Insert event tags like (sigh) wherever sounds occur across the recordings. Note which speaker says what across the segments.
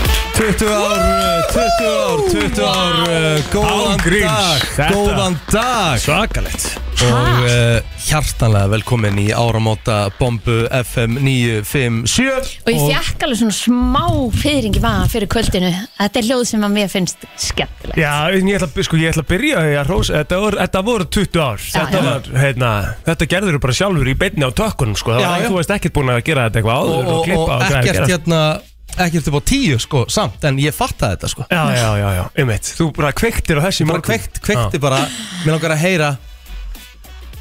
Speaker 1: 20 ár, eh, 20 ár, 20 ár eh, Góðan
Speaker 2: Án gríns.
Speaker 1: dag,
Speaker 2: Þetta-
Speaker 1: góðan dag
Speaker 2: Svakalegt
Speaker 1: Og uh, hjartanlega velkomin í áramóta bombu FM 957
Speaker 3: Og ég fekk alveg svona smá fyrring í vaðan fyrir kvöldinu. Þetta er hljóð sem að mér finnst skemmtilegt.
Speaker 2: Já, en ég ætla, sko, ég ætla að byrja því að rósa Þetta, voru- þetta voru 20 ár Þetta,
Speaker 3: já.
Speaker 2: var, heitna, þetta gerður bara sjálfur í beinni á tökkunum sko. Það
Speaker 1: Já,
Speaker 2: var,
Speaker 1: já.
Speaker 2: Þú veist ekkert búin að gera þetta eitthvað áður
Speaker 1: og,
Speaker 2: og,
Speaker 1: og,
Speaker 2: klippa
Speaker 1: og
Speaker 2: og græða,
Speaker 1: ekkert
Speaker 2: gera.
Speaker 1: hérna ekkert upp á tíu sko samt en ég fatta þetta sko
Speaker 2: Já, já, já, já, einmitt Þú bara kveiktir á þessi
Speaker 1: bara kveikt, kveikti bara mér langar að heyra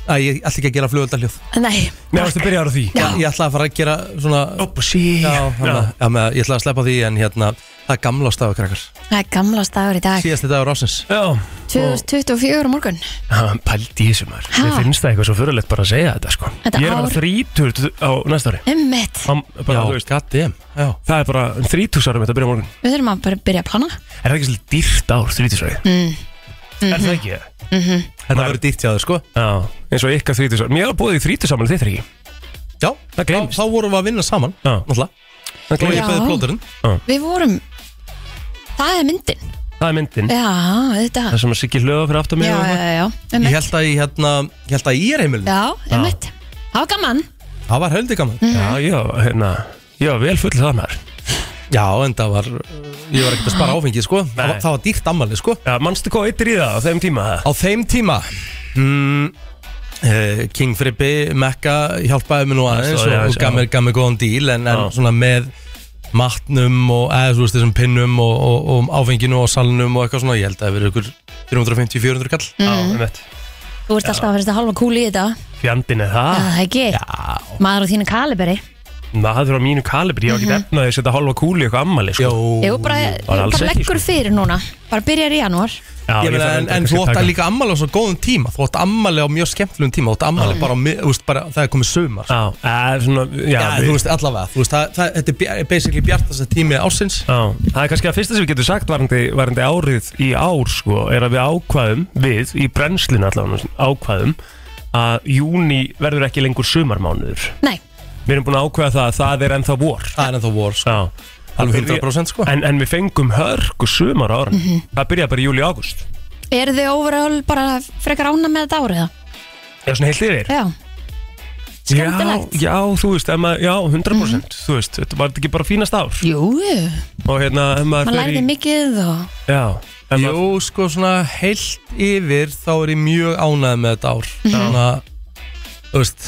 Speaker 1: að ég ætla ekki að gera flugöldarhljóð
Speaker 3: Nei,
Speaker 2: Mér varst að byrja á því Oh,
Speaker 1: ég ætla að fara að gera svona
Speaker 2: Upp og sí
Speaker 1: já, hana, já. með, ég ætla að sleppa því en hérna það er gamla stafa krakkar
Speaker 3: það er gamla stagur í dag.
Speaker 1: síðast þetta á rásins
Speaker 2: Já,
Speaker 3: 2024 á morgun.
Speaker 2: hann pældi í þessu maður
Speaker 3: Ha?
Speaker 2: Mér finnst það eitthvað svo fyrirlegt bara að segja þetta sko
Speaker 3: Þetta
Speaker 2: Ég er að vera
Speaker 3: ár-
Speaker 2: þrítur á næsta ári
Speaker 3: Ummitt.
Speaker 2: Hann- bara, þú veist,
Speaker 1: goddamn já.
Speaker 2: Það er bara þrítúsarum þetta að byrja á morgun
Speaker 3: Við þurfum að bara byrja að plana.
Speaker 2: Er það ekki svolítið dýrt ár þrítusarum?
Speaker 3: Mm.
Speaker 2: Er það ekki?
Speaker 3: Mm-hmm.
Speaker 1: þetta verður dýrt hjá þau sko
Speaker 2: Já, eins og ykkar þrítusarum Mér er að búið í þrítusarum þitt er ekki
Speaker 1: já,
Speaker 2: Það gleymist.
Speaker 1: þá, þá vorum við að vinna saman
Speaker 2: Já,
Speaker 1: náttúrulega
Speaker 2: það
Speaker 1: og
Speaker 2: gleymist.
Speaker 1: ég beði plóturinn
Speaker 3: Við vorum... Það er myndin.
Speaker 2: Það er myndin
Speaker 3: Já, þetta.
Speaker 2: Það sem að Siggi hlöða fyrir aftur
Speaker 3: Já,
Speaker 2: mig
Speaker 3: já, já, já.
Speaker 1: ég
Speaker 3: Ummitt.
Speaker 1: held að ég hérna ég held að ég er heimilin
Speaker 3: Já, Mhm. ummitt. Það var gaman.
Speaker 1: það var höldi gaman
Speaker 2: já, já, hérna Já, vel full það maður
Speaker 1: já, en það var ég var ekkert að spara áfengið sko það, var- það var dýrt ammali sko
Speaker 2: Já, mannstu hvað eittir í það á þeim tíma?
Speaker 1: Á þeim tíma mm, eh, King Frippi, Mekka hjálpaði mér nú aðeins
Speaker 2: stóð
Speaker 1: og,
Speaker 2: ég aðeins,
Speaker 1: og gaf
Speaker 2: já.
Speaker 1: mér, gaf mér góðan díl en, en
Speaker 2: Já.
Speaker 1: svona með matnum og eða þú veist þessum pinnum og, og, og áfenginu og salnum og eitthvað svona ég held að það hafi verið ykkur 350-400 kall
Speaker 3: Mhm.
Speaker 2: Já, einmitt
Speaker 3: Þú ert alltaf að vera þetta halva kúli í þetta.
Speaker 2: Fjandin er
Speaker 3: Já,
Speaker 2: það
Speaker 3: það er ekki.
Speaker 1: Já,
Speaker 3: Maður á þínu kaliberi.
Speaker 2: Maður á mínu kalibri, ég var ekki efnaði að setja halva kúli í eitthvað ammali sko.
Speaker 1: jó
Speaker 3: Jú, bara,
Speaker 2: Bara alls
Speaker 3: bara
Speaker 2: ekki, sko.
Speaker 3: leggur fyrir núna. Bara byrjar í janúar.
Speaker 2: Já,
Speaker 1: Ég meina,
Speaker 2: þarf
Speaker 1: en,
Speaker 2: enda
Speaker 1: en
Speaker 2: kannski
Speaker 1: þú
Speaker 2: að
Speaker 1: átt
Speaker 2: taka-
Speaker 1: að líka ammali á svo góðum tíma Þú átt ammali á mjög skemmtilegum tíma Þú átt ammali bara, á mið- þú veist, bara það er komið sumar
Speaker 2: Já, eða svona Já,
Speaker 1: Já, þú veist allavega þú veist, það, það, Þetta er bja- basically bjartast tími ásins
Speaker 2: Já, það er kannski að fyrsta sem við getum sagt varandi, varandi árið í ár sko, er að við ákvaðum, við í brennslinu allavega ákvaðum að júni verður ekki lengur sumarmánuður
Speaker 3: Nei,
Speaker 2: Við erum búin að ákvaða það að það er ennþá vor
Speaker 1: Það er ennþá vor, sko,
Speaker 2: Já
Speaker 1: alveg 100% sko
Speaker 2: En, en við fengum hörg og sumar ára
Speaker 3: Mhm.
Speaker 2: Það byrjaði bara í júli og águst
Speaker 3: eru þið overall bara frekar ána með þetta árið það?
Speaker 2: Já, svona heilt yfir
Speaker 3: Já Skemmtilegt Mhm.
Speaker 2: Já, já, þú veist, ef maður, já, 100% Þú veist, þetta var þetta ekki bara fínast ár
Speaker 3: Jú, jú,
Speaker 2: Og hérna, ef maður
Speaker 3: maður
Speaker 2: fer
Speaker 3: lærði mikið og
Speaker 2: Já, ef maður,
Speaker 1: Jú, sko svona heilt yfir þá er ég mjög ánægð með þetta ár svona, þú veist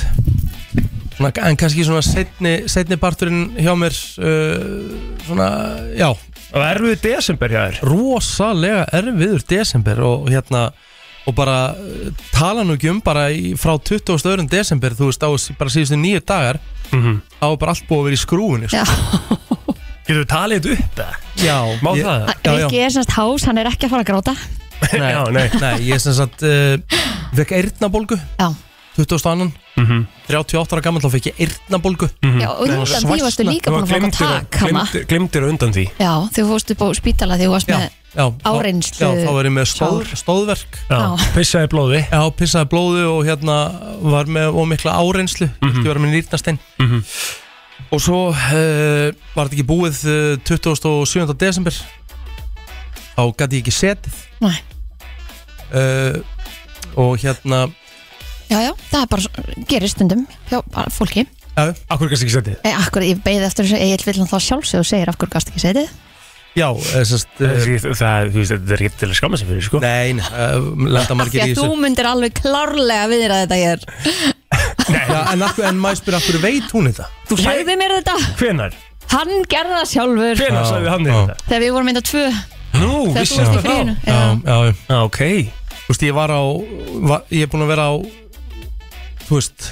Speaker 1: svona, en kannski svona setni, setni parturinn hjá mér uh, svona, já
Speaker 2: og erfiðu desember hjá þér
Speaker 1: rosalega erfiður desember og hérna og bara eh, tala nú ekki um bara í, frá 22. desember, þú veist, á s- bara síðustu nýju dagar,
Speaker 2: mm
Speaker 1: þá er bara allt búið að vera í skrúinu sko.
Speaker 3: Já,
Speaker 2: (laughs) Getur við talið þetta upp það?
Speaker 1: Já,
Speaker 2: Má
Speaker 1: ég,
Speaker 2: það?
Speaker 1: já.
Speaker 3: Rikki er semst hás, hann er ekki að fara að gráta
Speaker 1: (laughs) Nei,
Speaker 2: Já, nei
Speaker 1: nei, ég sem sagt uh, vekk eyrnabólgu
Speaker 3: Já,
Speaker 1: 22.
Speaker 2: mm
Speaker 1: 38 ára gammal þá fekk ég eyrnabólgu
Speaker 2: Mhm.
Speaker 3: já og
Speaker 1: Nei,
Speaker 3: undan því
Speaker 1: svæsna.
Speaker 3: varstu líka búin að fara að tak hana
Speaker 2: Glimtir undan því
Speaker 3: Já, þú fórst upp á spítala því þú varst með
Speaker 1: já,
Speaker 3: Áreynslu-
Speaker 1: þá- Já, þá var ég með stóð,
Speaker 3: sár.
Speaker 1: stóðverk
Speaker 3: Já.
Speaker 2: Pissaði blóði
Speaker 1: Já, pissaði blóðu og hérna var með ómikla áreynslu mm -hmm. Ég var með nýrnastein
Speaker 2: Mhm.
Speaker 1: Og svo uh, var þetta ekki búið uh, 27. desember Þá gæti ég ekki setið
Speaker 3: Nei.
Speaker 1: uh, Og hérna
Speaker 3: Já, já, það er bara, svo- gerist stundum hjá bara fólki
Speaker 1: Já,
Speaker 2: Akkur kannski ekki setið
Speaker 3: e, Akkur, ég beið eftir þessu, ég vil hann þá sjálfsög og segir af hverju gast ekki setið
Speaker 1: já eh, sest, uh,
Speaker 2: Það, þú veist, þetta er ekki til að skamma sig fyrir, sko
Speaker 1: Nei, nei, uh, lenda
Speaker 3: Af
Speaker 1: margir í
Speaker 3: því að þú
Speaker 1: þessu
Speaker 3: myndir alveg klárlega viðra þetta ég er
Speaker 1: já, En, af hverju- en maður spyrir, af hverju veit hún þetta?
Speaker 3: Þú
Speaker 2: Ég-
Speaker 3: sagði mér þetta,
Speaker 2: Hvenar?
Speaker 3: hann gerði það sjálfur
Speaker 2: Hvenar
Speaker 1: Já,
Speaker 2: sagði hann
Speaker 1: já.
Speaker 2: þér þetta?
Speaker 3: Þegar við vorum mynda tvö,
Speaker 2: Nú,
Speaker 3: þegar þú
Speaker 2: vissi
Speaker 3: varst í
Speaker 2: það
Speaker 3: fríinu
Speaker 2: þá?
Speaker 3: Já.
Speaker 1: já, já.
Speaker 2: Já, ok
Speaker 1: Þú veist, ég var á var, Ég er búinn að vera á Þú veist,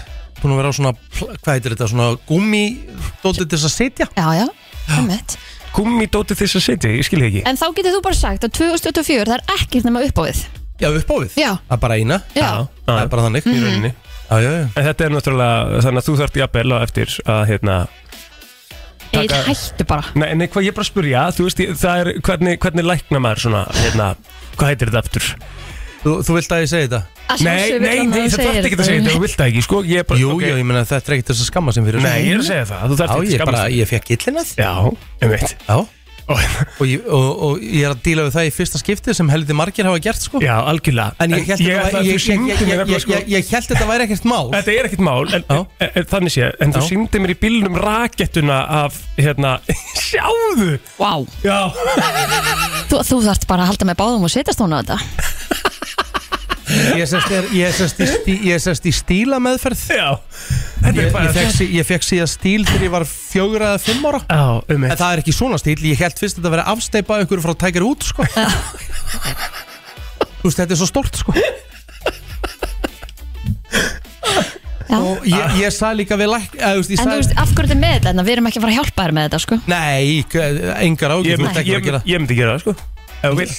Speaker 1: búinn að vera á svona pl- Hvað heitir þetta, svona gummi Dóttir til þess að sitja
Speaker 3: Já, já, einmitt.
Speaker 2: Gummi dótið þess að setja, ég skil ekki
Speaker 3: En þá getur þú bara sagt að 2024 það er ekkert nema upp á við.
Speaker 1: Já, upp á við
Speaker 3: Já.
Speaker 1: Það er bara eina
Speaker 3: Já.
Speaker 1: Það er bara þannig
Speaker 2: í rauninni
Speaker 1: Já, já, já
Speaker 2: Mhm. En þetta er náttúrulega, þannig að þú þarft jafnvel á eftir að, hérna
Speaker 3: Eitt
Speaker 2: Taka-
Speaker 3: hættu bara.
Speaker 2: Nei, nei, hvað ég er bara að spurja, þú veist, ég- það er, hvernig, hvernig lækna maður svona, hérna Hvað heitir þetta aftur?
Speaker 1: Þú, þú vilt að ég segi þetta?
Speaker 3: Að
Speaker 2: Nei,
Speaker 3: sjálfsögðu vill
Speaker 2: nei,
Speaker 3: hann að
Speaker 2: nei,
Speaker 3: þú
Speaker 2: það þarf
Speaker 3: segir
Speaker 2: ekki að segja þetta, þú vilt það ekki, sko Jú,
Speaker 1: Jú, jú, ég meina þetta er ekkert þess að skamma sem fyrir
Speaker 2: Nei, ég er að segja það, þú
Speaker 1: Já,
Speaker 2: þarft ekki að
Speaker 1: ég
Speaker 2: skamma
Speaker 1: bara, ég fekk illina
Speaker 2: Já, einmitt
Speaker 1: Já,
Speaker 2: Og
Speaker 1: og ég, og, og ég er að díla við það í fyrsta skipti sem heldur margir hafa gert sko
Speaker 2: Já, algjörlega
Speaker 1: en ég held
Speaker 2: ég,
Speaker 1: þetta
Speaker 2: ætla að
Speaker 1: væri-
Speaker 2: þú
Speaker 1: ég- ég-
Speaker 2: syngdi mér
Speaker 1: ég-
Speaker 2: nefnilega
Speaker 1: ég-
Speaker 2: sko
Speaker 1: ég- ég hélt þetta væri ekkert mál
Speaker 2: Þetta er ekkert mál, en,
Speaker 1: Já.
Speaker 2: en, en þannig sé, en þú
Speaker 1: Já.
Speaker 2: síndi mér í bílnum rakettuna af, hérna, (laughs) sjáðu!
Speaker 3: Vá,
Speaker 2: Já,
Speaker 3: þú, þú þarft bara að halda með báðum og setjast hún á þetta
Speaker 1: ég sest, er, ég sest, í, stí- ég sest í stíla meðferð
Speaker 2: já, þetta
Speaker 1: ég,
Speaker 2: er
Speaker 1: ég,
Speaker 2: bara...
Speaker 1: fekk, sí- ég fekk síðan stíl þegar ég var fjögra eða fimm ára
Speaker 2: Já, um
Speaker 1: en það er ekki svona stíl, ég held fyrst að þetta verið afsteipa ykkur frá tækir út sko þú veist þetta er svo stórt sko
Speaker 3: Já.
Speaker 1: og
Speaker 2: Ah.
Speaker 1: ég, ég sagði líka við læk eða, þú veist, ég
Speaker 3: En þú
Speaker 1: sagði-
Speaker 3: veist, af hverju þetta er með þetta? En Við erum ekki að fara að hjálpa þér með þetta, sko
Speaker 1: Nei, k- engar ágjur, þú
Speaker 2: Ég
Speaker 1: ert
Speaker 2: myndi,
Speaker 1: ekki að
Speaker 2: ég,
Speaker 1: gera
Speaker 2: ég myndi gera það, sko. Ef þú vilt.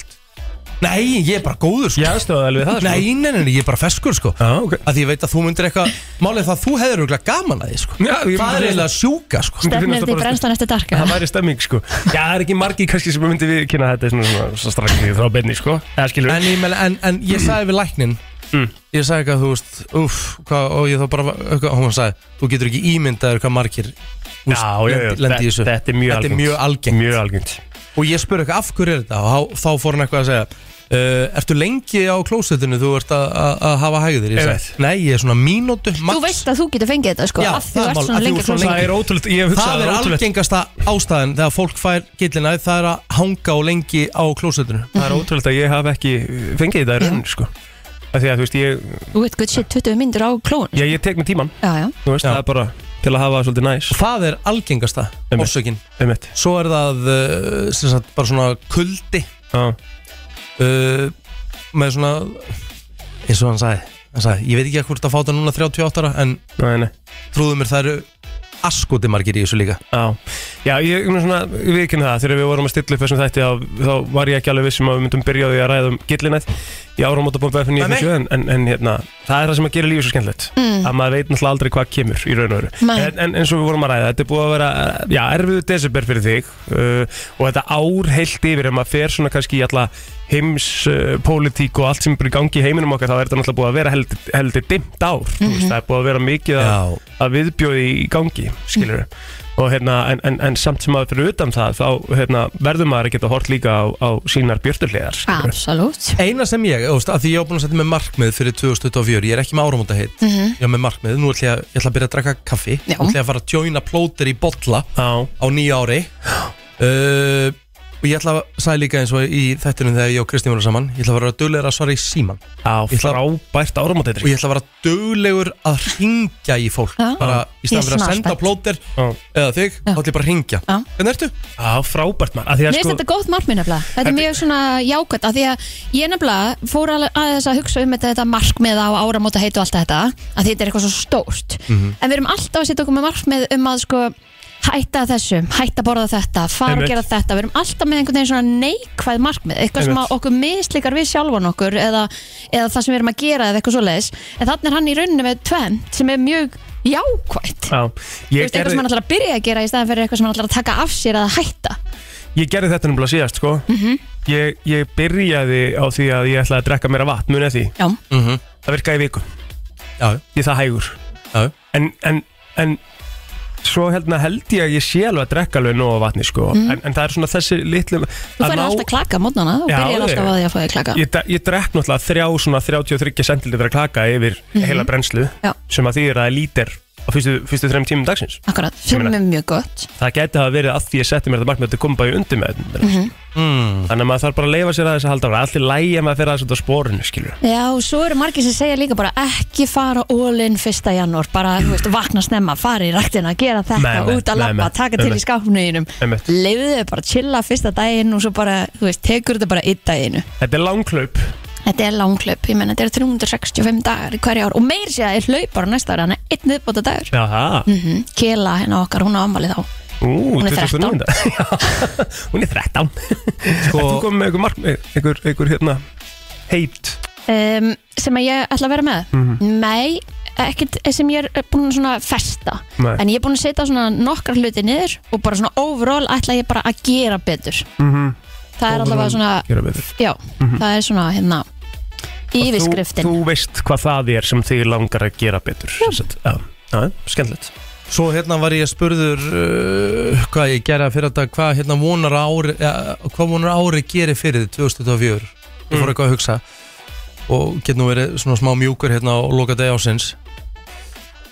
Speaker 1: Nei, ég er bara góður sko
Speaker 2: Ég aðstofaði alveg við það, sko.
Speaker 1: Nei, nei, nei, nei, ég er bara feskur sko
Speaker 2: Já, ok.
Speaker 1: Af því ég veit að þú myndir eitthvað Málið er það að þú hefur auðvitað gaman að því sko
Speaker 2: Já, ég
Speaker 1: Það er
Speaker 2: myndi-
Speaker 1: eiginlega sjúka sko
Speaker 2: Myndi finnast
Speaker 3: Stefnir þetta í
Speaker 2: það bara-
Speaker 3: brennstan eftir darka
Speaker 2: Það væri stemming, sko. Já, það er ekki margi kannski sem myndi við kynna þetta svona, svona, svona strax því þá beinni, sko. Eða skilur
Speaker 1: En ég, meina, en, en ég sagði við læknin
Speaker 2: Mm.
Speaker 1: Ég sagði eitthvað, þú veist, uff hvað, Og ég þá bara, eitthvað, hún sagði Þú getur ekki ímyndaður hvað margir þú veist,
Speaker 2: Já, já, já,
Speaker 1: lendi- lendi í þessu.
Speaker 2: þetta- þetta er mjög
Speaker 1: Þetta
Speaker 2: algengt.
Speaker 1: er mjög algengt
Speaker 2: Mjög algengt.
Speaker 1: Og ég spurði eitthvað, af hverju er þetta Og þá, þá fór hann eitthvað að segja uh, Ertu lengi á klósettinu, þú ert að- að að hafa hægðir Ég
Speaker 2: Einmitt.
Speaker 1: sagði, nei, ég er svona mínútu max."
Speaker 3: Þú veist að þú getur fengið þetta, sko
Speaker 1: Já,
Speaker 3: Af því
Speaker 1: það er
Speaker 3: þú
Speaker 1: mál-
Speaker 3: ert
Speaker 1: af
Speaker 3: svona
Speaker 1: því
Speaker 3: lengi
Speaker 1: þú ert svona
Speaker 3: frá-
Speaker 2: Það er ótrúlegt, ég hef hugsað
Speaker 1: Það er
Speaker 2: það ótrúlegt.
Speaker 1: algengasta ástæðan þegar fólk fær gillina það er að hanga og lengi á klósetinu
Speaker 2: Það er ótrúlegt að ég haf ekki fengið þetta í raun, sko. Af því að, þú veist, ég,
Speaker 3: Þú veit, gutt, shit, 20 myndir á klón
Speaker 2: ég, ég tek með tíman,
Speaker 3: Já, já,
Speaker 2: þú veist,
Speaker 1: Já.
Speaker 2: það er bara til að hafa það svolítið næs.
Speaker 1: Það er algengasta
Speaker 2: Einmitt.
Speaker 1: orsökin
Speaker 2: Um eitt.
Speaker 1: Svo er það uh, sem sagt, bara svona kuldi
Speaker 2: Já,
Speaker 1: uh, með svona eins og hann sagði, hann sagði ég veit ekki hvort að fá þetta núna 38 ára en
Speaker 2: næ, næ.
Speaker 1: trúðu mér það eru askoti margir í þessu líka
Speaker 2: Já, já ég er svona viðkynna það þegar við vorum að stilla upp þessum þætti þá, þá var ég ekki alveg vissum að við myndum byrja á því að ræða um gillinætt í áramótabombu FN
Speaker 1: Nei,
Speaker 2: 97 en, en, en hérna, það er það sem að gera lífið svo skemmtilegt
Speaker 3: Mm.
Speaker 2: að maður veit náttúrulega aldrei hvað kemur í raun og veru
Speaker 3: Nei.
Speaker 2: en, en eins og við vorum að ræða, þetta er búið að vera já, erfiðu desember fyrir þig uh, og þetta ár heilt yfir ef maður fer svona kannski í alla heims uh, pólitík og allt sem er í gangi í heiminum okkar þá er þetta náttúrulega búið að vera heldur, heldur dimmt ár, mm
Speaker 3: Mhm.
Speaker 2: veist, það er búið að vera mikið að, að viðbjóði í gangi skilur og hérna en, en, en samt sem maður fyrir utan það þá hérna, verður maður að geta hort líka á, á sínar björtulegar
Speaker 3: absolutt
Speaker 1: Eina sem ég, þú veist, að því ég á búin að setja með markmið fyrir 2024, ég er ekki með áramóta heitt ég er með markmið, nú ætla ég, ég ætla að byrja að drakka kaffi
Speaker 3: Mhm. Já.
Speaker 1: ætla ég að fara að joina plóter í bolla
Speaker 2: á,
Speaker 1: á nýja ári uh, og ég ætla að sagði líka eins og í þættunum þegar ég og Kristín voru saman ég ætla að vera duglegur að svara í síman
Speaker 2: á
Speaker 1: Ég ætla-
Speaker 2: frábært
Speaker 1: og
Speaker 2: áramóteitri
Speaker 1: ég ætla að vera duglegur að ringja í fólk
Speaker 3: Já.
Speaker 1: bara í
Speaker 3: Ég
Speaker 1: staðan
Speaker 3: er
Speaker 1: fyrir að
Speaker 3: smá
Speaker 1: senda
Speaker 3: spennt.
Speaker 1: plóter
Speaker 2: Já.
Speaker 1: eða þig, þá ætla ég bara að ringja
Speaker 3: Já.
Speaker 1: hvernig ertu?
Speaker 2: á frábært mann að því
Speaker 3: Mér
Speaker 2: að
Speaker 3: finnst
Speaker 2: sko
Speaker 3: þetta gott markmið nefnilega Þetta er
Speaker 2: Þetta-
Speaker 3: mjög svona jákvæmt af því að ég nefnilega fór alveg aðeins að hugsa um þetta, þetta markmið á áramóta heitu og allt þetta að þetta er eitthvað svo stórt
Speaker 2: Mm.
Speaker 1: Mhm.
Speaker 3: en við erum alltaf að setja okkur með markmið um að sko hætta þessu, hætta að borða þetta fara
Speaker 2: Einmitt.
Speaker 3: að gera þetta, við erum alltaf með einhvern veginn svona neikvæð markmið, eitthvað sem
Speaker 2: Einmitt.
Speaker 3: að okkur mislíkar við sjálfan okkur eða, eða það sem við erum að gera eða eitthvað svo en þannig er hann í rauninni með tvent sem er mjög jákvætt
Speaker 2: á, ég,
Speaker 3: Þú veist, eitthvað sem
Speaker 2: gerði,
Speaker 3: hann ætlar að byrja að gera í staðan fyrir eitthvað sem hann ætlar að taka af sér að hætta
Speaker 2: ég gerði þetta nefnilega síðast sko
Speaker 3: Mm.
Speaker 2: ég, ég byrjaði á því að ég ætlaði að drekka meira vatn munið því,
Speaker 3: Já,
Speaker 1: Mm -hmm.
Speaker 2: það virkaði í viku
Speaker 1: já,
Speaker 2: ég það hægur
Speaker 1: já,
Speaker 2: en, en, en svo hérna held ég að ég sé alveg að drekka alveg nóg af vatni sko en, en það er svona þessi litlu
Speaker 3: Mm. Þú færði alltaf klaka mótnana og
Speaker 2: Já,
Speaker 3: byrjar alltaf
Speaker 2: ég-
Speaker 3: á því að fá því klaka
Speaker 2: ég, dre- ég drekk náttúrulega þrjá svona 33 centilitra klaka yfir heila brennslu
Speaker 3: Mhm. Já.
Speaker 2: sem að því er að lítir á fyrstu, fyrstu þreim tímum dagsins
Speaker 3: Akkurat, sem
Speaker 2: meina-
Speaker 3: er mjög gott
Speaker 2: það gæti hafa verið að því ég setti mér þetta markmið að þetta kom bara í undir með
Speaker 3: Mhm.
Speaker 1: Mm.
Speaker 2: þannig að maður þarf bara að leifa sér að þess að halda ára allir lægja maður að fyrir að þetta á spórinu skilur
Speaker 3: Já, og svo eru margir sem segja líka bara ekki fara ólinn 1. janúar bara, þú veist, vakna snemma, fara í raktina gera þetta,
Speaker 2: Nei, nei,
Speaker 3: út að
Speaker 2: nei,
Speaker 3: labba,
Speaker 2: nei,
Speaker 3: taka
Speaker 2: nei,
Speaker 3: til
Speaker 2: nei.
Speaker 3: í skápnuðinum
Speaker 2: Einmitt.
Speaker 3: leiðu þau bara að chilla fyrsta daginn og svo bara, þú veist, tekur þetta bara einn daginu
Speaker 2: þetta er langklaup
Speaker 3: Þetta er langklöp, ég menna, þetta eru 365 dagar í hverju ár og meir sé að ég hlaup bara næsta ára, þannig að einn viðbóta dagur
Speaker 2: já það
Speaker 3: mm Kela hérna okkar, hún á ammali þá
Speaker 2: Ú,
Speaker 3: Hún er
Speaker 2: 29. (laughs) Já, hún er 13 sko,
Speaker 1: Sko-
Speaker 2: Þú komið með einhver markmið einhver, einhver hérna heit
Speaker 3: um, sem að ég ætla að vera með
Speaker 2: Mhm.
Speaker 3: nei, ekkert eh, sem ég er búin að svona festa
Speaker 2: Nei.
Speaker 3: en ég er búin að setja svona nokkar hluti niður og bara svona overall ætla ég bara að gera betur
Speaker 2: mm
Speaker 3: það er allavega svona,
Speaker 2: gera betur Mhm.
Speaker 3: já það er svona hérna
Speaker 2: þú,
Speaker 3: yfirskriftin
Speaker 2: þú veist hvað það er sem þig langar að gera betur sem sagt. Já, já, skemmtilegt
Speaker 1: Svo hérna var ég spurður uh, hvað ég gerði fyrir þetta, hvað hérna vonar að ári, ja, hvað vonar að ári gerir fyrir þig 2024. Ég fór eitthvað að hugsa og get nú verið svona smá mjúkur hérna á loka degi ásins.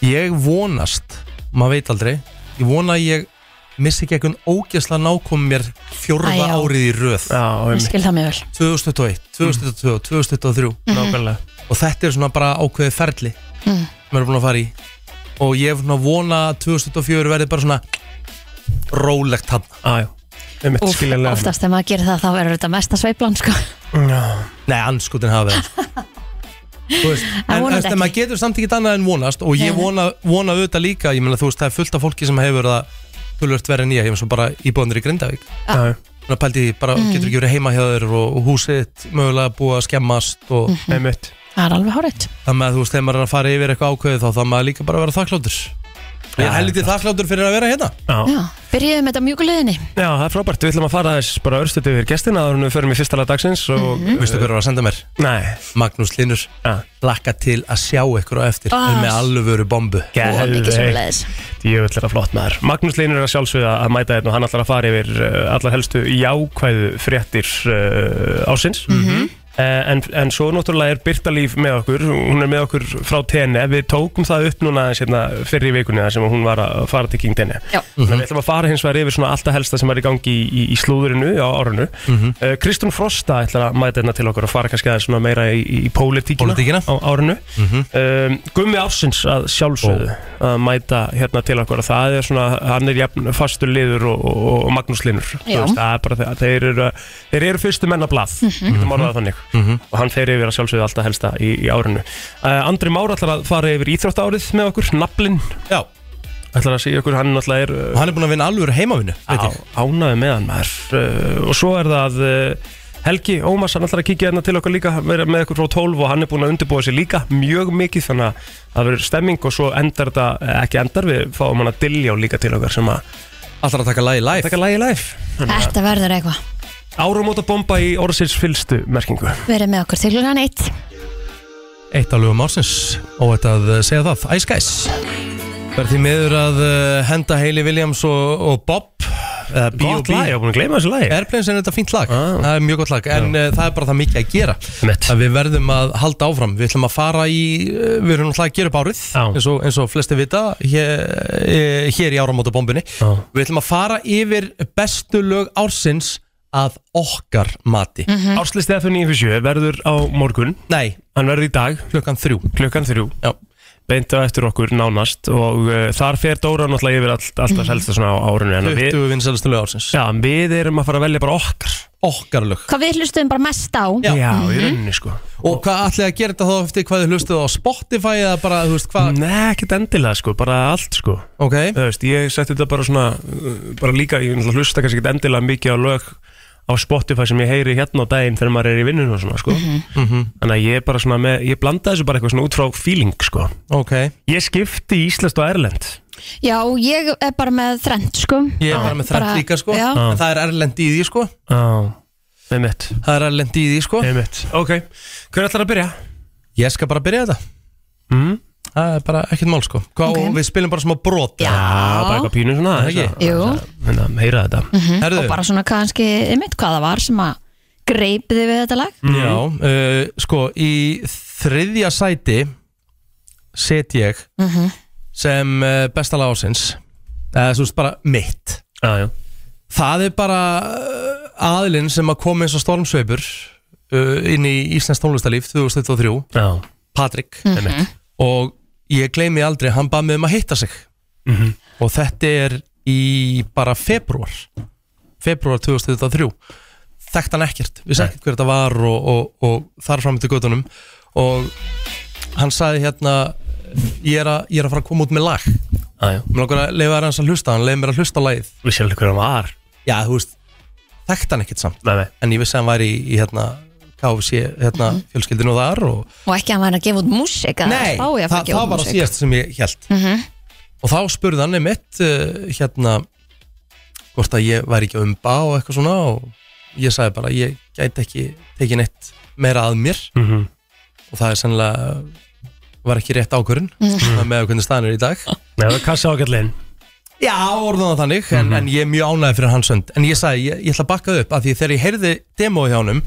Speaker 1: Ég vonast, maður veit aldrei, ég vona að ég missi ekki einhvern ógæsla nákom mér fjórða
Speaker 3: Æ, já.
Speaker 1: árið í röð.
Speaker 2: Já, um,
Speaker 3: Ég skil það mjög vel Mhm.
Speaker 1: 2021, 2022, 2023
Speaker 2: nákvæmlega
Speaker 1: og þetta er svona bara ákveðið ferli sem við erum búin að fara í og ég er svona að vona að 2004 verði bara svona rólegt hann
Speaker 2: Á, já, um eitt
Speaker 3: Úf,
Speaker 2: skiljanlega
Speaker 3: oftast þegar maður gerir það þá verður þetta mesta sveiflan sko. (laughs)
Speaker 2: Já,
Speaker 1: Nei, anskutin hafi það sko. Þú veist,
Speaker 3: Það
Speaker 1: en,
Speaker 3: vonandi
Speaker 1: en
Speaker 3: ekki.
Speaker 1: maður getur samt ekki annað en vonast og ég
Speaker 3: Nei, nei.
Speaker 1: vona, vona auðvitað líka ég meina þú veist, það er fullt af fólki sem hefur það tölvört verið nýja, ég hef svo bara íbúðanir í Grindavík
Speaker 2: já, já,
Speaker 1: þannig að pældi því, bara getur ekki verið heima hjá þér og, og húsið mögulega búið að skemmast og
Speaker 2: um eitt
Speaker 3: Það er alveg hárið
Speaker 1: þannig að þú veist, þegar maður er að fara yfir eitthvað ákveðið þá þá maður líka bara að vera þakkláttur Ég
Speaker 2: Já,
Speaker 1: er helviti þakkláttur fyrir að vera hérna
Speaker 2: Já,
Speaker 3: Já, byrjuðum þetta mjúkuleginni
Speaker 2: Já, það er frábært, við ætlum að fara aðeins bara örstuðt yfir gestina áður en við förum í fyrsta lag dagsins og,
Speaker 3: Mhm.
Speaker 1: Vistu hver var að senda mér?
Speaker 2: Nei,
Speaker 1: Magnús Linur
Speaker 2: já,
Speaker 1: Laka til að sjá ykkur á eftir
Speaker 3: Ah.
Speaker 1: Er með alvöru bombu
Speaker 3: og mikið
Speaker 2: geðveikt.
Speaker 3: svoleiðis
Speaker 2: Ég vil vera flott maður Magnús Leinur er að sjálfsögða að mæta þérna og hann ætlar að fara yfir uh, allar helstu jákvæðu fréttir uh, ásins uh, en, en svo náttúrulega er Birta Líf með okkur hún er með okkur frá TNE við tókum það upp núna aðeins, hérna, fyrir í vikunni þar sem hún var að fara til King TNE
Speaker 3: Já.
Speaker 2: Þannig að við ætlum að fara hins vegar yfir svona alltaf helsta sem er í gangi í, í, í slúðurinu á árinu uh, Kristún Frosta ætlar að mæta þérna til okkur og fara kannski aðeins svona meira í, í pólitíkina,
Speaker 1: Pólitíkina.
Speaker 2: á árinu um, Gummi Ársins að sjálfsögðu að mæta hérna til okkur það er svona, hann er jafn fastur liður og, og, og Magnús Linur Þú
Speaker 3: Já.
Speaker 2: veist, það er bara, þeir, þeir, eru, þeir eru fyrstu menna blað mm -hmm. og hann fer yfir að sjálfsögðu alltaf helsta í, í árinu uh, Andri Már ætlar að fara yfir íþróttárið með okkur, naflin
Speaker 1: Já, og
Speaker 2: ætlar að segja okkur, hann náttúrulega er uh,
Speaker 1: hann er búin að vinna alvöru heimavinu veit ég.
Speaker 2: ánaði með hann maður uh, og svo er það uh, Helgi Ómars, hann ætlar að kíkja hérna til okkar líka vera með okkur frá 12 og hann er búin að undirbúa sér líka mjög mikið þannig að það verður stemming og svo endar þetta, eh, ekki endar við fáum hann að dilljá líka til okkar sem að
Speaker 1: Alltaf að taka lagi live
Speaker 2: taka lagi live
Speaker 3: Þetta verður eitthvað
Speaker 2: Áramóta bomba í orðsins fylstu merkingu
Speaker 3: Verið með okkur til hlugan eitt
Speaker 1: Eitt af lögum ársins og þetta að eh, segja það Ice Guys Verð því miður að eh, henda Hayley Williams og, og Bob eða
Speaker 2: Gott lag, ég
Speaker 1: B.O.B.
Speaker 2: var búin að gleyma þessu lagi
Speaker 1: Airplanes er þetta fínt lag,
Speaker 2: Ah.
Speaker 1: það er mjög gott lag en Já. það er bara það mikið að gera
Speaker 2: Mitt.
Speaker 1: að við verðum að halda áfram við ætlum að fara í, eh, við erum náttúrulega að gera upp árið
Speaker 2: Já.
Speaker 1: eins og, eins og flesti vita hér, eh, hér í áramótabombinni
Speaker 2: Já.
Speaker 1: við ætlum að fara yfir bestu lög ársins að okkar mati
Speaker 2: Áslisti F957 verður á morgun
Speaker 1: nei,
Speaker 2: hann verður í dag
Speaker 1: klukkan þrjú
Speaker 2: klukkan þrjú
Speaker 1: Já.
Speaker 2: beint á eftir okkur nánast og uh, þar fer Dóra náttúrulega yfir allt, alltaf selsta svona á árunni en við,
Speaker 1: 20 vinsælustu lög ársins
Speaker 2: já, við erum að fara að velja bara okkar
Speaker 1: okkar lög
Speaker 3: Hvað við hlustum bara mest á Mhm.
Speaker 1: Já.
Speaker 2: í rauninni sko
Speaker 1: og hvað ætlið að gera þetta þá eftir hvað þið hlustuðu á Spotify eða bara, þú veist hvað
Speaker 2: Nei, ekkert endilega sko, bara allt sko
Speaker 1: ok,
Speaker 2: Þú veist, ég setti þetta bara svona uh, bara líka, ég náttúrulega hlusta kannski ekkert endilega mikið á lög á Spotify sem ég heyri hérna á daginn þegar maður er í vinnunum og svona sko
Speaker 1: Mhm.
Speaker 2: Þannig að ég er bara svona með, ég blanda þessu bara eitthvað svona út frá feeling sko
Speaker 1: ok
Speaker 2: Ég skipti í Ísland og Erlend
Speaker 3: Já, ég er bara með þrend sko
Speaker 1: ég er bara með þrætt
Speaker 3: Bara-
Speaker 1: líka sko
Speaker 3: Já.
Speaker 2: Ah.
Speaker 1: En það er erlend í því sko
Speaker 2: Á, með mitt
Speaker 1: það er erlend í því sko
Speaker 2: Með mitt, ok, hver ætlar að byrja?
Speaker 1: ég skal bara byrja þetta
Speaker 2: Mm?
Speaker 1: Það er bara ekkert mál sko Hva,
Speaker 3: Ok.
Speaker 1: Og við spilum bara smá brot
Speaker 3: Já.
Speaker 2: Já, bara eitthvað pínu svona
Speaker 1: Ekki?
Speaker 2: aðeins að-
Speaker 3: Jú.
Speaker 2: Þannig að heyra þetta
Speaker 1: Herðu,
Speaker 3: Mhm. Og bara svona kannski, einmitt hvað það var sem að greipiði við þetta lag
Speaker 2: Mhm.
Speaker 1: já, uh, sko Í þriðja sæti set ég sem uh, besta lag ásins eða þú veist bara mitt
Speaker 2: Já, já
Speaker 1: Það er bara uh, aðilinn sem að koma eins og stormsveipur uh, inn í Íslands tónlistalíf 2023,
Speaker 2: Já,
Speaker 1: Patrik
Speaker 2: með mitt
Speaker 1: og ég gleymi aldrei, hann bað mig um að hitta sig
Speaker 2: Mhm.
Speaker 1: og þetta er í bara februar februar 2023 þekkt hann ekkert, við
Speaker 2: Nei.
Speaker 1: ekkert hver þetta var og, og, og þar fram til göttunum og hann sagði hérna ég er, að, ég er að fara að koma út með lag
Speaker 2: Já, Ah, já
Speaker 1: mér langar að leifa hans að hlusta, hann leiði mér að hlusta á lagið
Speaker 2: Við séum hvernig hann var
Speaker 1: já, þú veist, þekkt hann ekkert samt
Speaker 2: Nei, nei
Speaker 1: en ég vissi að hann væri í, í hérna KFC, hérna fjölskyldinu þar og
Speaker 3: Og ekki að hann væri að gefa út músík eða
Speaker 1: Nei,
Speaker 3: spá í að fara
Speaker 1: það,
Speaker 3: að gefa
Speaker 1: það var
Speaker 3: út
Speaker 1: það
Speaker 3: músík.
Speaker 1: síðast sem ég held
Speaker 3: Mhm.
Speaker 1: Og þá spurði hann einmitt uh, hérna hvort að ég væri ekki að umba og eitthvað svona og ég sagði bara ég gæti ekki tekið neitt meira að mér
Speaker 2: Mhm.
Speaker 1: og það er sennilega var ekki rétt ákvörun mm. með hvernig staðan er í dag
Speaker 2: Nei, það er kassa ágætlinn
Speaker 1: Já, orðan það þannig,
Speaker 2: Mhm.
Speaker 1: en, en ég er mjög ánægð fyrir hans hönd En ég sagði, ég, ég ætla að bakka upp af Því þegar ég heyrði demóið hjá honum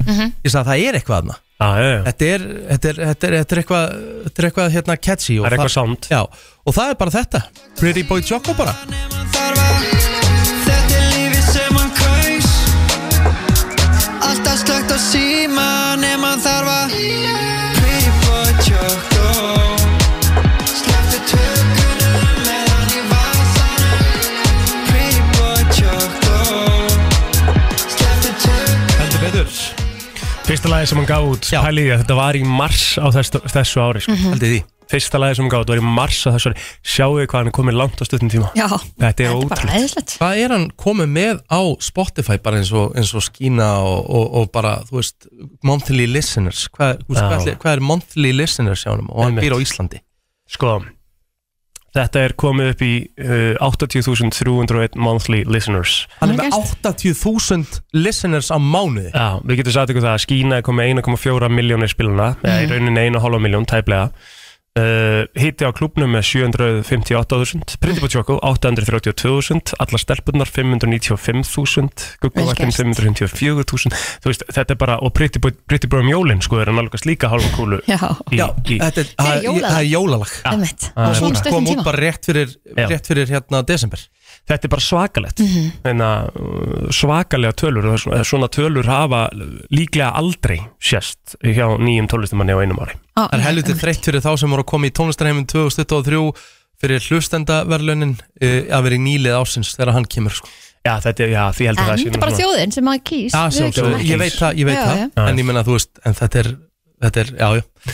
Speaker 1: Ég sagði, það er eitthvað aðna
Speaker 2: Já, já, já
Speaker 1: Þetta er, þetta er, þetta er, þetta er eitthvað, þetta er eitthvað hérna, catchy og
Speaker 2: Það er eitthvað sound.
Speaker 1: Já, og það er bara þetta Pretty Boy Choco bara
Speaker 4: Þetta er lífið sem hann kaus Alltaf slögt á síma nema hann þarf að Pretty boy choco Slepptu tökunum meðan í vasanum Pretty boy choco Slepptu tökunum
Speaker 1: Heldur betur
Speaker 2: Fyrsta lagi sem hann gaf út,
Speaker 1: Já.
Speaker 2: pæliði að þetta var í mars á þessu, þessu ári sko.
Speaker 1: Heldur því
Speaker 2: Fyrsta lagi sem hann gaf út var í mars á þessu ári Sjáu þið hvað hann er komið langt á stuttum tíma
Speaker 3: Já,
Speaker 2: Þetta er
Speaker 3: bara
Speaker 2: ótrúlega
Speaker 3: ræðislegt
Speaker 1: Hvað er hann komið með á Spotify bara eins og, eins og skína og, og, og bara, þú veist, monthly listeners Hvað, þú veist,
Speaker 2: Já.
Speaker 1: hvað, ætli- hvað er monthly listeners hjá honum og hann
Speaker 2: Einmitt.
Speaker 1: býr á Íslandi
Speaker 2: Sko, þetta er komið upp í uh, 80.301 monthly listeners
Speaker 1: Hann er
Speaker 3: Vel
Speaker 1: með 80.000 listeners á mánuði
Speaker 2: Já, við getum sagt ykkur það að Skína er komið 1,4 miljónir spiluna eða
Speaker 3: Mhm.
Speaker 2: í rauninni 1,5 miljón tæplega uh, Hitti á klubnum með 758.000 Printipo Tjóko 832.000 Alla stelpunar 595.000 Gugguvartin
Speaker 3: Vel
Speaker 2: 554.000 Þú veist, þetta er bara, og Pretty Boy- Pretty Boy um jólin sko, er hann alveg líka hálfa kúlu
Speaker 3: Já,
Speaker 2: í,
Speaker 1: Já,
Speaker 2: í,
Speaker 1: þetta er, það er-
Speaker 3: jólalag.
Speaker 1: það er jólalag
Speaker 3: einmitt
Speaker 2: það
Speaker 3: Á
Speaker 2: er
Speaker 3: svona
Speaker 2: bara-
Speaker 1: Kom
Speaker 3: stöttum
Speaker 1: út
Speaker 3: tíma
Speaker 1: bara rétt fyrir,
Speaker 2: Já.
Speaker 1: rétt fyrir hérna desember
Speaker 2: Þetta er bara svakalegt
Speaker 3: Mhm.
Speaker 2: Þannig að hérna, svakalega tölur og svona- eða svona tölur hafa líklega aldrei sérst hjá nýjum tólistumanni á einum ári
Speaker 1: Það er helviti þreytt fyrir þá sem voru að koma í tónlistarheimin 2023 fyrir hlustendaverlunin uh, að vera í nýlið ásins þegar hann kemur sko.
Speaker 2: Já, þetta er, já, því heldur
Speaker 3: En
Speaker 2: það sé
Speaker 3: þetta
Speaker 2: nú
Speaker 3: er bara
Speaker 2: svona-
Speaker 3: þjóðin sem maður kýs
Speaker 1: Já,
Speaker 3: Við
Speaker 1: sjálfsögðu.
Speaker 3: getum
Speaker 2: ekki.
Speaker 1: ég veit það, ég veit
Speaker 3: Já,
Speaker 1: það
Speaker 3: já.
Speaker 1: en ég menna þú veist, en þetta er, þetta er já, já.
Speaker 3: (laughs)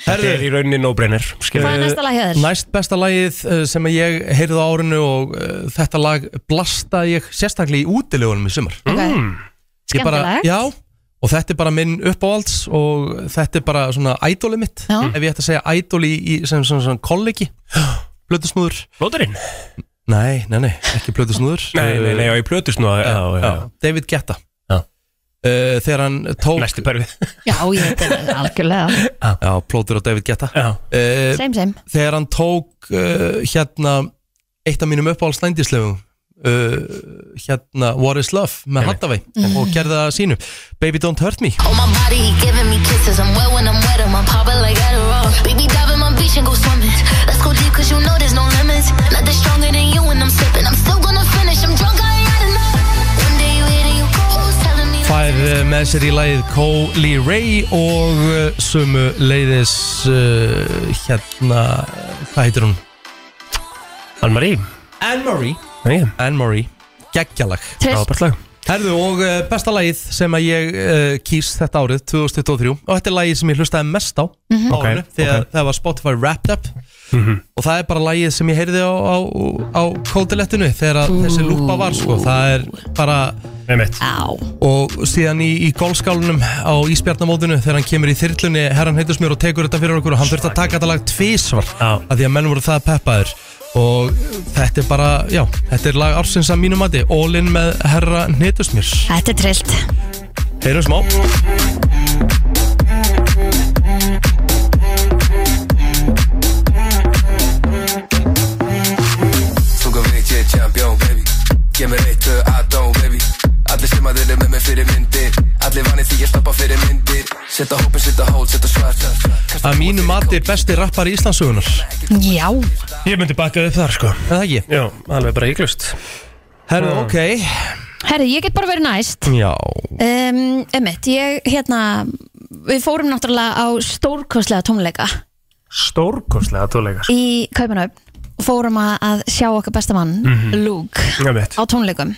Speaker 2: Þetta er í rauninni no-brainer
Speaker 3: ekki- Hvað er
Speaker 2: skilurðu.
Speaker 3: næsta lag hjá þér?
Speaker 1: Eh, Næst besta lagið eh, sem að ég heyrði á árinu og uh, þetta lag blasta ég sérstaklega í útilegunum í sumar
Speaker 3: Ok.
Speaker 2: Mm.
Speaker 1: Ég bara,
Speaker 3: Skemmtilegt.
Speaker 1: já, og þetta er bara minn uppáhalds og þetta er bara svona ædóli mitt,
Speaker 3: Já.
Speaker 1: ef ég ætti að segja ædóli í, í, sem svona, svona
Speaker 3: (gasps)
Speaker 1: kollegi blöðusnúður
Speaker 2: Blóturinn?
Speaker 1: Nei, nei, nei, ekki plötusnúður
Speaker 2: Nei, nei, nei, já, ég plötust nú að, já, já,
Speaker 1: já. David Guetta
Speaker 2: Já.
Speaker 1: Uh, Þegar hann tók
Speaker 2: Næsti perfið
Speaker 3: Já, ég veit það algjörlega (laughs)
Speaker 1: Já, plótur á David Guetta
Speaker 2: Já,
Speaker 1: uh,
Speaker 3: Same, same
Speaker 1: Þegar hann tók uh, hérna eitt af mínum uppáhalds lændislegu Uh, hérna What is Love með Hattaway
Speaker 3: Mhm.
Speaker 1: og gerði það að sínu Baby Don't Hurt Me
Speaker 5: On my body, he giving me kisses. I'm wet when I'm wet, I'm popping like Adderall. Baby, dive in my beach and go swimming. Let's go deep, cause you know there's no limits. Nothing stronger than you when I'm sipping. I'm still gonna finish, I'm drunk, I ain't had enough. One day you hit and you cold, telling me.
Speaker 1: Fær uh, með sér í lagið Coley Ray og uh, sömu leiðis uh, hérna, hvað heitir hún?
Speaker 2: Ann-Marie
Speaker 1: Anne-Marie
Speaker 2: Nei,
Speaker 1: Anne-Marie, geggjalag
Speaker 3: Trist,
Speaker 2: ábært lag
Speaker 1: Herðu og eh, besta lagið sem að ég uh, kýs þetta árið 2023 og þetta er lagið sem ég hlustaði mest á á
Speaker 2: Ok,
Speaker 1: árinu þegar
Speaker 2: ok.
Speaker 1: það var Spotify Wrapped Up og það er bara lagið sem ég heyrði á, á, á kótilettinu þegar að þessi lúpa var sko það er bara
Speaker 2: Nei, mitt
Speaker 3: á
Speaker 1: og síðan í, í golfskálunum á Ísbjarnamótinu þegar hann kemur í þyrlunni herran heitur mér og tekur þetta fyrir okkur og hann þurfti að taka þetta lag tvísvar
Speaker 2: Já.
Speaker 1: að því að menn voru það peppaður og þetta er bara, já, þetta er lag ársins að mínu mati, All In með herra Hnetusmjörs
Speaker 3: Þetta er trillt
Speaker 1: Heyrum smá
Speaker 6: Þú kom veit ég er champion baby Gemur eitt, tvö, aðdón baby Allir sem að þeirra með mér fyrir myndir Allir vanið því ég stoppa fyrir myndir Setta hópin, setta hól, setta svart
Speaker 1: Að mínu mati besti rappar í Íslandsugunar
Speaker 3: Já,
Speaker 2: Ég myndi bakka upp þar, sko
Speaker 1: Er það ekki?
Speaker 2: Já, alveg bara hygglust
Speaker 1: Herru, ok
Speaker 3: herri, ég get bara verið næst
Speaker 1: Já
Speaker 3: um, Emmett, ég hérna Við fórum náttúrulega á stórkostlega tónleika
Speaker 2: Stórkostlega tóleika, sko
Speaker 3: í Kaupanöfn og fórum að, að sjá okkar besta mann
Speaker 1: Mhm.
Speaker 3: Luke
Speaker 2: Nei, mitt
Speaker 3: á tónleikum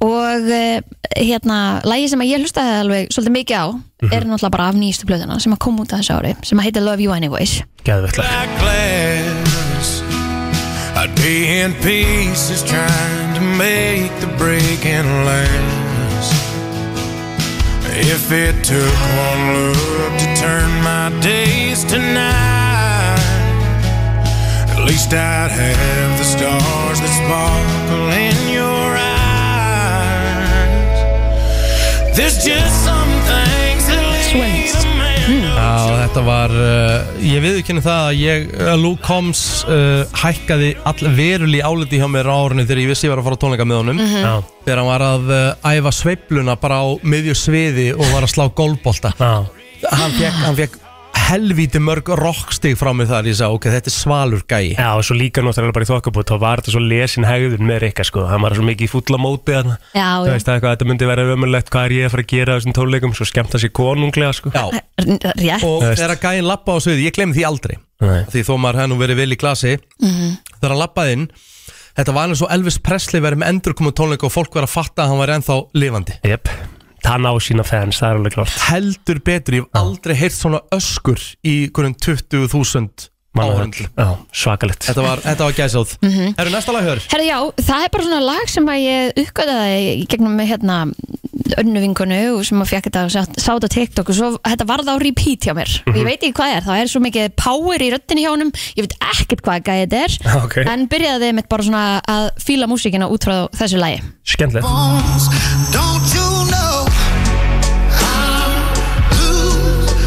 Speaker 3: og eh, hérna, lægi sem að ég hlustaði alveg svolítið mikið á er náttúrulega bara af nýjastu blöðuna sem að kom út að þessu ári sem að heita Love You Anyways
Speaker 2: Geðvett lag
Speaker 7: glass. I'd be in pieces trying to make the break and last. If it took one look to turn my days to night, at least I'd have the stars that sparkle in your eyes. There's just some things that lead
Speaker 3: Swings.
Speaker 7: a man
Speaker 1: Já, þetta var, uh, ég viðurkenni það að ég, uh, Luke Combs uh, hækkaði all veruli áliti hjá mér á árinu þegar ég vissi ég var að fara á tónleika með honum
Speaker 2: Já,
Speaker 1: þegar hann var að uh, æfa sveipluna bara á miðju sviði og var að slá golfbolta
Speaker 2: já
Speaker 1: hann fekk, hann fekk helvíti mörg rockstig frá mig þar ég sagði, ok, þetta er svalur gæi
Speaker 2: Já, og svo líka náttúrulega bara í þokkabútt þá var þetta svo lesin hegðun með Rikka sko hann var svo mikið í fúlla móti hann
Speaker 3: Já,
Speaker 2: þú
Speaker 3: já.
Speaker 2: veist það eitthvað, þetta myndi vera ömulegt hvað er ég að fara að gera á þessum tónleikum svo skemmt það sér konunglega sko
Speaker 1: Já,
Speaker 3: rétt
Speaker 1: og
Speaker 2: Þú veist.
Speaker 1: þegar gæin lappa á sviði, ég glem því aldrei
Speaker 2: Nei.
Speaker 1: því þó maður hefði nú verið vel í glasi
Speaker 3: Mhm.
Speaker 1: þegar hann lappaði inn þetta var eins og Elvis Presley verið með endurkomu tónleika og fólk verið að fatta að hann var ennþá lifandi
Speaker 2: Jep, það ná sína fans, það er alveg klart
Speaker 1: heldur betur, ég hef aldrei heyrt svona öskur í hverjum 20.000 áhörndum
Speaker 2: Já, svakalegt
Speaker 1: Þetta var, þetta var gæsóð mm -hmm. Erum næsta lag hör?
Speaker 3: Herra já, það er bara svona lag sem að ég uppgöðaði í gegnum með hérna önnu vinkonu og sem að fekk þetta sátt sá þetta á TikTok og svo þetta varð á repeat hjá mér og ég veit ekki hvað það er, það er svo mikið power í röddinni hjá honum, ég veit ekkert hvað gæði þetta er,
Speaker 2: Ok.
Speaker 3: en byrjaði mitt bara svona að fíla músíkina út frá þessu lagi
Speaker 2: Skemmtilegt
Speaker 5: Don't you know I'm lose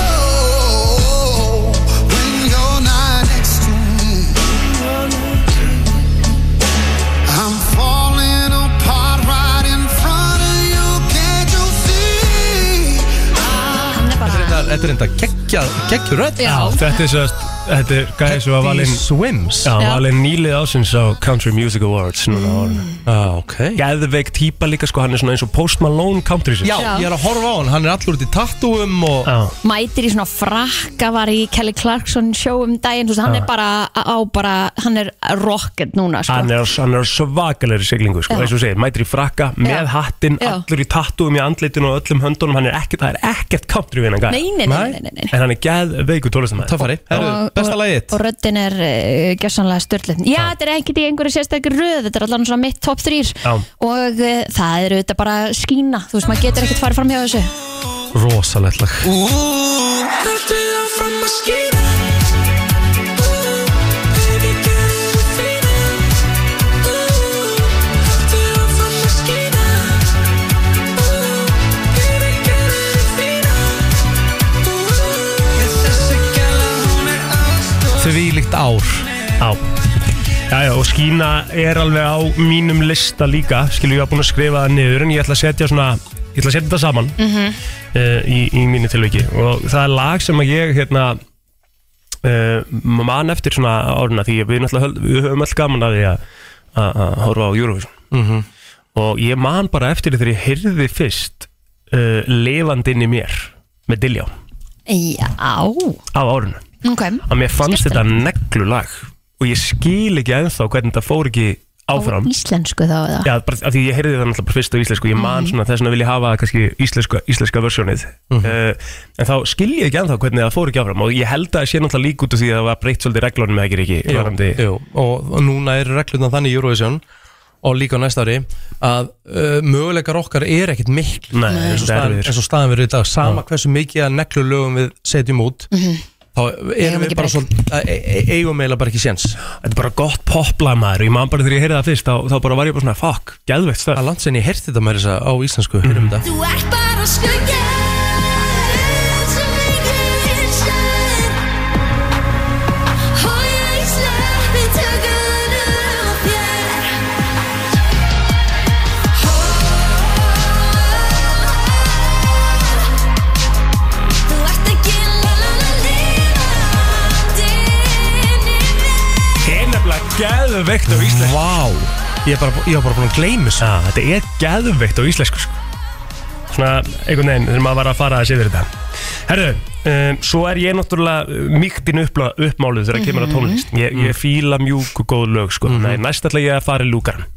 Speaker 5: control when you're not next to me? I'm falling apart right in front of you. Can't you see?
Speaker 3: Hann er bara,
Speaker 1: Þetta þetta er enda geggjað, geggjur rödd
Speaker 3: já,
Speaker 2: Þetta er svo að, þetta er gæði svo að valin
Speaker 1: Swims
Speaker 2: Já,
Speaker 3: Já. Mm.
Speaker 2: valin nýlið ásins á Country Music Awards núna á orðinu
Speaker 1: ah, okay.
Speaker 2: Gæðveik típa líka sko, hann er svona eins og Post Malone Country
Speaker 1: Já,
Speaker 3: Já.
Speaker 1: ég er að horfa á hann, hann er allur út í tattúum og
Speaker 2: Já,
Speaker 3: mætir í svona frakka var í Kelly Clarkson show um daginn, þú veist, hann er bara á bara, hann er rocket núna, sko.
Speaker 2: hann er, hann er svakalegri siglingu sko,
Speaker 3: Já.
Speaker 2: eins og segir, mætir í frakka, með hattinn
Speaker 3: Já.
Speaker 2: allur í tattuum í andlitinu og öllum höndunum hann er ekkert, það er ekkert country við hann gæði
Speaker 3: Nei, nei, nei, nei, nei, nei.
Speaker 2: en hann er gæðveiku tólistamæður
Speaker 1: Töffari, herru,
Speaker 3: Og-
Speaker 1: besta
Speaker 3: og-
Speaker 1: lagið
Speaker 3: og röddin er uh, gjössanlega störtlið já, þetta er ekkert í einhverju sérstakir röð þetta er allan svona mitt top 3
Speaker 2: Já.
Speaker 3: og uh, það er auðvitað bara skína þú veist, maður getur ekkert farið fram hjá þessu
Speaker 1: Rosalegt lag Því líkt ár
Speaker 2: Já, já, já, og Skína er alveg á mínum lista líka Skilju, ég var búin að skrifa það niður En ég ætla að setja svona, ég ætla að setja þetta saman
Speaker 5: Mhm. Mm-hmm.
Speaker 2: uh, í, í mínu tilviki Og það er lag sem að ég, hérna uh, Man eftir svona árna Því við, náttúrulega höld- við höfum öll gaman að því að- að að horfa á Eurovision Og ég man bara eftir því þegar ég heyrði fyrst uh, Levandi inn í mér Með Diljá
Speaker 3: já,
Speaker 2: Af árinu
Speaker 3: ok
Speaker 2: að mér fannst þetta neglu lag og ég skil ekki ennþá hvernig þetta fór ekki áfram
Speaker 3: íslensku þá eða
Speaker 2: Já, bara, af því ég heyrði það náttúrulega bara fyrst á íslensku ég man svona þess vegna vil ég hafa kannski íslenska, íslenska versjónið
Speaker 1: Mhm.
Speaker 2: uh, en þá skil ég ekki ennþá hvernig það fór ekki áfram og ég held að það sé náttúrulega lík út af því að það var breytt svolítið reglunum eða ekki ekki varandi
Speaker 1: jú. Og núna eru reglurnar þannig í Eurovision og líka á næsta ári að uh, möguleikar okkar er ekkit mikil
Speaker 2: Nei,
Speaker 1: eins og
Speaker 2: þetta er
Speaker 1: staðan,
Speaker 2: við
Speaker 1: eins og staðan verið í dag sama hversu mikið að neglu lögum við setjum út
Speaker 5: Mm-hmm.
Speaker 1: þá erum
Speaker 3: Mhm. Eigum
Speaker 1: við
Speaker 3: ekki
Speaker 1: bara
Speaker 3: breyk.
Speaker 1: svolítið að- e- e- eigum eiginlega bara ekki séns
Speaker 2: Þetta er bara gott popla maður ég man bara þegar ég heyrði það fyrst þá, þá bara var ég bara svona fuck, geðveikt Mhm.
Speaker 1: að
Speaker 2: stöð
Speaker 1: landsinni ég heyrti þetta með þess að á íslensku heyrum þetta
Speaker 8: Þú ert bara skugga sem enginn sér. Og ég sleppi tökunum á þér. Þú ert ekki la la la lifandi inni í mér.
Speaker 2: Það er nefnilega geðveikt á íslensku
Speaker 1: Vá, ég er bara, ég var bara búin að gleyma þessu
Speaker 2: Já, þetta er geðveikt á íslensku sko. Svona einhvern veginn þegar maður var að fara að sé verið þetta Herru, um, svo er ég náttúrulega miktin uppla, uppmáluð þegar kemur að tónlist Ég, ég fíla mjúk og góð lög sko.
Speaker 1: Mhm.
Speaker 2: Nei, næst ætla ég að fara í lúkaran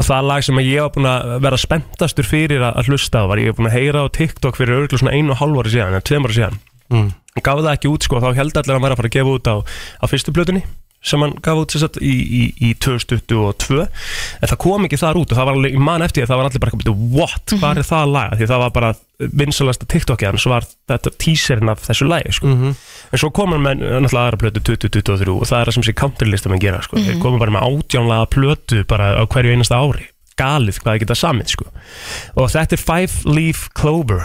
Speaker 2: Og það lag sem ég var búin að vera spenntastur fyrir að, að hlusta á Var ég búin að heyra á TikTok fyrir örgulega svona einu og hálfari síðan, eða tveim ári síðan Gaf það ekki út sko, þá held allir að hann væri að fara að gefa út á, á fyrstu plötunni sem hann gaf út sem sagt, í, í, í 2022 en það kom ekki þar út og það var alveg, ég man eftir því að það var allir bara eitthvað, what, hvað er það lag því það var bara vinsalasta TikTokið hans var þetta teaserinn af þessu lagi sko. en svo kom hann með náttúrulega aðra plötu 2023 og það er það sem sé counterlistar menn gera sko. þeir komum bara með átjánlega plötu bara á hverju einasta ári galið hvað þið geta samið sko. og þetta er Five Leaf Clover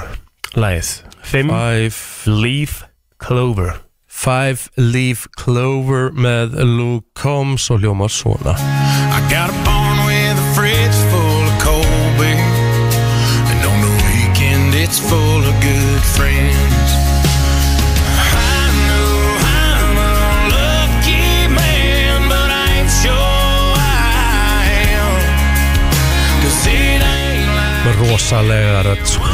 Speaker 2: lagið Fimm
Speaker 1: Five,
Speaker 2: Leaf Clover
Speaker 1: five Leaf Clover með Luke Combs og hljómar svona
Speaker 7: I got a barn with a fridge full of cold beer. And on the weekend, it's full of good friends. I know I'm a lucky man, but I ain't sure I am. 'Cause it ain't like
Speaker 1: með rosalega rödd sko.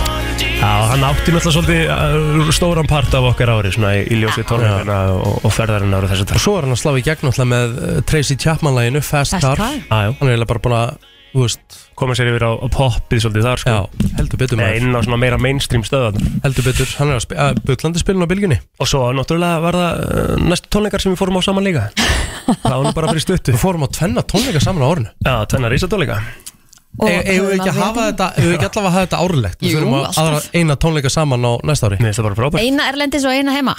Speaker 2: Já, hann átti náttúrulega svolítið uh, stóran part af okkar ári svona í, í ljósi tónleikana og, og ferðarinn ára þessi
Speaker 1: og
Speaker 2: dag
Speaker 1: svo er hann að slá í gegn náttúrulega með eh, Tracy Chapman læginu Fast,
Speaker 3: Fast
Speaker 1: Car
Speaker 3: Car.
Speaker 1: hann
Speaker 2: Jájú,
Speaker 1: er eiginlega bara búin að þú veist,
Speaker 2: Ah, koma sér yfir á, á poppið svolítið þar sko
Speaker 1: já, heldur betur
Speaker 2: Nei,
Speaker 1: maður,
Speaker 2: inn á svona meira mainstream stöðan
Speaker 1: heldur betur hann er að, spi að bullandi spilin á bylginni
Speaker 2: Og svo náttúrulega var það uh, næstu tónleikar sem við fórum á saman líka Það var nú bara fyrir stuttu
Speaker 1: við fórum á tvenna tónleika saman á orðinu
Speaker 2: Já, tvenna rísatónleika
Speaker 1: E- eigum við ekki að hafa þetta eigum við ekki allavega að hafa þetta árlegt við
Speaker 3: Jú,
Speaker 1: þurfum að
Speaker 3: alltaf.
Speaker 1: aðra eina tónleika saman á næsta ári
Speaker 2: Mér finnst það bara frábært
Speaker 3: Eina erlendis og eina heima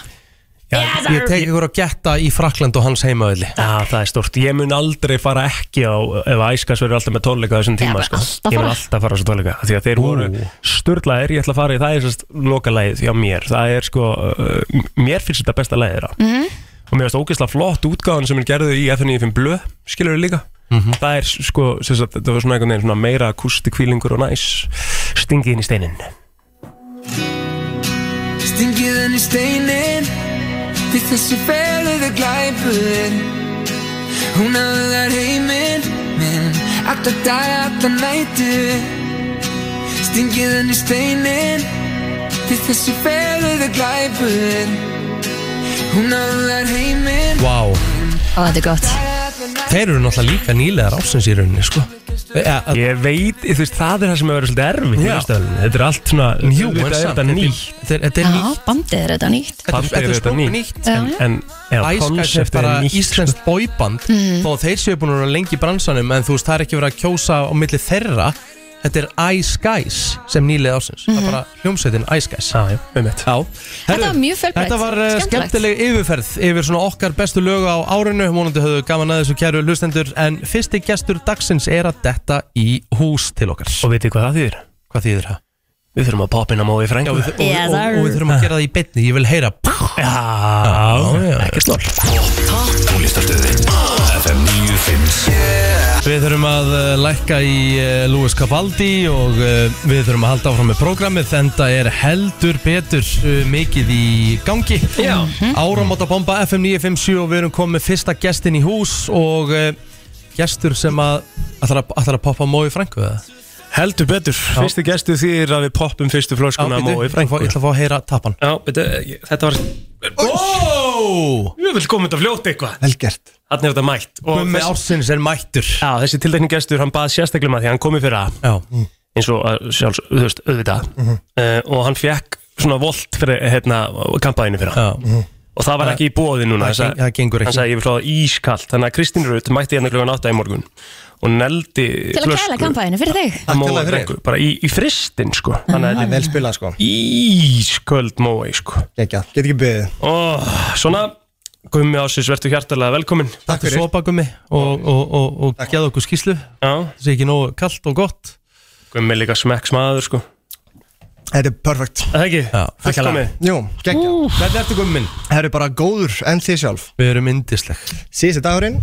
Speaker 1: ég tek ykkur að getta í Frakland og hans heimaðli
Speaker 2: Já, það er stórt. Ég mun aldrei fara ekki á ef Æskas verður alltaf með tónleika á þessum
Speaker 3: Já,
Speaker 2: tíma
Speaker 3: bara
Speaker 2: sko.
Speaker 3: alltaf
Speaker 2: Ég mun
Speaker 3: fara.
Speaker 2: alltaf fara á þessum tónleika af því að þeir voru sturlaðir, ég ætla að fara í það er sérst lokalægið hjá mér það er sko, uh, mér finnst þetta besta lægið þeirra
Speaker 3: Mhm.
Speaker 2: mm og mér finnst ógeðslega flott útgáðan sem hún gerði í FNF blö skilur þau líka
Speaker 1: Mhm.
Speaker 2: það er sko, sérst, þetta var svona einhvern veginn svona meira akustikvílingur og næs stingið inn í steinin
Speaker 5: Stingið henni steinin Því þessi fegluðu glæpurinn Hún hafði þær heiminn Minn Alla daga, alla nætur Stingið henni steinin Því þessi fegluðu glæpurinn Hún hafði þær heiminn
Speaker 1: Vá,
Speaker 3: Ó, þetta er gott
Speaker 1: þeir eru náttúrulega líka nýlegar ásins í rauninni sko. e, e,
Speaker 2: ég veit, þú veist, það er það sem hefur verið svolítið erfitt í
Speaker 1: Já.
Speaker 2: listöðunni. þetta er allt svona,
Speaker 1: Jú,
Speaker 2: auðvitað
Speaker 1: en samt,
Speaker 2: er þetta
Speaker 1: þetta er-
Speaker 2: nýtt
Speaker 1: þeir- þetta er
Speaker 3: Já,
Speaker 1: nýtt
Speaker 3: bandið er þetta nýtt
Speaker 1: Þetta er-
Speaker 2: Bandið er
Speaker 1: þetta er
Speaker 2: þetta
Speaker 1: stórt
Speaker 2: nýtt.
Speaker 1: nýtt
Speaker 3: Já, já.
Speaker 2: en já,
Speaker 1: Æskars er
Speaker 2: konseptið
Speaker 1: bara
Speaker 2: er nýtt sko.
Speaker 1: íslensk bóiband þó að þeir séu búin að vera lengi í bransanum en þú veist það er ekki verið að kjósa á milli þeirra þetta er Ice Guys sem nýlið ásins það er bara hljómsveitin Ice Guys
Speaker 2: Já, já, um mitt
Speaker 1: Já,
Speaker 3: Þetta var mjög fjölbreytt.
Speaker 1: Þetta var uh,
Speaker 3: Skemmtilegt.
Speaker 1: skemmtileg yfirferð yfir svona okkar bestu lögu á árinu vonandi höfðu gaman að þessu kæru hlustendur en fyrsti gestur dagsins er að detta í hús til okkar
Speaker 2: Og vitið hvað það þýðir?
Speaker 1: Hvað þýðir það?
Speaker 2: Við þurfum að poppa inn á mói
Speaker 1: Já,
Speaker 2: frængu
Speaker 1: við, og, og,
Speaker 3: Yes,
Speaker 1: og,
Speaker 3: sir.
Speaker 1: og við þurfum að gera það í beinni ég vil heyra
Speaker 2: Já,
Speaker 1: já.
Speaker 2: ekki slór
Speaker 1: Við þurfum að eh, lækka í eh, Lewis Capaldi og eh, við þurfum að halda áfram með prógramið þetta er heldur betur eh, mikið í gangi Mhm. Já. Áramóta bomba FM 957 og við erum komið með fyrsta gestin í hús og eh, gestur sem að ætlar að, ætlar að poppa mói frængu eða?
Speaker 2: Heldur betur, fyrsti gestu þýðir að við poppum fyrstu flöskuna á
Speaker 1: bíddu,
Speaker 2: mói
Speaker 1: ég ætla að fá-
Speaker 2: frængu
Speaker 1: ég ætla að fá að heyra tappan
Speaker 2: Já, betur, þetta var
Speaker 1: oh!
Speaker 2: Ég vil koma þetta fljótt eitthvað
Speaker 9: Vel gert
Speaker 2: Þannig er þetta mætt Og
Speaker 1: Gummi
Speaker 2: þessi,
Speaker 1: ársins er mættur
Speaker 2: já, þessi tildekni gestur, hann bað sérstaklega maður því að hann komið fyrir að
Speaker 1: Já,
Speaker 9: Mm.
Speaker 2: eins og að sjálfs, þú veist, auðvitað
Speaker 9: Mhm.
Speaker 2: uh, og hann fekk svona volt fyrir hérna, kampaðinu fyrir hann
Speaker 1: já,
Speaker 9: Mhm.
Speaker 2: og það var ekki í bóði núna
Speaker 1: það geng- það gengur ekki.
Speaker 2: hann sagði ég vil fá það ískalt þannig að Kristín Rut mætti hérna klugan 8 í morgun og neldi
Speaker 3: Til að kæla kampaðinu fyrir þig
Speaker 2: að móa
Speaker 9: Takkilega fyrir.
Speaker 2: drengur, bara í, í fristin sko þannig að þetta
Speaker 9: Vel spilað sko
Speaker 2: er ísköld mói sko
Speaker 9: Gekja Get ekki byggðið
Speaker 2: og svona Gummi Ásins, verður hjartalega velkomin
Speaker 1: takk fyrir Svopa Gummi og, og, og, og geða okkur skýslu það
Speaker 2: Já,
Speaker 1: sé ekki nógu kalt og gott
Speaker 2: Gummi er líka smekk smaður sko
Speaker 9: Þetta er perfekt
Speaker 2: Er Það ekki,
Speaker 1: Já,
Speaker 2: fullkomi
Speaker 9: Jú, gekja
Speaker 1: Hvernig ertu Gummi minn?
Speaker 9: Það eru bara góður en þið sjálf
Speaker 1: Við erum indisleg
Speaker 9: Síðusti dagurinn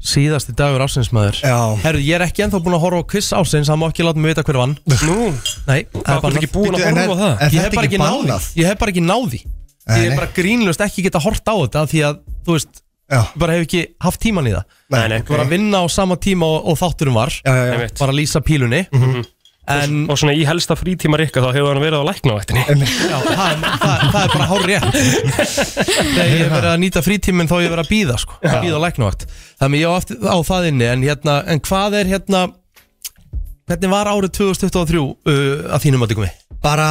Speaker 1: Síðasti dagur ásinsmaður
Speaker 9: Já.
Speaker 1: Herru, ég er ekki ennþá búinn að horfa á quiz ásins Það má ekki láta mig vita hver vann
Speaker 2: Nú,
Speaker 1: Nei, það er
Speaker 2: það er
Speaker 1: bara
Speaker 2: ekki búin að
Speaker 9: Bíddu, en
Speaker 2: horfa á
Speaker 9: er-
Speaker 2: það
Speaker 9: er-
Speaker 1: Ég
Speaker 9: þetta
Speaker 1: hef bara
Speaker 9: ekki
Speaker 1: ekki náði
Speaker 9: bannað?
Speaker 1: Ég hef bara ekki náði
Speaker 9: Nei,
Speaker 1: Ég hef
Speaker 9: nei.
Speaker 1: bara grínlust ekki geta horft á þetta Því að, þú veist,
Speaker 9: Já
Speaker 1: ég bara hef ekki haft tíman í það
Speaker 2: Nei, nei,
Speaker 1: Ég var að vinna á sama tíma og, og þátturum var
Speaker 9: Já, já, já Mhm.
Speaker 2: Einmitt.
Speaker 1: Var að lýsa pílunni En
Speaker 2: Og svona í helsta frítíma rikka þá hefur hann verið á læknavættinni
Speaker 1: já, það, það, það er bara hár rétt Þegar ég hef verið að nýta frítíminn þá hef ég verið að býða sko, býða á læknavakt Þannig ég á, eftir, á það inni en, hérna, en hvað er hérna Hvernig var árið 2023 uh, að þínum að digum við?
Speaker 9: Bara,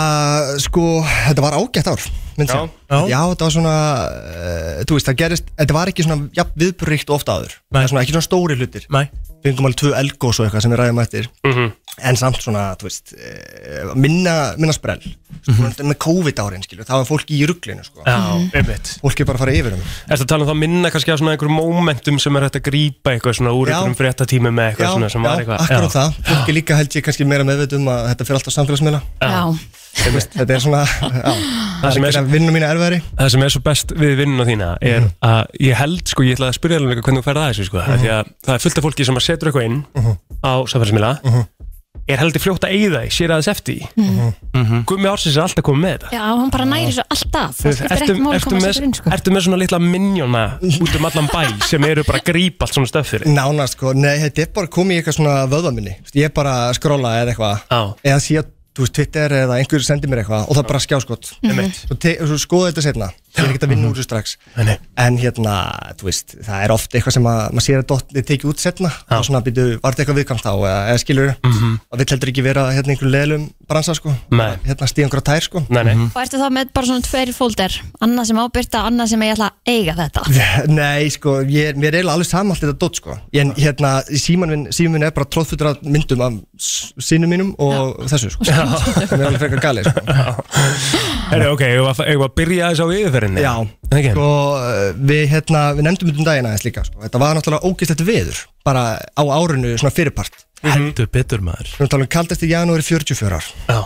Speaker 9: sko, þetta var ágætt ár myndi
Speaker 2: Já.
Speaker 9: ég. Já, þetta var svona uh, Þú veist, það gerist Þetta var ekki svona jafn, viðbúrrikt ofta áður
Speaker 1: Nei.
Speaker 9: Það er svona ekki svona stóri hlutir
Speaker 1: Nei,
Speaker 9: Við fengum alveg tvö elgós og eitthvað sem við ræðum eftir
Speaker 2: Mhm.
Speaker 9: En samt svona, þú veist eh, Minna, minna sprell mm -hmm. Með COVID árin, skilju Það var fólki í rugglinu, sko
Speaker 2: Já, einmitt
Speaker 9: Fólki er bara að fara yfir um
Speaker 2: Ertu að tala um það minna kannski af svona einhverjum momentum sem er hægt að grípa eitthvað svona úr
Speaker 9: Já.
Speaker 2: einhverjum fréttatímum með eitthvað svona sem var eitthvað
Speaker 9: akkurat það Fólki líka held ég kannski meira meðveit um að þetta fyrir alltaf samfélagsmiðla
Speaker 3: Já,
Speaker 9: Þú veist, þetta er svona (laughs) já,
Speaker 2: Það sem er
Speaker 9: gera vinnu mína erfiðari
Speaker 2: það sem er svo best við vinnuna þína er
Speaker 9: Mhm.
Speaker 2: að ég held sko, ég ætlaði að spyrja alveg hvernig þú ferð að þessu sko, af
Speaker 9: Mhm.
Speaker 2: því að það er fullt af fólki sem að setur eitthvað inn á samfélagsmiðla
Speaker 9: Mhm.
Speaker 2: er heldur fljótt að eigða í, sér aðeins eftir mm -hmm. Gummi Ársins er alltaf komið með þetta
Speaker 3: Já, hann bara næri svo alltaf Mhm. Það skiptir
Speaker 2: ertu,
Speaker 3: ekki máli að
Speaker 2: ertu,
Speaker 3: koma sér inn
Speaker 2: með,
Speaker 3: sko.
Speaker 2: ertu með svona litla minjóna út um allan bæ sem eru bara að grípa allt svona stöf fyrir
Speaker 9: Nánast sko, nei, þetta er bara komið í eitthvað svona vöðva minni Þú veist, Ég er bara að skrolla eða eitthvað
Speaker 2: Já.
Speaker 9: Eða sé að, þú veist, Twitter eða einhver sendir mér eitthvað Og það er bara skjáskot
Speaker 2: Einmitt.
Speaker 9: Svo, te- svo skoða þetta setna Ég er ekkert að vinna úr þessu strax
Speaker 2: Nei, nei.
Speaker 9: En hérna, þú veist, það er oft eitthvað sem að maður sér að dottið tekið út setna Og svona býtu, var þetta eitthvað viðkvæmt á eða, eða skilur -hmm. Og vill heldur ekki vera hérna einhverjum leðlum bransa sko
Speaker 2: Mhm. Nei.
Speaker 9: Hérna stíð einhverja tær sko
Speaker 2: Nei, nei,
Speaker 3: Og ertu þá með bara svona tveir fólder Annað sem ábyrta, annað sem ég ætla að eiga þetta
Speaker 9: (laughs) Nei, sko, ég, mér er eiginlega alveg saman allt þetta dótt, sko En hérna, síman minn, síman minn er bara tróðfutur af myndum af sínum mínum og þessu, sko
Speaker 2: (laughs)
Speaker 9: (laughs) Mér er alveg frekar galið, sko
Speaker 2: Herri, ok, ég var, ég var að byrja þess á yfirferðinni
Speaker 9: Já,
Speaker 2: okay.
Speaker 9: sko, við, hérna, við nefndum þetta um daginn aðeins líka, sko Þetta var náttúrulega ógislegt veður, bara á árinu, svona fyrirpart Við
Speaker 1: Heldur betur maður
Speaker 9: erum talað um kaldasti janúari 44 ár
Speaker 2: Já.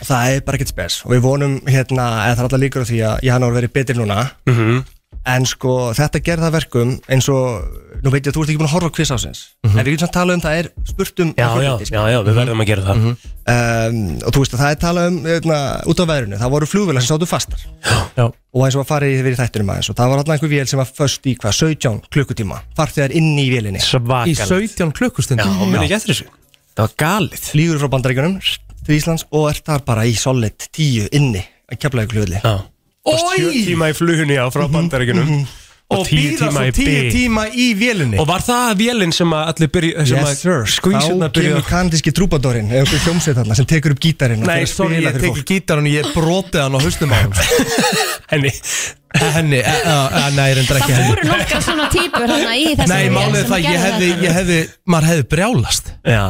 Speaker 9: Það er bara ekkert spes og við vonum, hérna, eða það er alltaf líkur á því að janúar verið betur núna
Speaker 2: Mhm.
Speaker 9: En sko þetta gerða verkum eins og, nú veit ég að þú ert ekki búin að horfa á quiz ásins En við getum samt talað um það er spurt um
Speaker 2: já,
Speaker 9: að
Speaker 2: já,
Speaker 9: hluti, sko.
Speaker 2: já, já, við verðum að gera það
Speaker 9: um, Og þú veist að það er talað um eitna, út af veðrinu, það voru flugvila sem sátu fastar
Speaker 1: Já.
Speaker 9: Og eins og að fara í við í þættunum aðeins Og það var alltaf einhver vél sem var föst í hvað, 17 klukkutíma Farþegar inn í vélinni
Speaker 1: Í
Speaker 2: Svakalegt
Speaker 1: 17 klukkustund
Speaker 2: Já, minn ekki eftir þessu Það var galið
Speaker 9: Flýgur frá bandaríkjunum til Íslands og er þar bara í solid 10 inni að kepla ykkur hlutli
Speaker 2: Já Sjö tíma í flugunni á frá bandaríkunum
Speaker 9: Mhm.
Speaker 1: Og
Speaker 2: Og tíu
Speaker 1: býða
Speaker 2: tíma
Speaker 1: svo
Speaker 2: í
Speaker 1: 10
Speaker 2: bygg
Speaker 1: tíma í vélinni
Speaker 2: Og var það vélinn sem að allir byrja sem
Speaker 9: Yes sir,
Speaker 2: að
Speaker 9: þá
Speaker 2: skvísirna byrja
Speaker 9: kemur kanadíski trúbadorinn eða einhver hljómsveit þarna sem tekur upp gítarinn og fer
Speaker 1: Nei,
Speaker 9: að
Speaker 1: sorry,
Speaker 9: spila
Speaker 1: ég
Speaker 9: fyrir
Speaker 1: teki
Speaker 9: fólk.
Speaker 1: gítarinn og ég brotið hann á haustum á hann (laughs)
Speaker 2: Henni
Speaker 1: Henni, eh, eh, eh, nei, reyndar ekki
Speaker 3: Það
Speaker 1: henni
Speaker 3: voru nokkar svona típur hana í þessum
Speaker 1: Nei, málið er það, ég hefði, ég hefði, maður hefði brjálast
Speaker 2: Já,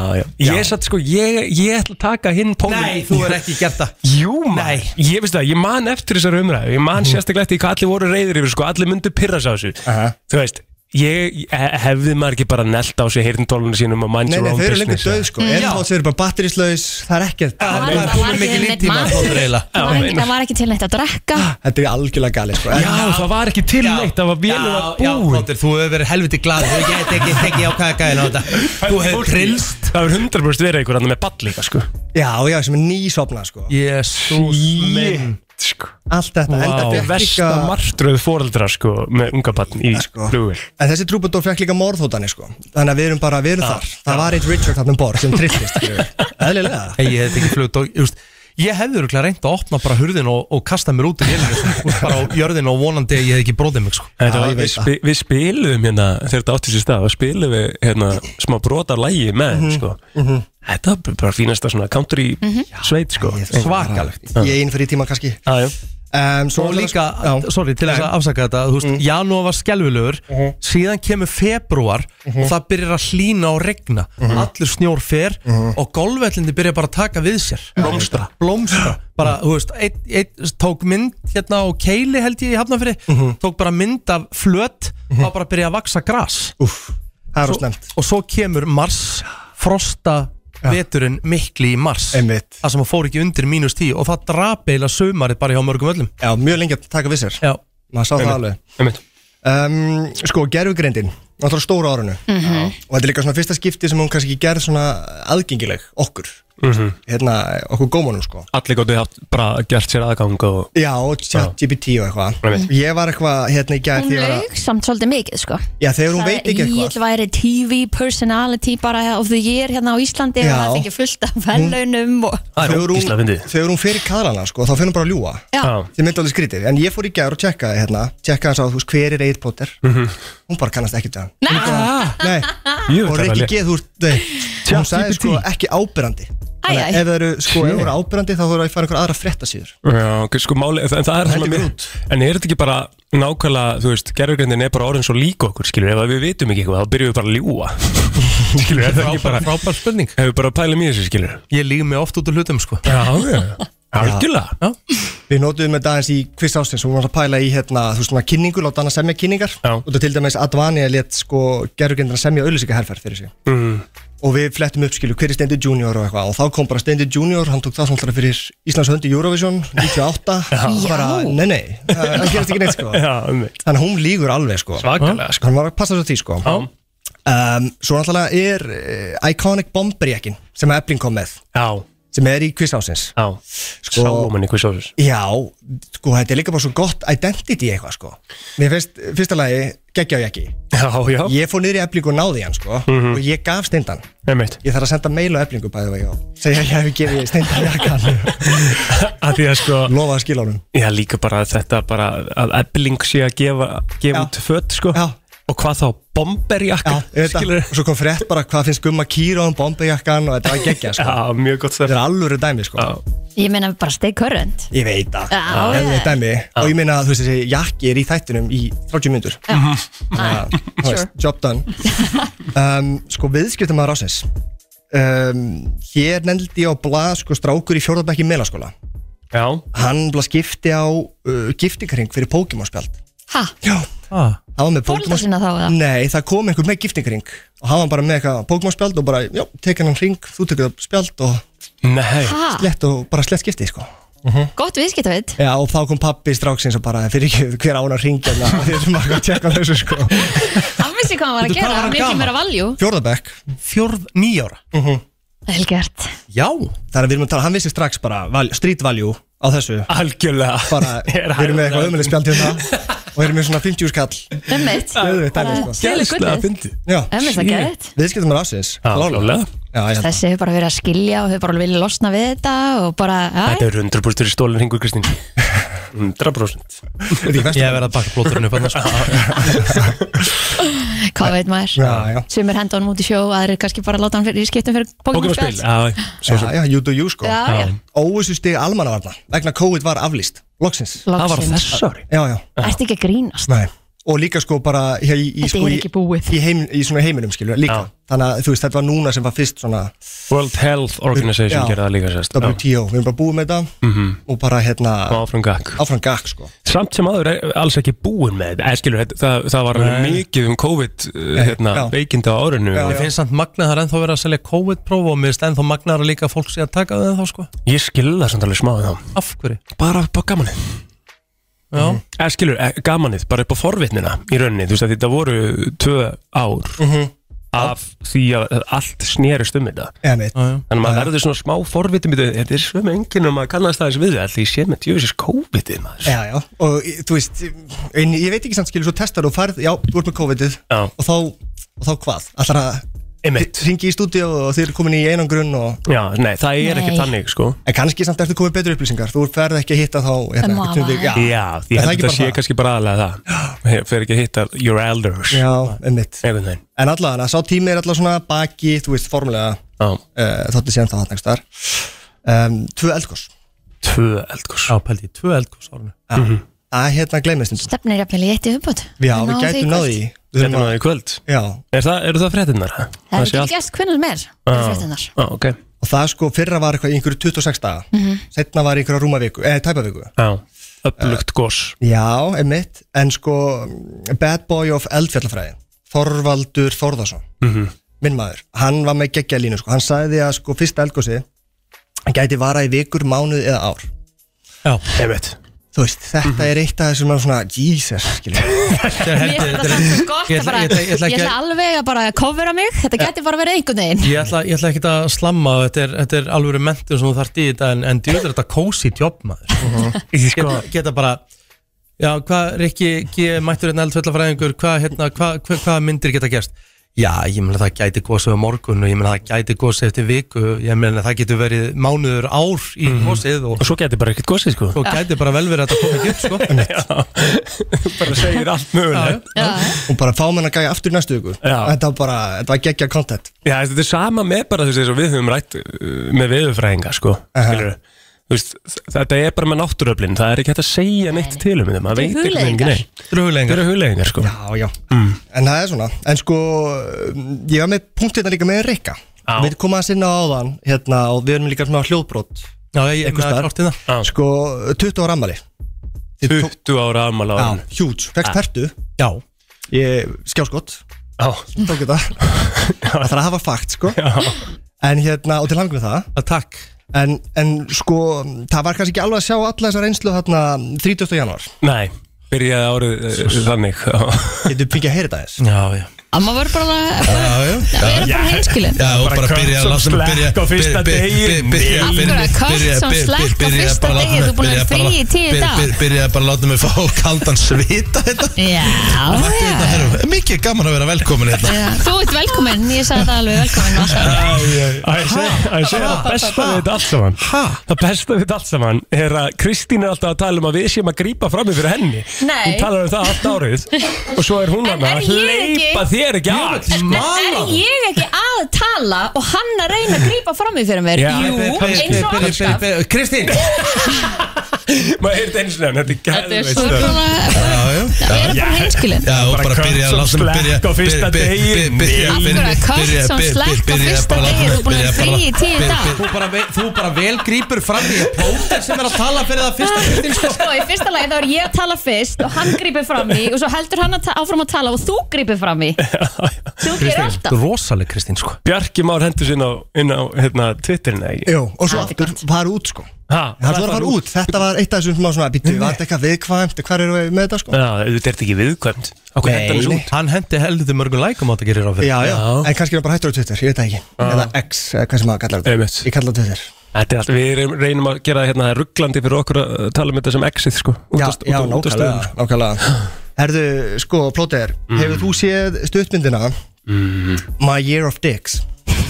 Speaker 2: já Ég satt sko, ég, ég ætla að taka hinn pólinn
Speaker 1: er ekki gert það
Speaker 2: Jú, maður
Speaker 1: Nei.
Speaker 2: Ég veist það, ég man eftir þessari umræðu Ég man sérstaklega eftir hvað allir voru reyðir yfir sko Allir myndu pyrra sá þessu
Speaker 9: Aha.
Speaker 2: Þú veist Ég he- hefði maður ekki bara nelt á sig heyrntólunum sínum og mind
Speaker 9: Nei,
Speaker 2: your
Speaker 9: nei,
Speaker 2: own
Speaker 9: þau eru lengur
Speaker 2: business
Speaker 9: döð sko mm,
Speaker 1: já.
Speaker 9: Airpods eru bara batterislaus, það er ekkert
Speaker 1: Það
Speaker 3: var
Speaker 1: er komið
Speaker 3: ekki
Speaker 1: mikið
Speaker 3: neitt
Speaker 1: líktíma
Speaker 3: mat. Það var ekki- það var ekki til neitt að drekka
Speaker 9: Þetta er algjörlega galið sko En-
Speaker 2: Já, það var ekki til neitt, það var vélum að búin
Speaker 1: Þú hefur verið helviti glad Þú hefur ekki tekið teki á kaka en á
Speaker 2: (laughs)
Speaker 1: þetta Þú hefur trillst
Speaker 2: Það hefur 100% verið einhver annar með ball líka sko
Speaker 9: Já, já, sem er nýsopna sko
Speaker 1: Jésús minn
Speaker 2: sko
Speaker 9: Allt þetta
Speaker 2: Vá,
Speaker 9: enda fékk
Speaker 2: versta
Speaker 9: líka-
Speaker 2: martröð fóreldra sko með unga barn í
Speaker 9: sko.
Speaker 2: flugvél
Speaker 9: En þessi trúbador fekk líka morðhótani sko Þannig að við erum bara, við erum þar Það var eitt Richard þarna um borð sem trillist Eðlilega
Speaker 1: Ég hefði tekið flug dog- Þú veist, Ég hefði örgulega reynd að opna bara hurðin og, og kasta mér út í vélinu sko, þú veist, bara á jörðin og vonandi að ég hef ekki bróðið mig sko.
Speaker 2: Þetta
Speaker 9: Já,
Speaker 2: var-
Speaker 9: ég
Speaker 2: við,
Speaker 9: veit
Speaker 2: spi, við spilum hérna þegar þetta átti sér stað og spilum við hérna smá brot af lægi með
Speaker 9: Mhm.
Speaker 2: mm sko Þetta var bara fínasta svona country sveit sko
Speaker 1: Svakalegt
Speaker 9: Ég einn fyrir tíma kannski
Speaker 2: Já, já.
Speaker 9: um,
Speaker 1: Og líka, sorry, til þess að afsaka þetta Þú veist,
Speaker 9: Mhm.
Speaker 1: mm. janúar var skelvilegur Síðan kemur februar
Speaker 9: Mhm.
Speaker 1: Og það byrjar að hlína og regna Allur snjór fer Og golfvellindi byrjar bara að taka við sér Blómstra Blómstra Bara, þú veist, eitt, eitt tók mynd hérna á keili held ég í Hafnafyrir
Speaker 9: Mhm.
Speaker 1: Tók bara mynd af flöt mm -hmm. bara byrja að vaksa gras
Speaker 9: Úff, það er úr snemt
Speaker 1: Og svo kemur mars Frosta veturinn mikli í mars
Speaker 9: Einmitt.
Speaker 1: Það sem að fór ekki undir mínus tíu Og það drap eiginlega sömarið bara hjá mörgum öllum
Speaker 9: Já, mjög lengi að taka við sér
Speaker 1: Já
Speaker 9: Maður sá það alveg
Speaker 2: Einmitt.
Speaker 9: um, Sko, gerfugrindin Náttúrulega stóra árunu
Speaker 3: Mhm.
Speaker 9: Og þetta er líka svona fyrsta skipti sem hún kannski gerð svona aðgengileg okkur Hérna, okkur gómanum sko
Speaker 2: Mhm. Allir gótið haft bara gert sér aðgang og
Speaker 9: Já, og chat GPT og eitthvað
Speaker 2: Einmitt.
Speaker 9: Ég var eitthvað hérna í gær
Speaker 3: Hún
Speaker 9: þegar að-
Speaker 3: laug samt svolítið mikið sko
Speaker 9: Já, þegar hún veit ekki
Speaker 3: Ég
Speaker 9: eitthvað
Speaker 3: væri TV personality bara of the year hérna á Íslandi
Speaker 9: Já.
Speaker 3: og það fengi fullt af velunum og
Speaker 2: Það er
Speaker 9: Þegar hún-
Speaker 2: ógísla fyndið
Speaker 9: Þegar hún fer í kaðlana sko, þá finnum bara að ljúa
Speaker 2: Já.
Speaker 9: Þið myndi alveg skrítið, en ég fór í gær og tjekkaði hérna Tjekkaði hans á, þú veist, hver er Eir Potter Hún bara kannast ekki til hann Hún bara, Nei,
Speaker 2: Mhm. Jú,
Speaker 9: og
Speaker 2: það er
Speaker 9: Rikki
Speaker 2: alveg-
Speaker 9: G, þú ert nei. Hún sagði sko ekki ábyrrandi Þannig
Speaker 3: æ.
Speaker 9: að ef það eru sko, ef það eru ábyrrandi þá þurfa að fara einhver aðra fréttasíður
Speaker 2: Já, ok, sko máli, en það er það sem að
Speaker 9: Heldur
Speaker 2: mér En er þetta ekki bara nákvæmlega, þú veist, gerðurgrindin er bara orðin svo líka okkur, skilur Ef að við vitum ekki eitthvað, þá byrjum við bara að ljúa Skilur, er það ekki
Speaker 1: Frábær,
Speaker 2: bara
Speaker 1: frábær spurning
Speaker 2: Ef við bara pælum í þessu, skilur
Speaker 1: Ég líf mig oft út úr hlutum sko
Speaker 2: Já, já, algjörlega
Speaker 9: Við notuðum þetta aðeins í quiz ástins og hún var að pæla í hérna, þú veist, svona kynningu, láta hann að semja kynningar
Speaker 2: Já. Mhm.
Speaker 9: og það til dæmis Advani að let sko gerugindar að semja auðlýsingaherferð fyrir sig mm. og við flettum upp skilu hver er Steindi Junior og eitthvað og þá kom bara Steindi Junior, hann tók það svolítið fyrir Íslands hönd í Eurovision 98
Speaker 3: Já.
Speaker 9: bara, nei nei, það það gerist ekki neitt sko
Speaker 2: (laughs) Já, um mitt
Speaker 9: þannig að hún lígur alveg sko
Speaker 2: Svakalega, sko
Speaker 9: hann var að passa svo því sko um, svo náttúrulega er uh, Iconic Bomberjekkin sem Efling kom með
Speaker 2: Já,
Speaker 9: sem er í quiz ásins
Speaker 2: já
Speaker 9: Sko-
Speaker 2: Sáum henni hvað sjóður
Speaker 9: já, sko þetta er líka bara svo gott identity eitthvað sko mér finnst fyrsta lagi geggja á jakki
Speaker 2: Já, já, Mhm.
Speaker 9: ég fór niður í Efling og náði hann sko og ég gaf steindan
Speaker 2: um mitt
Speaker 9: ég þarf að senda mail á Eflingu bæði vegi og segja að ég hef gefið steindan jakkan
Speaker 2: Að því að sko
Speaker 9: lofaði að skila honum
Speaker 2: Já, líka bara að þetta bara að ebling sé að gefa, gefa
Speaker 9: Já.
Speaker 2: út fött sko
Speaker 9: Já.
Speaker 2: og hvað þá bomberjakka
Speaker 9: Já, ég veit það.
Speaker 2: skilurðu?
Speaker 9: og svo kom frétt bara hvað finnst Gumma Kýra um bombejakkan og þetta var geggja sko.
Speaker 2: Já, mjög gott
Speaker 9: þetta
Speaker 2: stærð
Speaker 9: er alvöru dæmi sko.
Speaker 2: Já.
Speaker 3: Ég meina bara stay current
Speaker 9: ég veit það
Speaker 3: Já,
Speaker 9: Það er
Speaker 3: já.
Speaker 9: þetta dæmi og ég meina þú veist þessi jakki er í þættinum í 30 minnur
Speaker 1: Mhm.
Speaker 3: Ah, Sure.
Speaker 9: job done
Speaker 3: (laughs)
Speaker 9: um, sko viðskiptum að rásins um, hér nefndi ég á blað sko strákur í fjórðabæk í meðlaskóla
Speaker 2: Já,
Speaker 9: hann blað skipti á uh, giftingring fyrir Pokémon spjald
Speaker 3: Ha,
Speaker 9: já
Speaker 1: Ah,
Speaker 9: Það var með
Speaker 3: fólita
Speaker 9: Pokémon
Speaker 3: sinna þá eða?
Speaker 9: Nei, það kom einhver með giftingring og hann var bara með eitthvað Pokémon spjald og bara, já, tekin hann ring, þú tekur það spjald og
Speaker 2: nei
Speaker 3: Ha,
Speaker 9: slett og bara slett skipti, sko
Speaker 3: gott viðskiptavit
Speaker 9: Já, og þá kom pappi stráksins og bara fyrir ekki hver án að ringja hérna (laughs) þeir sem að tjekka á þessu sko
Speaker 3: Hann vissi hvað hann var að
Speaker 1: Veitu, hvað var
Speaker 3: gera,
Speaker 1: hann
Speaker 3: hann mikið
Speaker 1: gamall?
Speaker 3: mér að valjú
Speaker 9: Fjórðabæk,
Speaker 1: fjórð nýjára
Speaker 3: Helgert
Speaker 1: Já,
Speaker 9: þar Mhm. að við erum að tala, hann vissi strax bara val- street value á þessu
Speaker 2: Algjörlega
Speaker 9: bara, við
Speaker 2: (laughs) Er hægt
Speaker 9: erum með
Speaker 2: að-
Speaker 9: eitthvað ömuleg spjald hérna og erum með svona 50 skall
Speaker 3: Ömmit
Speaker 9: Öðvitað dæmi, sko.
Speaker 2: Gæðslega
Speaker 3: Ömmit
Speaker 2: fyndi
Speaker 3: það geðið
Speaker 9: Viðskiptum er ásins
Speaker 2: Já, klálega
Speaker 9: Já,
Speaker 2: hérna.
Speaker 9: ég held að
Speaker 3: Þessi hefur bara verið að skilja og hefur bara vilja losna við þetta og bara,
Speaker 2: Þetta
Speaker 3: já,
Speaker 2: er 100% í stólinn hingur
Speaker 9: (laughs)
Speaker 2: Kristín 100%
Speaker 9: Þetta er ekki
Speaker 1: ég
Speaker 9: vestur
Speaker 1: hef verið að baka blóturinn upp sko. annars
Speaker 3: hvað veit maður
Speaker 9: Já, já,
Speaker 3: Sumir henda honum út í sjó, aðrir kannski bara láta hann fyrir, í skiptum fyrir Pokémon
Speaker 2: Pokémon
Speaker 3: spjall
Speaker 2: spil Já,
Speaker 9: já,
Speaker 2: svo sem
Speaker 9: já, you do you sko
Speaker 3: Já, já,
Speaker 9: Óvissusti almannavarna vegna COVID var aflýst Loksins
Speaker 2: Það var
Speaker 3: loksins
Speaker 2: þess ári
Speaker 9: Já, já,
Speaker 3: Ertu ekki að grínast?
Speaker 9: nei Og líka sko bara hér í, í,
Speaker 3: Þetta
Speaker 9: sko,
Speaker 3: er
Speaker 9: í,
Speaker 3: ekki búið
Speaker 9: í, heim, í svona heiminum skilur líka
Speaker 2: Já.
Speaker 9: Þannig að þú veist, þetta var núna sem var fyrst svona
Speaker 2: (laughs) World Health
Speaker 9: Já.
Speaker 2: Organization gerði það líka sérst Já.
Speaker 9: WTO, við erum bara búið með þetta og bara hérna
Speaker 2: Og Áfram gakk
Speaker 9: áfram gakk sko
Speaker 2: Samt sem aður er alls ekki búin með eða eh, skilur, þetta- það, það var mikið um COVID uh, hérna,
Speaker 9: Eh, já.
Speaker 2: veikindi á árinu
Speaker 9: Já,
Speaker 1: Ég finnst samt magnaðar ennþá verið að selja COVID-próf og mér finnst ennþá magnaðar að líka að fólk sé að taka það þá sko
Speaker 2: Ég skilur það samt alveg smá þá
Speaker 1: Af hverju?
Speaker 2: Bara upp á gamanið
Speaker 1: Já,
Speaker 2: eða skilur, eh, gamanið, bara upp á forvitnina í rauninni, þú veist að þetta voru tvö ár af því að allt snerist um þetta
Speaker 9: Eða meitt
Speaker 1: já, já
Speaker 2: þannig að maður verður svona smá forvitum þetta þetta er svömmu enginn og maður kannast aðeins við þetta því sé með djöfisins COVID-ið maður
Speaker 9: Já, já, og í- þú veist, en ég veit ekki samt skilur, svo testar þú farð, já, þú ert með COVID-ið
Speaker 2: Já.
Speaker 9: og þá, og þá hvað? Allar að
Speaker 2: Einmitt.
Speaker 9: ringi í stúdíu og þið eru komin í einangrun og,
Speaker 2: Já, nei, það er
Speaker 3: Nei.
Speaker 2: ekki þannig sko
Speaker 9: en kannski samt ertu komið betri upplýsingar, þú ferð ekki að hitta þá,
Speaker 3: En
Speaker 9: hérna,
Speaker 3: maður-
Speaker 9: einhvern veginn, já,
Speaker 2: Já, því ég
Speaker 9: Er það
Speaker 2: held
Speaker 9: ekki
Speaker 2: að
Speaker 9: bara
Speaker 2: sé
Speaker 9: það?
Speaker 2: kannski bara aðlega það Ég fer ekki að hitta your elders
Speaker 9: já, einmitt.
Speaker 2: einhvern veginn
Speaker 9: En allavega, sá tími er allavega svona baki, þú veist, formulega,
Speaker 2: Já,
Speaker 9: uh, þótti síðan það nægst þar. Um, tvö eldgós,
Speaker 2: tvö Mhm. eldgórs
Speaker 1: Já, pældi, ég, tvö eldgós árinu
Speaker 9: að hérna gleymist um
Speaker 3: Stefnir jafnvel í eitt í uppbútt
Speaker 9: Já, við gætum náði í Við
Speaker 2: Þetta
Speaker 9: þurfum að-
Speaker 2: náðu í kvöld
Speaker 9: Já,
Speaker 2: er það, Eru það fréttinnar? ha?
Speaker 3: Það
Speaker 2: sé
Speaker 3: er ekki
Speaker 2: allt-
Speaker 3: gæst hvernig mér fréttinnar.
Speaker 2: Já, ok
Speaker 9: og það sko fyrra var eitthvað í einhverju 26 daga
Speaker 3: Mm. Mhm.
Speaker 9: Setna var í einhverju rúma viku, eða tæpa viku
Speaker 2: Já, upplugt gós
Speaker 9: Eh, Já, emitt, en sko Bad Boy of Eldfjallafræði Þorvaldur Þorðarsson
Speaker 2: Mhm.
Speaker 9: Minn maður, hann var með geggja línu sko. Hann sagði að sko fyrsta eldgósi Gæti vara í vikur, mánuð eða ár
Speaker 1: Já, Mhm.
Speaker 2: Einmitt
Speaker 9: Þú veist, þetta er eitt af þessum maður svona Jesus,
Speaker 1: (laughs)
Speaker 9: skiljum
Speaker 1: þetta er
Speaker 3: Mér
Speaker 1: heldur
Speaker 3: finnst bara það
Speaker 9: (laughs)
Speaker 3: svo gott
Speaker 1: Ég
Speaker 3: að
Speaker 1: ætla-
Speaker 3: bara,
Speaker 1: ég ætla- ég
Speaker 3: ég
Speaker 1: ætla ekki
Speaker 3: ætla alveg að bara covera mig, þetta geti bara verið einhvern veginn.
Speaker 1: Ég ætla, ég ætla ekki að slamma og þetta er, þetta er alvöru mentun sem þú þarft í þetta en, en djúður þetta kósi jobb maður
Speaker 2: Mhm. sko-
Speaker 1: geta, geta bara Já, hvað, Rikki, ég mættur hérna eldfjöllafræðingur hvað, hérna, hvað, hvað, hvað myndir geta gerst? Já, ég meina það gæti gósið á morgun og ég meina það gæti gósið eftir viku ég meina það getur verið mánuður ár í mm og
Speaker 2: Mhm. Og svo geti bara ekkert gósið sko
Speaker 1: svo gæti bara vel verið að þetta komið upp sko.
Speaker 2: Bara segir allt mögulegt
Speaker 3: Já,
Speaker 9: Og bara fáum hann að gæja aftur í næstu viku
Speaker 2: Já.
Speaker 9: Þetta var bara, þetta var geggja content
Speaker 2: Já, þetta er sama með bara þú veist eins og við höfum rætt uh, með veðurfræðinga sko skilurðu. Þú veist, þ- Þetta er bara með náttúröflin Það er ekki hægt að segja neitt til um þetta maður veit
Speaker 3: Þetta eru
Speaker 2: einhvern veginn
Speaker 3: hugleiðingar.
Speaker 2: ekki neitt. Þetta eru huglegingar sko
Speaker 9: Já, já,
Speaker 1: Mm.
Speaker 9: en það er svona En sko, um, ég var með punktirna líka með Rikka
Speaker 2: (laughs) Já.
Speaker 9: Við komum að sinna á áðan hérna, og við erum líka svona hljóðbrot
Speaker 1: Já, ég er
Speaker 9: Einhvers
Speaker 1: með
Speaker 9: staðar.
Speaker 1: klárt í það
Speaker 2: Já.
Speaker 9: Sko, 20 ára ammali
Speaker 2: 20 ára afmæla á
Speaker 9: Já,
Speaker 2: hann
Speaker 9: huge, fekst tertu
Speaker 1: Já,
Speaker 9: Ég, skjáskott
Speaker 2: Já,
Speaker 9: tók þetta það þarf að hafa fakt sko en hérna, og til langt með það
Speaker 1: að takk
Speaker 9: en, en sko, það var kannski ekki alveg að sjá alla þessar reynslu þarna 30. januar
Speaker 2: nei, byrjaði árið uh, þannig já.
Speaker 9: getur pengið að heyra þetta þess
Speaker 1: Já, já
Speaker 3: að maður verður bara
Speaker 2: (laughs)
Speaker 1: Já, já.
Speaker 3: að vera bara hreinskilin
Speaker 1: Já, og bara
Speaker 2: cut
Speaker 1: byrja að
Speaker 2: some
Speaker 1: láta mig
Speaker 2: slack
Speaker 1: byrja
Speaker 2: á fyrsta
Speaker 1: byrja-
Speaker 2: degi.
Speaker 1: byrja- byrja-
Speaker 3: Af hverju
Speaker 1: byrja-
Speaker 3: að cut
Speaker 1: byrja-
Speaker 3: some
Speaker 1: byrja-
Speaker 3: slack á
Speaker 1: byrja-
Speaker 3: fyrsta
Speaker 1: bara láta
Speaker 3: degi?
Speaker 1: mig-
Speaker 3: Þú búin að
Speaker 1: byrja-
Speaker 3: vera
Speaker 1: bara-
Speaker 3: frí í tíu
Speaker 1: byrja-
Speaker 3: daga.
Speaker 1: Byrja bara að láta mig fá kaldan svita þetta
Speaker 3: já,
Speaker 1: Þetta er-
Speaker 3: já.
Speaker 1: þetta er mikið gaman að vera velkomin hérna
Speaker 3: Já, þú ert velkominn, ég sagði það alveg velkominn alltaf.
Speaker 2: Að ég seg- að ég segja það besta við þetta allt saman Það besta við þetta allt saman er að Kristín er alltaf að tala um að við séum að grípa fram í fyrir henni
Speaker 3: Nei.
Speaker 2: Hún talar um það allt árið Og svo er hún
Speaker 3: En
Speaker 2: hann
Speaker 3: er
Speaker 2: að
Speaker 3: ég
Speaker 2: hleypa
Speaker 3: ekki-
Speaker 2: þér ekki
Speaker 1: sko,
Speaker 2: að
Speaker 3: En er ég ekki að tala og hann að reyna að grípa fram í fyrir mér?
Speaker 2: Já,
Speaker 3: Jú,
Speaker 2: þetta er-
Speaker 3: eins og alltaf
Speaker 1: Kristín
Speaker 2: (laughs) Maður heyrði eins og nefn, þetta er
Speaker 3: Þetta er svo
Speaker 2: gæðveitt
Speaker 3: bara að vera bara hreinskilin
Speaker 1: Já, og
Speaker 2: Bara
Speaker 1: bara
Speaker 2: cut
Speaker 1: byrja að
Speaker 2: some
Speaker 1: láta mig byrja
Speaker 2: slack á fyrsta
Speaker 1: byrja- byrja-
Speaker 2: degi.
Speaker 1: byrja-
Speaker 2: Af
Speaker 3: hverju
Speaker 1: byrja-
Speaker 3: að cut
Speaker 1: byrja-
Speaker 3: some
Speaker 1: byrja-
Speaker 3: slack á
Speaker 1: byrja-
Speaker 3: fyrsta
Speaker 1: bara láta
Speaker 3: degi?
Speaker 1: mig-
Speaker 3: Þú búin að
Speaker 1: byrja-
Speaker 3: vera frí í tíu
Speaker 1: byrja-
Speaker 3: daga.
Speaker 1: Þú bara ve- þú bara vel grípur fram í plóter sem er að tala fyrir það fyrsta Kristín sko
Speaker 3: Sko, í fyrsta lagi þá er ég að tala fyrst og hann grípir fram í og svo heldur hann að ta- áfram að tala og þú grípir fram í Þú gerir alltaf
Speaker 1: Rosaleg Kristín sko
Speaker 2: Bjarki Már hendur sinna inn á hérna, Twitterin eða ekki?
Speaker 9: Jú, og svo
Speaker 3: Ah, þetta er
Speaker 9: aftur, fara út sko
Speaker 2: Ha,
Speaker 9: það var að fara út, þetta var eitt af þessum smá svona býttu, var þetta eitthvað viðkvæmt, hvað eru við með þetta sko
Speaker 2: Já, þetta er ekki viðkvæmt Okkur hendur hann þessu út
Speaker 1: Hann hendi heldur mörgum lækum á þetta gerir á
Speaker 9: Já, já,
Speaker 2: Já.
Speaker 9: en kannski er hann bara hættur á Twitter, ég veit það ekki Eða X, eða hvað sem maður kallar þetta
Speaker 2: Einmitt.
Speaker 9: Ég kallar það Twitter
Speaker 2: Þetta er allt, við reynum- reynum að gera það hérna það er rugglandi fyrir okkur að uh, tala um þetta sem exit sko
Speaker 9: Já,
Speaker 2: út, sko.
Speaker 9: já,
Speaker 2: út, út,
Speaker 9: nákvæmlega, nákvæmlega Herðu, sko, plóter, hefur þú séð stuttmyndina
Speaker 1: Mhm.
Speaker 2: Mhm.
Speaker 9: My Year of Dicks?
Speaker 2: (laughs)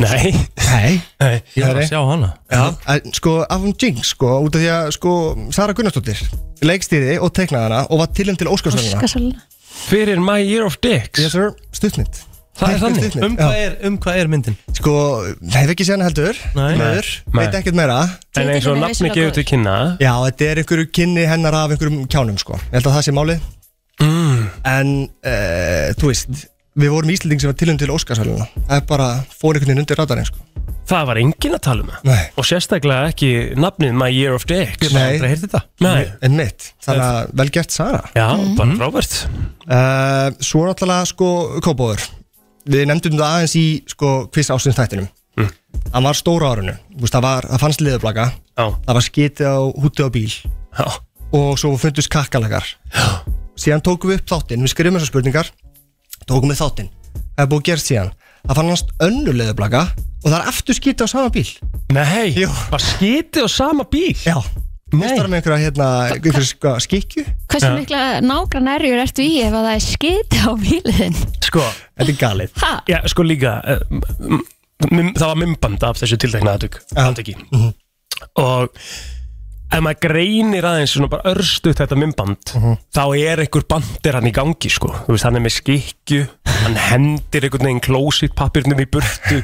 Speaker 2: Nei,
Speaker 9: Nei
Speaker 2: nei
Speaker 1: Ég var að sjá hana
Speaker 9: Já, en sko af hún Jinx sko, út af því að sko Sara Gunnarsdóttir leikstýði og teiknaði hana og var tilum til Óskarsvörðuna
Speaker 2: Fyrir My Year of Dicks
Speaker 9: Yes sir, stuttmynd
Speaker 2: Það er þannig.
Speaker 1: Um hvað er, um hvað er myndin?
Speaker 9: Sko, hef ekki séð hana heldur
Speaker 1: Nei.
Speaker 9: Maður,
Speaker 2: Nei.
Speaker 9: veit ekkert meira
Speaker 2: En eins og
Speaker 3: Titillinn er
Speaker 2: nafni
Speaker 3: vissulega
Speaker 2: gefur
Speaker 3: góður.
Speaker 2: til kynna
Speaker 9: Já, þetta er einhverju kynni hennar af einhverjum kjánum sko Ég held að það sé málið mm. En, uh, þú veist Við vorum Íslanding sem var tilum til Óskarsvörðuna Það er bara, fór einhvern veginn undir radarinn sko
Speaker 2: Það var enginn að tala um það
Speaker 9: Nei,
Speaker 2: Og sérstaklega ekki nafnið My Year of Dicks
Speaker 9: Nei.
Speaker 1: Aldrei heyrði þetta
Speaker 2: Nei.
Speaker 9: en mitt Þannig að vel gert Sara
Speaker 2: Já, bara Robert
Speaker 9: Uh, svo náttúrulega sko Kópóður Við nefndum það aðeins í sko quiz ástins þættinum Hann var stóra árinu Vist, það, var, það fannst liðublaka
Speaker 2: Já,
Speaker 9: Það var skitið á húti á bíl
Speaker 2: já,
Speaker 9: Og svo fundust kakkalakar Síðan tókum við upp þáttinn Við skrifum þessar spurningar Tókum við þáttinn Það er búið að gera síðan Það fannst önnur liðublaka Og það er aftur skitið á sama bíl
Speaker 2: nei
Speaker 9: Jú.
Speaker 2: Bara skiti á sama bíl
Speaker 9: Já Nei Það er með einhverja hérna, einhverja sko, skikju
Speaker 3: Hversu mikla nágrann erjur ertu í ef að það er skiti á bíliðin?
Speaker 2: Sko,
Speaker 9: Þetta er galið
Speaker 3: Ha?
Speaker 2: já, sko líka uh, m- m- Það var mymband af þessu tiltekna aðtök
Speaker 9: Já. Mhm.
Speaker 2: Aðtöki Og ef maður greinir aðeins svona bara örstuð þetta mymband
Speaker 9: Mhm.
Speaker 2: þá er einhver bandir hann í gangi sko þú veist hann er með skikju hann hendir einhvern veginn klósitt pappirnum í burtu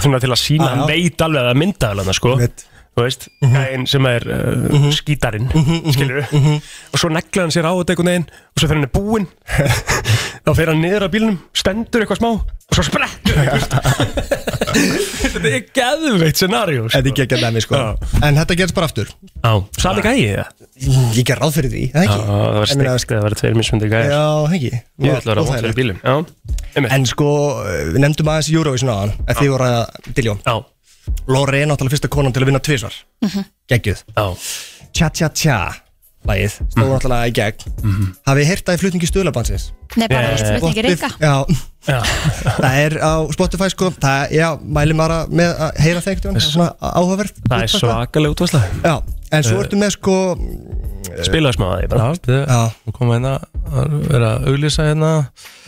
Speaker 2: svona til að sína
Speaker 9: Já, já.
Speaker 2: hann veit alveg að það mynda alveg hann sko
Speaker 9: Einmitt.
Speaker 2: þú veist,
Speaker 9: Mhm.
Speaker 2: gæinn sem er uh, skítarinn, skilur
Speaker 9: mhm.
Speaker 2: og svo negla hann sér á þetta einhvern veginn og svo fyrir hann er
Speaker 9: (laughs)
Speaker 2: búinn þá fyrir hann niður á bílnum, stendur eitthvað smá og svo sprettur hann í burtu. þetta er geðveitt scenaríu
Speaker 9: Þetta er ekki ekki að dæmi sko En þetta gerst bara aftur
Speaker 2: Sali gæi það
Speaker 9: Ég ger ráð fyrir því, það
Speaker 2: Það
Speaker 9: ekki?
Speaker 2: var
Speaker 9: Ég meina,
Speaker 2: steikt að það var tveir mismundir gæi
Speaker 9: Já, það ekki
Speaker 2: Ég ætla að vera vond fyrir
Speaker 9: Óþægilegt.
Speaker 2: bílum Já, einmitt.
Speaker 9: En sko, við nefndum aðeins Eurovision áðan að Því voru að diljó
Speaker 2: já,
Speaker 9: Lóri er náttúrulega fyrsta konan til að vinna tvisvar Geggjuð
Speaker 2: já Mhm.
Speaker 9: Tja tja tja Lægið Stóðu náttúrulega í gegn Hafið þið heyrt það í flutningi stöðlabansins?
Speaker 3: Nei, bara uh, flutningi reyka
Speaker 9: Já,
Speaker 2: Eh, Já,
Speaker 9: (laughs) það er á Spotify sko Það, já, mæli maður að- með að heyra það einhvern veginn Það er svona áhugaverð
Speaker 2: það er svakalega útvarsla
Speaker 9: Já, en
Speaker 2: Eh.
Speaker 9: svo ertu með sko
Speaker 2: Spilaðu Eh, smá að því bara
Speaker 1: Já,
Speaker 9: Já.
Speaker 1: þetta Nú koma hérna að vera að auglýsa hérna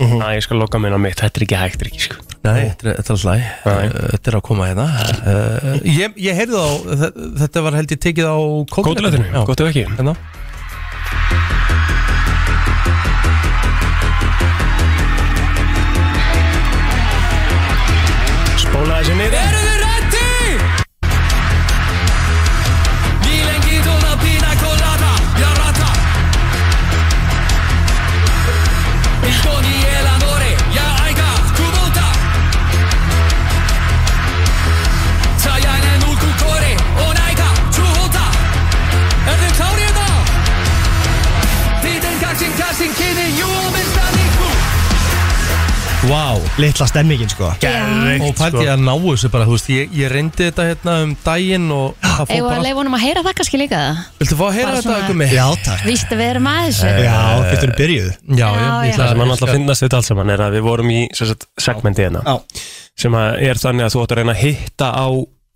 Speaker 2: Næ, ég skal loka minna mitt, þetta er ekki hægt, ekki sko
Speaker 1: Nei, þetta er þetta er alltaf læg
Speaker 2: Nei.
Speaker 1: Þetta er að koma hérna Uh,
Speaker 2: Eh,
Speaker 1: Ég, ég heyrði á, þe- þetta var held ég tekið á
Speaker 2: Kótilætinu,
Speaker 1: Já.
Speaker 2: gott ef ekki
Speaker 1: Hérna
Speaker 2: Spóla þessi niður
Speaker 5: Eru þið ready? Ni lengið og la pina colada, la rata Il toni e l'amore, ja aika, kubota Sæjainen ulku kori, on aika, tuhota Er þið klárið þá? Þið er kaksin kaksin kynni, jú og minnst að nýtt
Speaker 1: Vá
Speaker 9: litla stemmingin sko
Speaker 3: Já.
Speaker 1: Og pældi ég að ná þessu bara, þú veist, ég, ég reyndi þetta hérna um daginn og það fór
Speaker 3: Eða að
Speaker 1: bara
Speaker 3: leifa honum að heyra það kannski líka
Speaker 1: Viltu fá að heyra
Speaker 3: bara
Speaker 1: þetta
Speaker 3: svona-
Speaker 1: eitthvað með?
Speaker 9: Já, takk
Speaker 3: Víst að við erum að þessu
Speaker 9: Já, fyrir byrjuð
Speaker 1: já,
Speaker 3: Já,
Speaker 1: ég-
Speaker 3: já.
Speaker 1: ég ætla
Speaker 2: Eh, Það sem hann alltaf
Speaker 1: að
Speaker 2: finnast þetta allt saman er að við vorum í sem sagt, segmenti hérna sem að er þannig að þú átt að reyna að hitta á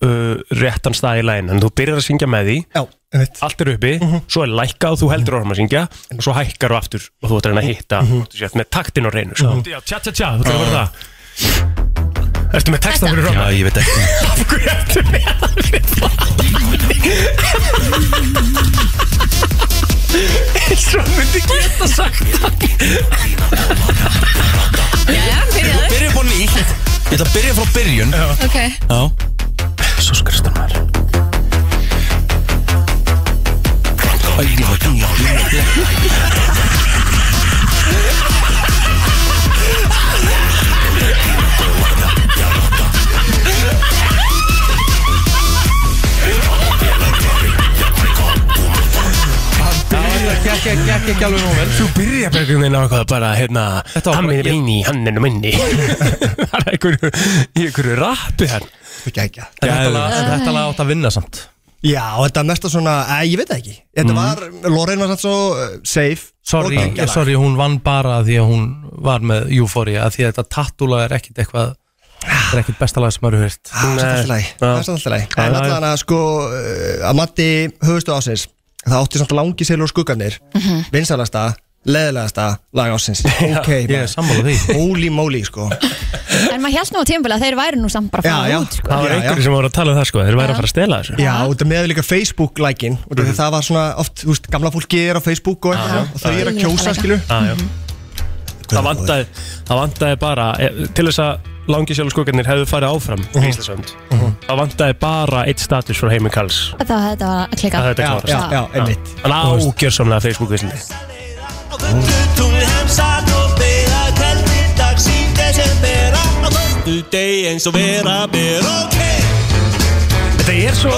Speaker 2: uh, réttan stað í lægin en þú byrjar að syngja með því
Speaker 9: Já, einmitt
Speaker 2: allt er uppi,
Speaker 1: Mhm.
Speaker 2: svo er lækka og þú heldur orðum að syngja og svo hækkar og aftur og þú ert að reyna að hitta
Speaker 1: Mhm.
Speaker 2: þú sért með taktin og reynu sko. Já, tja tja tja, þú ert að vera það Ertu með texta fyrir römmar?
Speaker 1: Já, ég veit ekki
Speaker 2: Af hverju ertu með það fyrir það? Svo myndi geta sagt
Speaker 3: Já, byrjaðu
Speaker 10: Byrja upp á nýtt Ég ætla að byrja frá byrjun
Speaker 3: Ok
Speaker 10: Já
Speaker 2: Svo skristum maður
Speaker 1: Gekk ekki, gekk ekki alveg nú vel
Speaker 2: Þú byrja bara einhvern veginn á eitthvað bara hérna
Speaker 1: Þetta var
Speaker 2: Hann
Speaker 1: bara-
Speaker 2: er minni, hann er minni (laughs) Það er einhverju, í einhverju rappi hann
Speaker 9: Ekki ekki
Speaker 1: En Þetta lag- en þetta lag átt að vinna samt
Speaker 9: Já, þetta er mesta svona, að, ég veit það ekki
Speaker 2: Mm.
Speaker 9: Þetta var, Lorraine var satt svo uh, safe
Speaker 1: Sorry,
Speaker 9: og geggjað lag.
Speaker 1: sorry, hún vann bara af því að hún var með Euphoria af Því að þetta tattúlag er ekkit eitthvað Það er ekkit besta lag sem maður hefur hýrt
Speaker 9: Ah, Það er samt alltaf læg, það er samt alltaf læg En allan að sko, uh, að mati höfustu ásins Það átti samt langi seilur og skuggarnir Vinsalasta, leðilegasta lag
Speaker 2: (laughs)
Speaker 9: ásins Ok,
Speaker 1: Ég er sammála því
Speaker 9: maður. holy moly sko
Speaker 3: En maður hjálst nú á tímabili að þeir væri nú samt bara að
Speaker 9: Já, já.
Speaker 3: fara út sko.
Speaker 2: Það var
Speaker 9: Já,
Speaker 2: einhverju sem voru að tala um það sko Þeir væri að fara að stela þessu Mhm.
Speaker 9: Já, og það meðal líka Facebook-lækin mm -hmm. Það var svona oft, þú veist, gamla fólki er á Facebook og, eitthvað, og þau eru að kjósa, skilu
Speaker 2: Ah, Já, já. Það vantaði, það vantaði bara eh, Til þess að langi sjálf skuggarnir hefðu farið áfram í Íslandsönd
Speaker 9: Mhm.
Speaker 2: Það vantaði bara eitt status frá heimi Karls
Speaker 3: Þetta, þetta var að klika
Speaker 2: að þetta
Speaker 9: Já,
Speaker 2: klárast
Speaker 9: já, já, einmitt
Speaker 2: Hann ágjörsamlega Facebook-vissinni Þetta er svo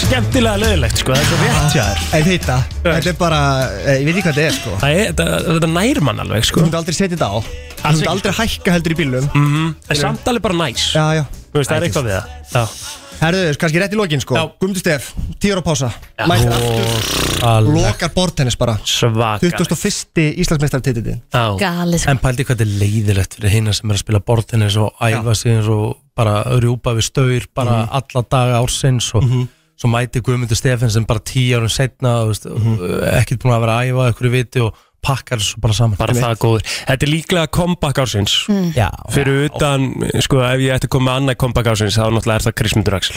Speaker 2: skemmtilega leðilegt sko, það er svo rétt hjá þér
Speaker 9: En þetta, þetta er bara, eh, ég veit ekki hvað þetta er sko
Speaker 2: Það er, þetta, þetta nær mann alveg
Speaker 9: Þú
Speaker 2: sko
Speaker 9: myndi aldrei setja þetta á Þú myndi
Speaker 2: ekki, sko, Mhm.
Speaker 9: aldrei hækka heldur í bílum
Speaker 2: En samt alveg bara næs
Speaker 9: Já, já
Speaker 2: Þú veist, það er eitthvað við það
Speaker 9: Herðu, kannski rétt í lokin sko
Speaker 2: Já.
Speaker 9: Gumdu Stef, 10 ára pása Mættir aftur,
Speaker 1: Alveg.
Speaker 9: lokar bortennis bara
Speaker 2: Svaka
Speaker 9: 21. Íslandsmeistartitillin
Speaker 2: Já,
Speaker 3: Galið sko.
Speaker 1: En pældi hvað þetta er leiðilegt fyrir hina sem er að spila bortinnis og æfa sig eins og bara rjúpa við staur bara
Speaker 9: Mhm.
Speaker 1: alla daga ársins og svo mæti Guðmundur Stefán sem bara tíu árum setna og, veist,
Speaker 9: Mhm.
Speaker 1: ekkert búin að vera að æfa eitthvað viti og pakkar svo bara saman
Speaker 2: bara það góður Þetta er líklega comeback ársins
Speaker 1: Já,
Speaker 2: Fyrir utan, sko, ef ég ætti að koma með annað comeback ársins þá náttúrulega er það Krismundur Axel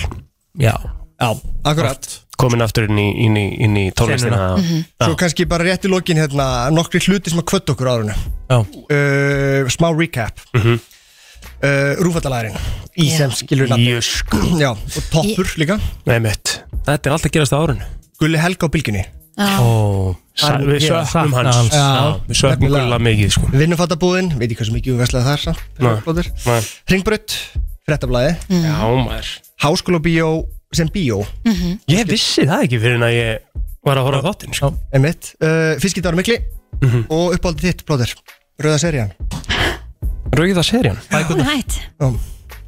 Speaker 1: já,
Speaker 9: Já, akkurat
Speaker 2: komin aftur inn í, inn í, inn í tónlistina
Speaker 9: Svo kannski bara rétt í lokin hérna Nokkri hluti sem að kvötta okkur á árunu
Speaker 1: já,
Speaker 9: uh, Smá recap mm
Speaker 2: Mhm.
Speaker 9: -hmm. uh, Rúfallalærin Í
Speaker 3: Já.
Speaker 9: sem skilur nafni
Speaker 2: Jösk
Speaker 9: Já, og toppur líka
Speaker 2: Nei mitt Þetta er alltaf að gerast á árun
Speaker 9: Gulli Helga á bylginni
Speaker 1: ó
Speaker 9: Hann-
Speaker 2: Við
Speaker 9: ég
Speaker 2: söknum
Speaker 1: sakna
Speaker 2: hans
Speaker 1: hans.
Speaker 2: Já, Við söknum
Speaker 9: nefnilega.
Speaker 2: gulla mikið sko
Speaker 9: Vinnufattabúðin, veit ég hversu mikið við veslaði þar
Speaker 2: Nei.
Speaker 9: samt
Speaker 2: Nei.
Speaker 9: Ringbraut, frettablaði
Speaker 2: Já maður
Speaker 9: Háskólabíó sem bíó
Speaker 2: Ég vissi það ekki fyrir en að ég var að horfa á þáttinn sko Mhm.
Speaker 9: Einmitt, uh, fiskidáru mikli Og uppáldið þitt, blóður Rauða serían
Speaker 2: Rauða serían
Speaker 3: Hún er hætt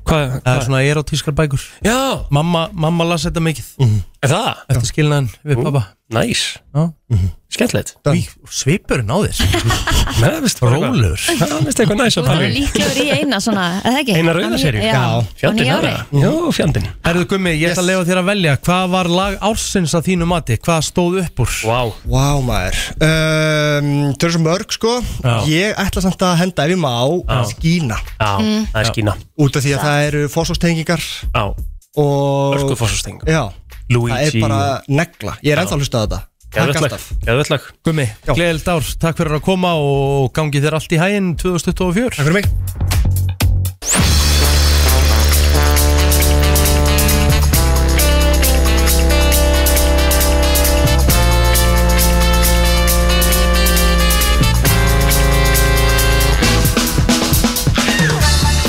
Speaker 2: Hvað?
Speaker 1: Það er svona erotískar bækur
Speaker 2: Já, Mhm.
Speaker 1: Mamma, mamma las þetta mikið
Speaker 2: er það? Mhm.
Speaker 1: eftir skilnaðin við pappa
Speaker 2: Næs
Speaker 1: Já.
Speaker 2: Skellilegt
Speaker 1: Í, Svipurinn á þér,
Speaker 2: Nei, veist bara eitthvað-
Speaker 1: rólegur
Speaker 2: Já, veist eitthvað næs
Speaker 3: Þú
Speaker 2: að
Speaker 3: er
Speaker 2: pæla í
Speaker 3: líklegur í eina svona Er það ekki?
Speaker 2: Eina rauða seríu?
Speaker 3: Já, á
Speaker 2: Fjandinn
Speaker 3: nýja
Speaker 2: er
Speaker 3: ári
Speaker 2: það Jó, fjandinn
Speaker 1: Herðu Gummi, ég ætla að lefa þér að velja Hvað var lag ársins að þínu mati? Hvað stóð upp úr?
Speaker 2: Vá
Speaker 9: Vá maður um, Þau eru svo mörg sko
Speaker 1: Já.
Speaker 9: Ég ætla samt að henda ef ég má Skína
Speaker 2: Já, það er skína
Speaker 9: Út af því að það eru fósóstengingar
Speaker 2: Já,
Speaker 9: og...
Speaker 2: örkufossasteng
Speaker 9: Já, það er
Speaker 2: Luigi
Speaker 9: bara negla Ég er ennþá að hlusta á þetta Takk
Speaker 2: Geðvöldlag
Speaker 9: alltaf
Speaker 2: Geðvöldlag
Speaker 1: Gummi, gleðild ár, takk fyrir að koma og gangi þér allt í hæginn 2024
Speaker 9: Takk fyrir mig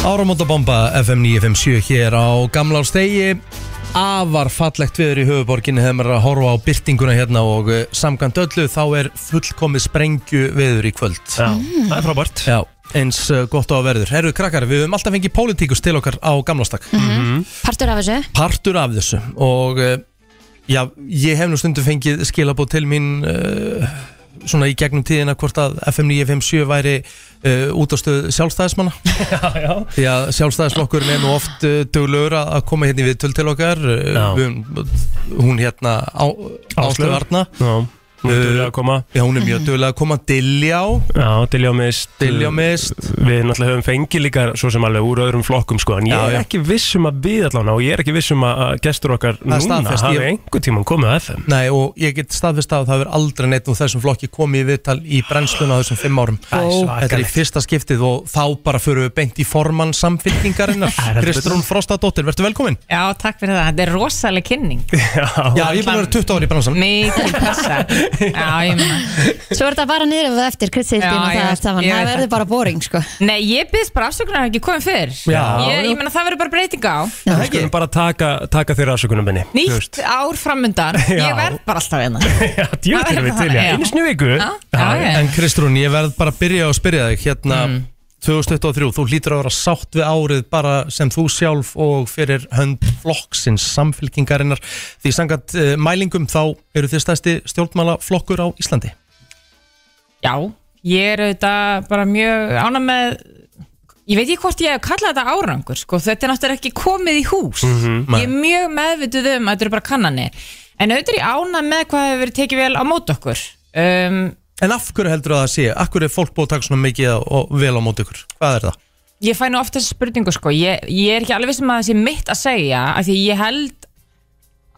Speaker 1: Áramótabomba FM 957 hér á Gamla ástegi Afar fallegt viður í höfuborginni þegar maður er að horfa á byrtinguna hérna og eh, samkvæmt öllu þá er fullkomið sprengju viður í kvöld
Speaker 2: Já, það er frábært
Speaker 1: Já, eins uh, gott á að verður Herru krakkar, við höfum alltaf fengið pólitíkus til okkar á gamlastak
Speaker 2: Mhm.
Speaker 3: Partur af þessu
Speaker 1: Partur af þessu og uh, já, ég hef nú stundum fengið skilabóð til mín uh, svona í gegnum tíðina hvort að FM 957 væri uh, útastöð
Speaker 11: (laughs)
Speaker 1: sjálfstæðismanna því að sjálfstæðisflokkurinn er nú oft uh, duglegur að að koma hérna við töl til okkar uh,
Speaker 11: Já.
Speaker 1: við, hún hérna á,
Speaker 11: Áslaug.
Speaker 1: Áslöf Arna
Speaker 11: Já, nú
Speaker 1: Uh,
Speaker 11: er duglega að koma
Speaker 1: Já, hún er mjög duglega að koma Dilljá,
Speaker 11: Já, Diljámist
Speaker 1: Diljamist
Speaker 11: Við náttúrulega höfum fengið líka svo sem alveg úr öðrum flokkum sko En ég
Speaker 1: Já,
Speaker 11: er
Speaker 1: já.
Speaker 11: ekki viss um að við allan og ég er ekki viss um að að gestur okkar
Speaker 1: er
Speaker 11: núna
Speaker 1: staðfest,
Speaker 11: hafi
Speaker 1: ég-
Speaker 11: einhver tíma komið að FM
Speaker 1: Nei, og ég get staðfist að það er aldrei neitt úr þessum flokki komið í viðtal í brennsluna á þessum fimm árum
Speaker 11: er svakalegt.
Speaker 1: Þetta er í fyrsta skiptið og þá bara förum við beint í formann
Speaker 11: (laughs)
Speaker 1: samfylkingarinnar
Speaker 11: Það er heldur
Speaker 1: Kristrún Frostadóttir, verður velkomin
Speaker 12: Já, takk fyrir það, þetta er rosalega (laughs) kynning
Speaker 1: Já, ég er búin að vera 20 ári í bransan
Speaker 12: Mikið passa Já, ég meina
Speaker 3: Svo er þetta bara niður ef eftir kryddsildin
Speaker 12: Já,
Speaker 3: og
Speaker 12: ég
Speaker 3: það
Speaker 12: veit-
Speaker 3: allt saman
Speaker 12: ég
Speaker 3: Það
Speaker 12: veit
Speaker 3: verður bara boring sko
Speaker 12: Nei, ég byrðs bara afsökunar að hafa ekki komið fyrr
Speaker 1: Já.
Speaker 12: Ég, ég meina það verður bara breyting á
Speaker 1: Já,
Speaker 11: Við skulum bara taka, taka þeirra afsökunum minni
Speaker 12: Nýtt ár
Speaker 1: (laughs)
Speaker 12: framundan
Speaker 11: Já.
Speaker 12: Ég verð bara alltaf hérna
Speaker 11: Já, djúkir
Speaker 12: Það er
Speaker 11: við til, já,
Speaker 12: þannig, já.
Speaker 11: einu snið viku
Speaker 12: Já, já, já. Mm.
Speaker 1: En Kristrún, ég verð bara að byrja að spyrja þig hérna 2023, þú hlýtur að vera sátt við árið bara sem þú sjálf og fyrir hönd flokksins samfylkingarinnar því sangat uh, mælingum þá eru þið stæsti stjórnmálaflokkur á Íslandi
Speaker 12: Já, ég er auðvitað bara mjög ána með Ég veit ekki hvort ég hef kallað þetta árangur sko. Þetta er náttúrulega ekki komið í hús
Speaker 1: Mhm,
Speaker 5: Mm-hmm.
Speaker 12: Ég er mjög meðvituð um að þetta eru bara kannanir En auðvitað er ég ána með hvað hefur verið tekið vel á mót okkur um,
Speaker 1: En af hverju heldur það að sé? Af hverju er fólk búið að taka svona mikið á- og vel á móti ykkur? Hvað er það?
Speaker 12: Ég fæ nú ofta þessa spurningu sko ég, ég er ekki alveg viss um að það sé mitt að segja af Því ég held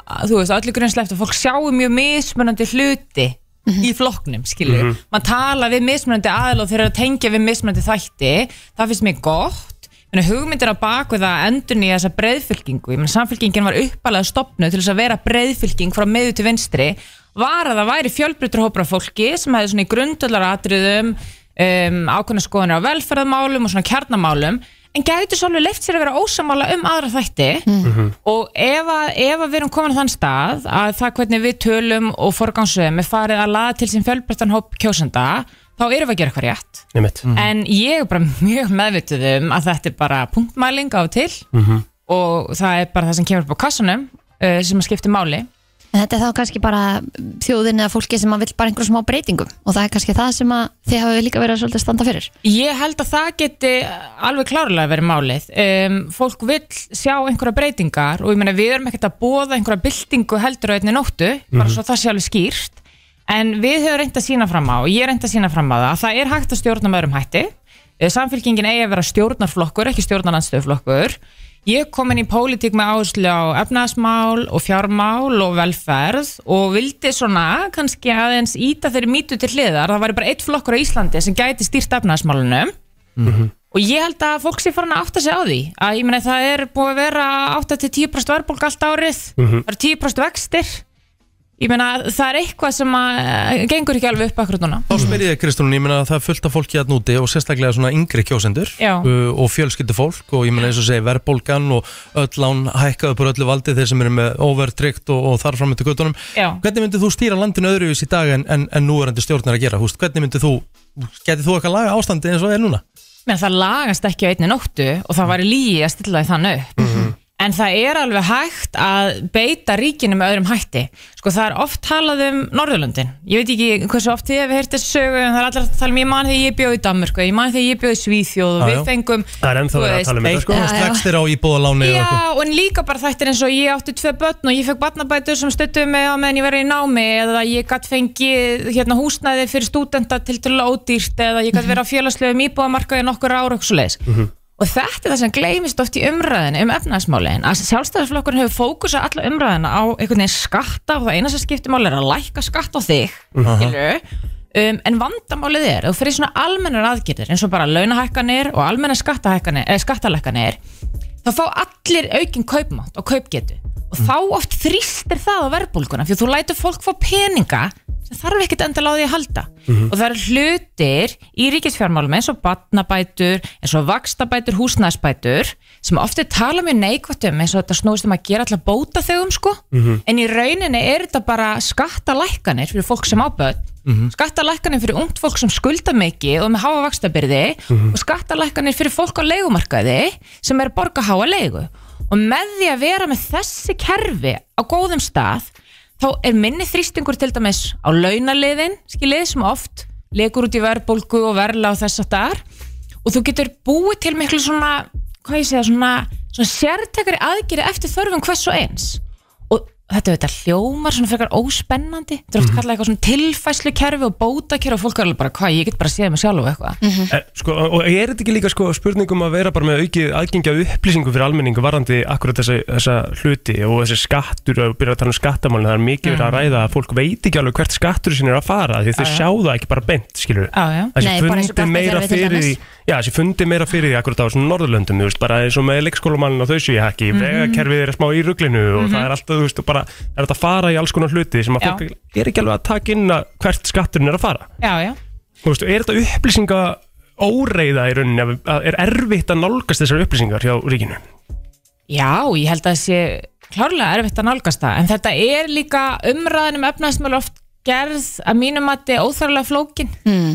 Speaker 12: að, Þú veist, öllu grunnslegt að fólk sjáu mjög mismunandi hluti Í flokknum, skilur mm Man tala við mismunandi aðal og þeir eru að tengja við mismunandi þætti Það finnst mér gott Menni, hugmyndir á baku það að endur nýja þessa breyðfylkingu Menni, samfylkingin var uppalega stopnu til þess að vera breyðfylking frá miðu til vinstri var að það væri fjölbreytur hópur af fólki sem hefði svona í grundöllaratriðum um, ákveðna skoðanir á velferðamálum og svona kjarnamálum en gætu svolítið leift sér að vera ósamála um aðra þætti og ef, að, ef að við erum komin á þann stað að það hvernig við tölum og forgangsöðum er farið að laða til sín fjölbreyttan hóp kjósenda þá erum við að gera eitthvað rétt
Speaker 11: Einmitt.
Speaker 2: Mhm.
Speaker 12: en ég er bara (laughs) mjög meðvituð um að þetta er bara punktmæling á og til
Speaker 11: Mhm.
Speaker 12: og það er bara það sem kemur upp á kassunum uh, sem að skipti máli
Speaker 3: En þetta er þá kannski bara þjóðin eða fólki sem að vill bara einhverjum smá breytingum og það er kannski það sem að þið hafa líka verið að svolítið standa fyrir
Speaker 12: Ég held að það geti alveg klárlega verið málið. Um, fólk vill sjá einhverja breytingar og ég meina við erum ekkert að bóða einhverja byltingu heldur á einni nóttu, bara svo það sé alveg skýrt. En við höfum reynd að sína fram á, og ég er reynd að sína fram á það, að það er hægt að stjórna með öðrum hætti. Eh, Samfylkingin eigi að vera stjórnarflokkur, ekki stjórnarlandstöðflokkur. Ég kom inn í pólitík með áherslu á efnaðasmál og fjármál og velferð og vildi svona kannski aðeins íta þeirri mýtu til hliðar. Það væri bara eitt flokkur á Íslandi sem gæti stýrt efnaðasmálunum
Speaker 5: Mm-hmm.
Speaker 12: og ég held að fólk sé farin að átta sig á því að ég meina það er búið að vera 8-10% verðbólg allt árið
Speaker 11: Mhm.
Speaker 12: það eru 10% vextir ég meina það er eitthvað sem að, eh, gengur ekki alveg upp akkur núna
Speaker 1: Þá spyr ég þig, Kristrún, ég meina að það er fullt af fólki að núti og sérstaklega svona yngri kjósendur
Speaker 12: Já.
Speaker 1: uh, og fjölskyldufólk og ég meina eins og segi verðbólgan og öll lán hækkaðu bara öllu valdi þeir sem eru með overtryggt og, og þar fram eftir göttunum.
Speaker 12: Já.
Speaker 1: Hvernig myndir þú stýra landinu öðruvís í dag en, en, en núverandi stjórnar að gera? Húst? Hvernig myndir þú, getið þú eitthvað laga ástandi eins og það er núna?
Speaker 12: menn það lagast ekki á einni nóttu og það væri lígi að stilla því þann upp en það er alveg hægt að beita ríkinu með öðrum hætti sko það er oft talað um Norðurlöndin ég veit ekki hversu oft þið hefur heyrt þessu sögu en það er allir að tala um ég man þegar ég bjóð í Danmörku ég man þegar ég bjóð í Svíþjóð og
Speaker 1: Já,
Speaker 12: við
Speaker 1: já.
Speaker 12: fengum
Speaker 11: Það er ennþá
Speaker 12: þú
Speaker 11: verið að
Speaker 12: veist,
Speaker 11: tala um þetta sko
Speaker 1: Eitthvað
Speaker 3: já.
Speaker 1: strax á íbúðaláni eða eitthvað.
Speaker 12: Já, og en líka bara þættir eins og ég átti tvö börn og ég fekk barnabætur sem stöttuðu mig á meðan ég verið í námi eða ég gatt fengið hérna, húsnæði fyrir stúdenta til til ódýrt eða ég gatt verið á félagslegu íbúðamarkaði nokkur ára og svo leiðis. Og þetta er það sem gleymist oft í umræðinu um efnaðasmálin að sjálfstæðisflokkurinn hefur fókusað alla umræðina á einhvern veginn skatta og það eina sem skiptir máli er að lækka skatt á þig skilurðu. um, en vandamálið er að þú fyrir svona almennar aðgerðir eins og bara launahækkanir og almennar skattahækkanir eða skattalækkanir þá fá allir aukinn kaupmátt og kaupgetu og þá oft þrýstir það á verðbólguna fyrir þú lætur fólk fá peninga sem þarf ekkert endala á því að halda og það eru hlutir í ríkisfjármálum eins og batnabætur, eins og vakstabætur, húsnæðsbætur sem oft er talað mjög neikvætt um eins og þetta snúist um að gera alltaf bóta þegum sko
Speaker 13: Mhm.
Speaker 12: en í rauninni er þetta bara skattalækkanir fyrir fólk sem áböð
Speaker 5: Mm-hmm.
Speaker 13: Mhm.
Speaker 12: skattalækkanir fyrir ungt fólk sem skulda mikið og með háa vakstabyrði
Speaker 13: Mhm.
Speaker 12: og skattalækkanir fyrir fólk á leigumarkaði sem er að borga háa leigu og með því að vera með þessi kerfi á góðum stað þá er minni þrýstingur til dæmis á launaliðin, skilið, sem oft legur út í verðbólgu og verla og þess að þar og þú getur búið til miklu svona, hvað ég segja, svona, svona sértekari aðgeri eftir þörfum hvers og eins og þetta þetta hljómar svona frekar óspennandi þetta er oft kallað eitthvað svona tilfæslu kerfi og bótakerfi og fólk er alveg bara hvað, ég get bara séð mig sjálf og eitthvað
Speaker 2: Eh, Sko, og er þetta ekki líka sko, spurningum að vera bara með aukið aðgengja upplýsingu fyrir almenningu varandi akkurat þessa, þessa hluti og þessi skattur og byrja að tala um skattamálin það er mikið verið að ræða að fólk veit ekki alveg hvert skattur sinni er að fara því þau
Speaker 12: Mhm. Já, já.
Speaker 2: sjá það ekki bara bent skilur
Speaker 12: Já, já.
Speaker 2: það
Speaker 12: Nei,
Speaker 2: sé
Speaker 12: bara eins og
Speaker 2: fundi meira
Speaker 12: gatnakerfi til
Speaker 2: fyrir því
Speaker 12: dæmis.
Speaker 2: já, það sé fundi meira fyrir því akkurat á svona Norðurlöndum þú veist, bara eins og með leikskólamann og þau séu ekki
Speaker 12: Mhm.
Speaker 2: vegakerfið er smá í ruglinu og
Speaker 12: Mhm.
Speaker 2: það er alltaf, þú veist, bara það er hægt að fara í alls konar hluti sem að
Speaker 12: Já.
Speaker 2: fólk er ekki alveg að taka inn að hvert skatturinn er að fara
Speaker 12: Já, já
Speaker 2: Þú veist, er þetta upplýsinga óreiða í rauninni, að- að er erfitt að nálgast þessar upplýsingar hjá ríkinu?
Speaker 12: Já, ég held að það sé klárlega erfitt að nálgast það en þetta er líka umræðan um efnaðismál oft gerð að mínum að þetta er óþarlega flókin mm.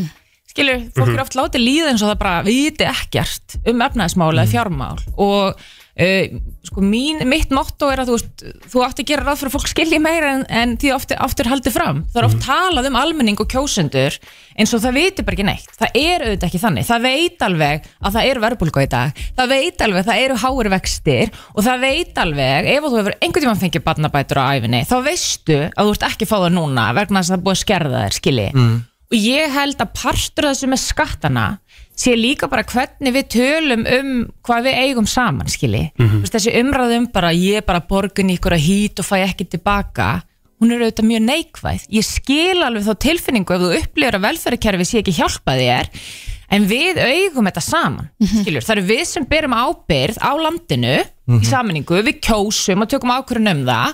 Speaker 12: skilur, fólk
Speaker 13: Mhm.
Speaker 12: er oft látið líða eins og það bara viti ekkert um efnaðismál eða fjármál og uh, sko mín, mitt motto er að þú, veist, þú átt að gera ráð fyrir að fólk skilji meira en, en því oft, oft er haldið fram það er oft talað um almenning og kjósendur eins og það viti bara ekki neitt það er auðvitað ekki þannig, það veit alveg að það er verðbólgu í dag, það veit alveg að það eru háir vextir og það veit alveg ef þú hefur einhvern tímann fengið barnabætur á æfinni, þá veistu að þú ert ekki að fá það núna vegna þess að það er búið að skerða þér, skilji og ég held að partur af þessu með skattana sé líka bara hvernig við tölum um hvað við eigum saman skilji, mm
Speaker 13: Mhm.
Speaker 5: Mm-hmm.
Speaker 12: -hmm. þessi umræðum bara ég bara borgun í ykkur að hít og fæ ekki tilbaka, hún er auðvitað mjög neikvæð ég skil alveg þá tilfinningu ef þú upplifir að velferðarkerfi sé ekki hjálpa þér en við eigum þetta saman skilur, það eru við sem berum ábyrð á landinu í
Speaker 13: Mhm.
Speaker 12: sammenningu, við kjósum og tökum ákvörðun um það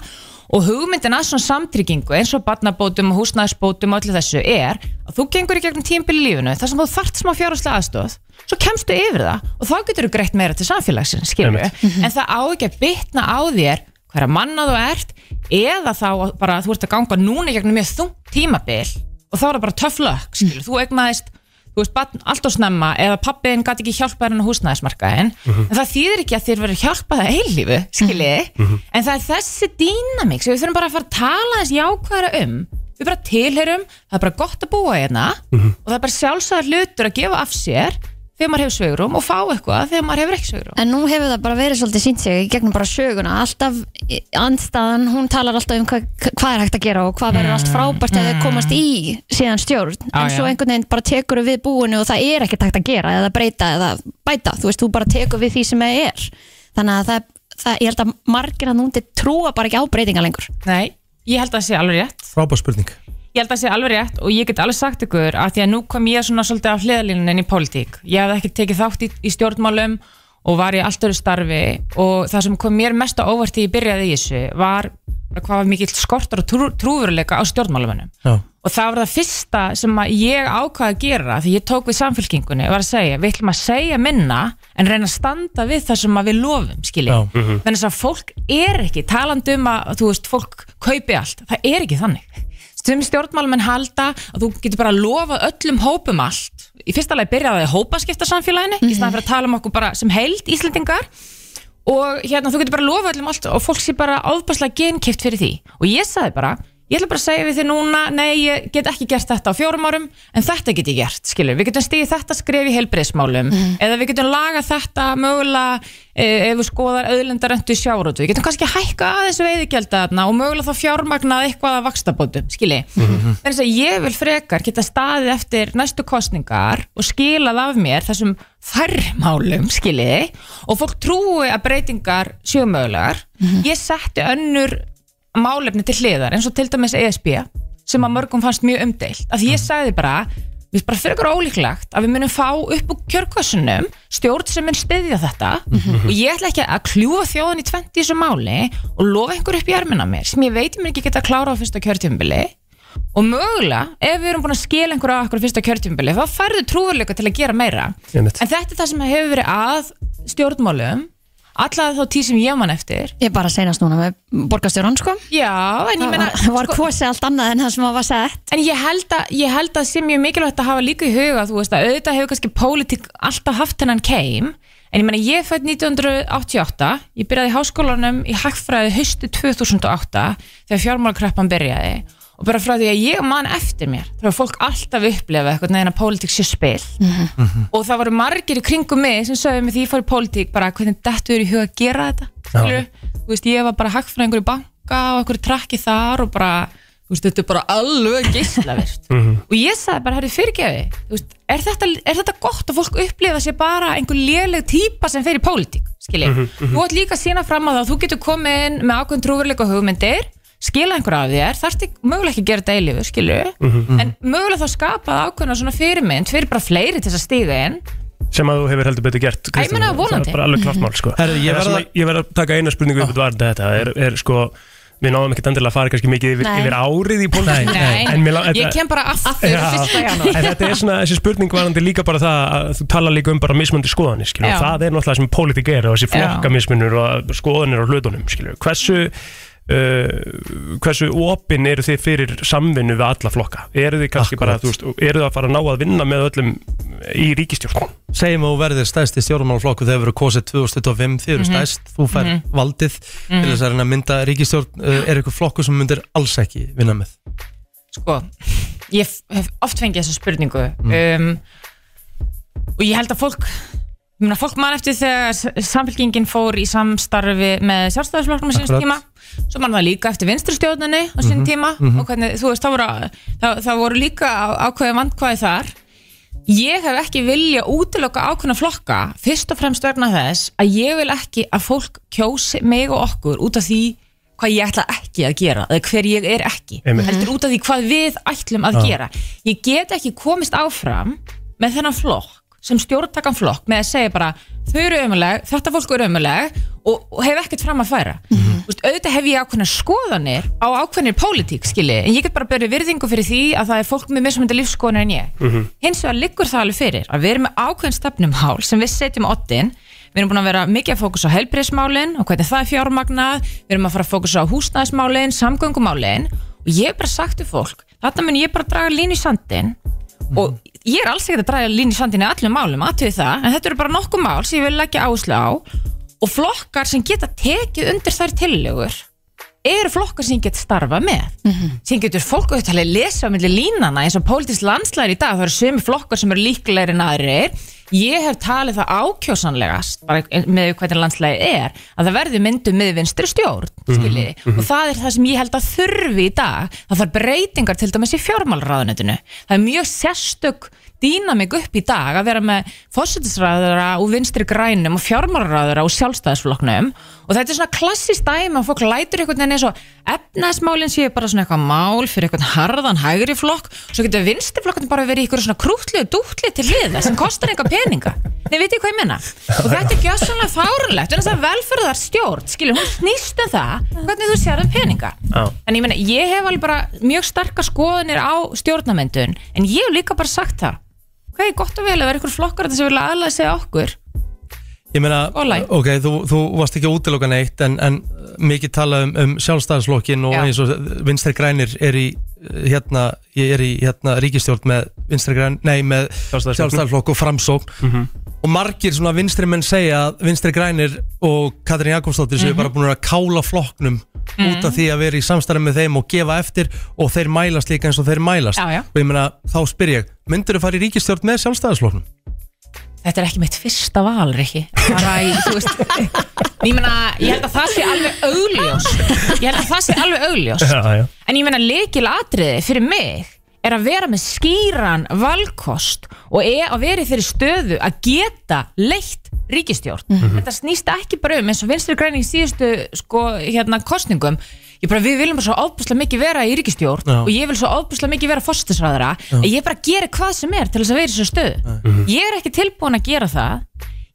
Speaker 12: og hugmyndin að svona samtryggingu eins og barnabótum og húsnæðisbótum og öllu þessu er að þú gengur í gegnum tímbil í lífinu þar sem þú þart smá fjárháslega aðstóð svo kemstu yfir það og þá getur þú greitt meira til samfélagsins, skilur
Speaker 13: Einmitt.
Speaker 12: en það á ekki að bitna á þér hverja manna þú ert eða þá að bara að þú ert að ganga núna í gegnum mjög þungt tímabil og þá er það bara töflökk, skilur, þú egnaðist þú veist, barn allt á snemma eða pappiðin gæti ekki hjálpað henni á húsnæðismarkaðin
Speaker 13: Mhm.
Speaker 12: en það þýðir ekki að þér verður hjálpað að eilífu, skiljiði
Speaker 5: Mm-hmm.
Speaker 13: Mhm.
Speaker 12: en það er þessi dýnamik sem við þurfum bara að fara að tala þess jákvæðara um við bara tilherum, það er bara gott að búa hérna
Speaker 13: Mhm.
Speaker 12: og það er bara sjálfsæðar hlutur að gefa af sér þegar maður hefur svegrum og fá eitthvað þegar maður hefur ekki svegrum
Speaker 3: En nú hefur það bara verið svolítið sínt sig í gegnum bara söguna, alltaf eh, andstaðan, hún talar alltaf um hvað, hvað er hægt að gera og hvað verður allt frábært ef þau komast í síðan stjórn
Speaker 13: Á,
Speaker 3: en svo
Speaker 13: já.
Speaker 3: einhvern veginn bara tekur við búinu og það er ekkert hægt að gera eða breyta eða bæta, þú veist, þú bara tekur við því sem það er þannig að það, það ég held að margir að núndi trúa bara ekki á breytinga lengur
Speaker 12: Nei, ég held að það sé alveg rétt
Speaker 1: Frábær spurning
Speaker 12: Ég held að það sé alveg rétt og ég get alveg sagt ykkur að því að nú kom ég svona svolítið á hliðalínunin í pólitík. Ég hafði ekki tekið þátt í, í stjórnmálum og var í allt öru starfi og það sem kom mér mest á óvart því ég byrjaði í þessu var bara hvað var mikill skortur og trú, trúveruleika á stjórnmálumönnum.
Speaker 1: Já.
Speaker 12: Og það var það fyrsta sem að ég ákvaði að gera því ég tók við samfélkingunni var að segja við ætlum að segja minna en reyna að standa við það sem að við lofum skilja.
Speaker 13: Já. Mhm.
Speaker 12: Þannig að fólk er ekki talandi um að þú veist fólk kaupi allt. Það er ekki þannig sem stjórnmálumenn halda að þú getur bara að lofa öllum hópum allt í fyrsta lagi byrjaði að hópaskipta samfélaginu í staðan fyrir að tala um okkur bara sem heild Íslendingar og hérna þú getur bara að lofa öllum allt og fólk sé bara áðbærslega genkipt fyrir því og ég sagði bara ég ætla bara að segja við þið núna nei, ég get ekki gert þetta á fjórum árum en þetta get ég gert, skilur, við getum stigið þetta skref í heilbreyðsmálum eða við getum lagað þetta mögulega e, ef við skoðar auðlendaröndu sjárótu við getum kannski hækka aðeins veiðigjaldana og mögulega þá fjármagnað eitthvað að vakstabótum skilji,
Speaker 5: Mm-hmm.
Speaker 13: Mhm.
Speaker 12: þannig að ég vil frekar geta staðið eftir næstu kostningar og skilað af mér þessum þærmálum, skiljiði og fólk trúi að breytingar séu mögulegar.
Speaker 13: Mhm.
Speaker 12: Ég setti önnur málefni til hliðar eins og til dæmis ESB sem að mörgum fannst mjög umdeilt, af
Speaker 13: Mhm.
Speaker 12: því ég sagði bara við erum bara frekar ólíklegt að við munum fá upp úr kjörkossunum stjórn sem mun stiðja þetta
Speaker 13: Mhm.
Speaker 12: og ég ætla ekki að kljúfa þjóðan í 20 þessu máli og lofa einhver upp í ermina mér sem ég veit ég mun ekki geta að klára á fyrsta kjörtjumbili og mögulega, ef við erum búin að skila einhverja á okkur fyrsta kjörtjumbili, þá færðu trúverleika til að gera meira
Speaker 2: Einmitt.
Speaker 12: en þetta er það sem hefur verið að stjórnmálum allavega þá tíð sem ég man eftir
Speaker 3: Ég er bara senast núna með borgarstjóran sko
Speaker 12: Já, en ég meina sko-
Speaker 3: Það (laughs) var kosið allt annað en það sem var sett
Speaker 12: En ég held, að, ég held að sé mjög mikilvægt að hafa líka í huga, þú veist að auðvitað hefur kannski pólitík alltaf haft hennan keim, en ég meina ég fætt 1988, ég byrjaði í háskólanum í hagfræði haustu 2008 þegar fjármálkreppan byrjaði og bara frá því að ég man eftir mér þá var fólk alltaf upplefað eitthvað neðan að pólitík sé spil
Speaker 5: Mm-hmm.
Speaker 12: og það voru margir í kringum mig sem sögðu mig því ég fór í pólitík bara hvernig dettu er í huga að gera þetta skilurðu? þú veist, ég var bara hagfræðingur í banka og einhverju trakki þar og bara þú veist, þetta er bara alveg gíslavirt (laughs) og ég sagði bara, herri fyrirgefi þú veist, er, þetta, er þetta gott að fólk upplifa sér bara einhver léleg típa sem fer í pólitík, skilji
Speaker 5: Mm-hmm.
Speaker 12: þú átt líka að sína fram á það, að þú getur komið inn með ákveðin trúveruleika hugmyndir skila einhverja af þér, þarfst ekki mögulega ekki að gera þetta eilífu, skilju,
Speaker 2: Mhm.
Speaker 12: en mögulega þá skapað ákveðna svona fyrirmynd fyrir bara fleiri til þess að stíða inn
Speaker 2: sem að þú hefur heldur betur gert Kristján.
Speaker 12: meina, vonandi.
Speaker 2: það er bara alveg klart mál sko.
Speaker 1: Herri, ég
Speaker 2: En það Ah.
Speaker 1: verð
Speaker 2: sem
Speaker 1: að-
Speaker 2: að- ég verð að taka eina spurningu upp varðandi þetta er, er sko við náðum ekkert endilega að fara kannski mikið yfir,
Speaker 3: Nei.
Speaker 2: yfir árið í pólitík
Speaker 12: Nei,
Speaker 2: En mér lá-
Speaker 12: ég
Speaker 2: þetta-
Speaker 12: kem bara aftur
Speaker 2: Já.
Speaker 12: fyrsta janúar
Speaker 2: En þetta er svona, þessi spurning varandi líka bara það að þú tala líka um bara mismöndi skoðanir, skilju,
Speaker 12: Já.
Speaker 2: það er náttúrulega sem pólitík er og þessi
Speaker 12: Já.
Speaker 2: flokkamismunur og skoðanir á hlutunum, skilju, hversu uh, hversu opin eru þið fyrir samvinnu við alla flokka eru þið kannski bara,
Speaker 1: Akkurat.
Speaker 2: þú veist, eru þið að fara að ná að vinna með öllum í ríkistjórn
Speaker 1: segjum að þú verðir stæsti stjórnmálaflokku þegar verður kosið 2025, þið eru stæst þú fær valdið til þess að reyna að mynda ríkistjórn, uh, er eitthvað flokku sem myndir alls ekki vinna með
Speaker 12: sko, ég f- hef oft fengið þessa spurningu um, og ég held að fólk ég meina, fólk man eftir þegar s- samfélkingin fór í samstarfi með sjálfstæðisflokknum á síns
Speaker 1: Akkurat.
Speaker 12: tíma svo man það líka eftir vinstristjóðninni á sín tíma og hvernig, þú veist, það voru, það, það voru líka á- ákveðið vandkvæði þar ég hef ekki vilja útiloka ákveðna flokka fyrst og fremst vegna þess að ég vil ekki að fólk kjósi mig og okkur út af því hvað ég ætla ekki að gera eða hver ég er ekki
Speaker 2: Einmitt.
Speaker 12: heldur út af því hvað við ætlum að gera ég get ekki komist áfram með þennan flokk sem stjórntakan flokk með að segja bara þau eru ömuleg, þetta fólk eru ömuleg og, og hef ekkert fram að færa mm veist, auðvitað hef ég ákveðna skoðanir á ákveðnir pólitík skili, en ég get bara börju virðingu fyrir því að það er fólk með mismunandi lífskoðanir en ég
Speaker 5: Mm-hmm.
Speaker 12: hins vegar liggur það alveg fyrir að við erum með ákveðin stefnumhál sem við setjum á oddin Við erum búin að vera mikið að fókusa á helbriðsmálin og hvernig það er fjármagnað, við erum að fara að fókusa á húsnæðismálin, samgöngumálin og ég hef bara sagt til fólk, þarna mun ég bara draga línu í sandin og ég er alls ekkert að draga línu í sandin í allum málum, aðtöðu það, en þetta eru bara nokkuð mál sem ég vil leggja áherslu á og flokkar sem geta tekið undir þær tillögur eru flokkar sem ég get starfa með sem getur fólk auðvitað að lesa á milli línana eins og pólitísk landslæri í dag það eru sömu flokkar sem eru líklegri en aðrir ég hef talið það ákjósanlegast bara með hvernig landslægi er að það verði myndu með vinstri stjórn skiljiði,
Speaker 2: Mhm,
Speaker 3: Mhm.
Speaker 12: og það er það sem ég held að þurfi í dag, það þarf breytingar til dæmis í fjármálraðunetinu það er mjög sérstök dýnamik upp í dag að vera með fósitisræðara og vinstri grænum og fjármálraðara og sjálfstæðisflokknum og þetta er svona klassist dæmi að fólk lætur einhvern veginn eins og efnaðsmálinn séu bara svona eitthvað mál fyrir einhvern harðan hægri flokk svo getur vinstri flokkan bara verið í einhverju svona krútlið og dútlið til liða sem kostar einhver peninga Nei, veit ég hvað ég menna? Og þetta er gjössanlega fárunlegt en þess að velferðar stjórn, skilur, hún snýst um það hvernig þú sér um peninga
Speaker 2: Já.
Speaker 12: En ég menna, ég hef alveg bara mjög starka skoðanir á stjórnamendun en ég hef líka bara sagt það hvað er gott og vel að vera ykkur flokkar þess að vilja aðlæða segja okkur
Speaker 1: Ég meina,
Speaker 12: Og læk.
Speaker 1: ok, þú, þú varst ekki að útiloka neitt en, en mikið tala um, um sjálfstæðarslokkin og
Speaker 12: Já.
Speaker 1: eins og vinstri grænir er í eh, hérna, ég er í hérna ríkistjórn með vinstri græn, nei með
Speaker 2: Sjálfstæðisflokknum.
Speaker 1: sjálfstæðarslokk og framsókn og margir svona vinstri menn segja að vinstri grænir og Katrín Jakobsdóttir
Speaker 12: Mhm.
Speaker 1: séu bara búin að kála flokknum út af því að vera í samstarfi með þeim og gefa eftir og þeir mælast líka eins og þeir mælast
Speaker 12: Já, já.
Speaker 1: og ég meina, þá spyr ég, myndir þú fara í ríkistjórn með sjálfstæðarsloknum?
Speaker 12: Þetta er ekki mitt fyrsta val, Rikki Bara í, þú veist (laughs) Ég meina, ég held að það sé alveg augljós Ég held að það sé alveg augljós
Speaker 2: já, já.
Speaker 12: En ég meina, leikil atriði fyrir mig er að vera með skýran valkost og er að vera í þeirri stöðu að geta leitt ríkistjórn. Þetta snýst ekki bara um eins og vinstri græning síðustu sko, hérna, kostningum. Ég bara, við viljum bara svo ofbúslega mikið vera í ríkistjórn
Speaker 1: Já.
Speaker 12: og ég vil svo ofbúslega mikið vera fórstisræðara en ég bara gera hvað sem er til þess að vera í þessu stöðu.
Speaker 2: Mhm.
Speaker 12: Ég er ekki tilbúin að gera það.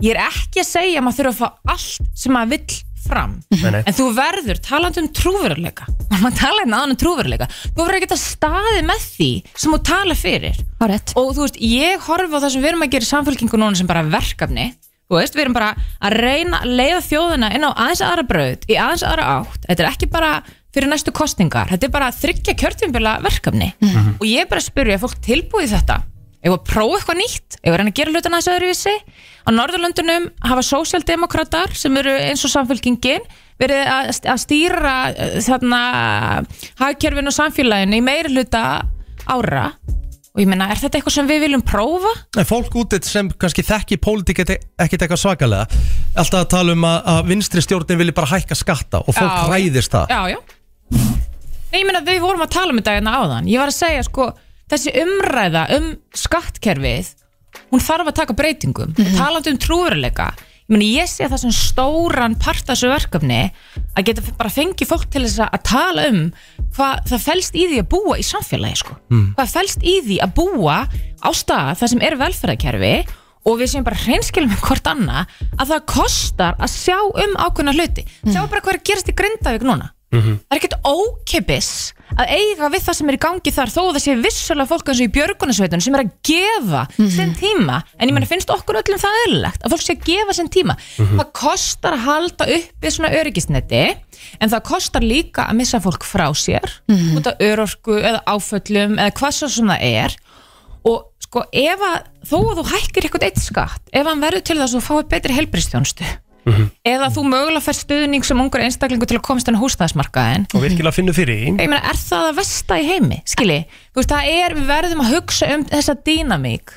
Speaker 12: Ég er ekki að segja að maður þurfa að fá allt sem maður vill fram
Speaker 11: Nei, nei.
Speaker 12: en þú verður talandi um trúveruleika og maður talaði hérna áðan um trúveruleika þú verður ekki að staði með því sem þú tala fyrir
Speaker 3: Hárett.
Speaker 12: og þú veist, ég horfi á það sem við erum að gera í samfélkingu núna sem bara verkefni þú veist, við erum bara að reyna að leiða þjóðina inn á aðeins aðra braut í aðeins aðra átt, þetta er ekki bara fyrir næstu kostningar, þetta er bara að þryggja kjörtjumbila verkefni
Speaker 13: Mhm.
Speaker 12: og ég er bara að spyrja, er fólk tilbúið í þetta? Ef að prófa eitthvað nýtt, ef að reyna að gera hlutina þessu öðruvísi á Norðurlöndunum hafa sósjaldemokratar sem eru eins og samfélkingin verið að, að stýra eh, þarna hagkerfinu og samfélaginu í meiri hluta ára og ég meina, er þetta eitthvað sem við viljum prófa?
Speaker 1: En fólk útið sem kannski þekki pólitík ekkert eitthvað svakalega Alltaf að tala um að, að vinstri stjórnin vilji bara hækka skatta og fólk
Speaker 12: Já,
Speaker 1: ræðist það
Speaker 12: Já, já Nei, ég meina við vorum að tala um þetta hérna áðan Ég var að segja sko, þessi umræða um skattkerfið hún þarf að taka breytingum mm
Speaker 13: Mhm.
Speaker 12: talandi um trúveruleika ég meina ég sé það sem stóran part af þessu verkefni að geta bara fengið fólk til þess að tala um hvað það felst í því að búa í samfélagi sko.
Speaker 13: Mm.
Speaker 12: hvað felst í því að búa á stað það sem er velferðarkerfi og við séum bara hreinskilum með hvort annað að það kostar að sjá um ákveðna hluti sjá bara hvað er að gerast í Grindavík núna
Speaker 5: Mm-hmm.
Speaker 12: Það er ekkert ókipis að eiga við það sem er í gangi þar þó að það sé vissulega fólk eins og í björgunasveitunum sem er að gefa
Speaker 13: Mhm.
Speaker 12: sinn tíma en ég menna finnst okkur öllum það eðlilegt að fólk sé að gefa sinn tíma
Speaker 13: Mhm.
Speaker 12: það kostar að halda upp við svona öryggisneti en það kostar líka að missa fólk frá sér
Speaker 13: Mhm.
Speaker 12: út af örorku eða áföllum eða hvað svo sem það er og sko ef að þó að þú hækkir eitthvað eitt skatt ef hann verður til þess að þú fáið betri helbristjónstu
Speaker 2: Mhm.
Speaker 12: eða þú mögulega fær stuðning sem ungur einstaklingu til að komast hann á húsnæðismarkaðin
Speaker 11: og virkilega finnur fyrir því
Speaker 12: ég meina, er það að versta í heimi, skilji þú veist, það er, við verðum að hugsa um þessa dýnamík,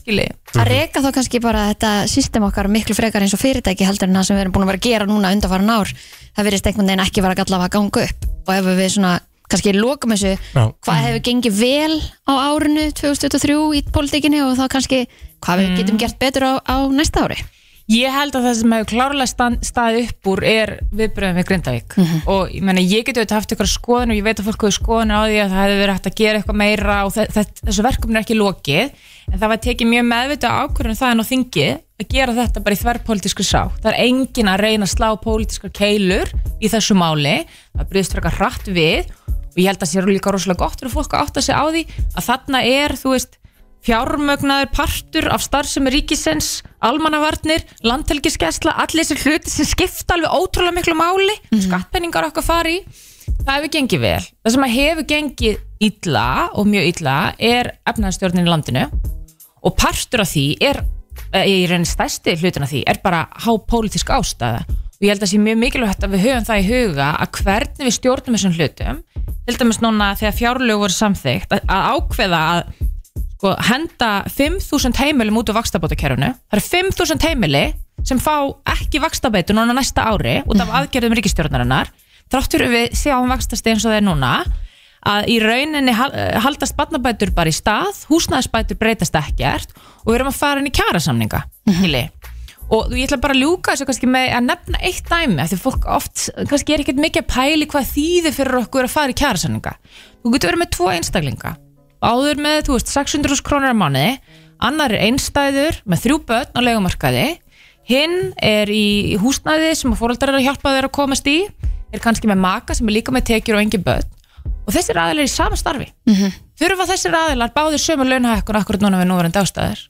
Speaker 12: skilji
Speaker 1: Mhm.
Speaker 3: að reyka þá kannski bara þetta system okkar miklu frekar eins og fyrirtæki heldur en það sem við erum búin að vera að gera núna undanfarin ár það verðist einhvern veginn ekki vera að galla að ganga upp og ef við svona kannski lokum þessu
Speaker 13: Já.
Speaker 1: Mhm.
Speaker 3: hvað hefur gengið vel á árinu 2023 í pólitíkinni og þá kannski hvað
Speaker 1: Mhm.
Speaker 3: við getum gert betur á, á næsta ári
Speaker 12: ég held að það sem hefur klárlega stand, staðið upp úr er viðbröðum við Grindavík og ég meina, ég geti auðvitað haft eitthvað skoðun og ég veit að fólk hefur skoðun á því að það hefði verið hægt að gera eitthvað meira og þe- þe- þessu verkefni er ekki lokið en það var tekið mjög meðvitað ákvörðun um það en á þingi að gera þetta bara í þverrpolítisku sá það er engin að reyna að slá pólitískar keilur í þessu máli það bryðist frekar hratt við og ég held að það sé líka rosalega gott fyrir fólk að átta sig á því að þarna er, þú veist, fjármögnaður partur af starfsemi ríkisins, almannavarnir, landhelgiskesla, allir þessi hluti sem skipta alveg ótrúlega miklu máli, skattpenningar okkar fari í, það hefur gengið vel. Það sem að hefur gengið illa og mjög illa er efnaðastjórnin í landinu og partur af því er, eh, ég reynir stærsti hlutin af því, er bara hápólitísk ástæða og ég held að sé mjög mikilvægt að við höfum það í huga að hvernig við stjórnum þessum hlutum, til dæmis núna þegar fjárlög voru samþygt, að, að ákveða að sko, henda 5.000 heimilum út á vakstabótakerfinu það eru 5.000 heimili sem fá ekki vakstabætu núna næsta ári út af aðgerðum ríkistjórnarinnar þrátt fyrir við sjáum vakstasti eins og það er núna að í rauninni hal- eh, haldast barnabætur bara í stað, húsnæðisbætur breytast ekkert og við erum að fara inn í kjærasamninga mm og ég ætla bara að ljúka þessu kannski með að nefna eitt dæmi af því fólk oft kannski er ekkert mikið að pæli hvað þýðir fyrir okkur að fara í kjærasamninga þú getur verið með tvo einstaklinga áður með, þú veist, 600 krónur á mánuði annar er einstæður með þrjú börn á legumarkaði hinn er í húsnæði sem að fóreldrar er að hjálpa þeir að komast í er kannski með maka sem er líka með tekjur og engin börn og þessir aðilar er í sama starfi
Speaker 1: Mhm.
Speaker 12: þurfa þessir aðilar báðir sömu launahækkun akkurat núna við núverandi ástæður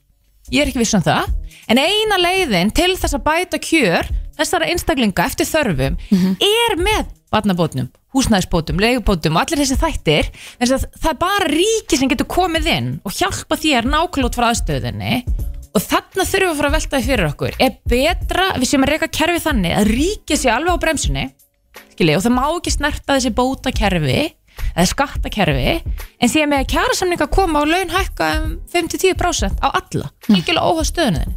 Speaker 12: ég er ekki viss um það en eina leiðin til þess að bæta kjör þessara einstaklinga eftir þörfum er með barnabótnum, húsnæðisbótum, leigubótum og allir þessi þættir þess að það er bara ríki sem getur komið inn og hjálpa þér nákvæmlega út frá aðstöðinni og þarna þurfum við að fara að velta því fyrir okkur er betra, við séum að reyka kerfi þannig að ríki sé alveg á bremsunni skilji, og það má ekki snerta þessi bótakerfi eða skattakerfi en síðan með að kjara samninga koma og laun hækka um 5-10% á alla
Speaker 1: Mm.
Speaker 12: algjörlega óhá stöðunni þinni.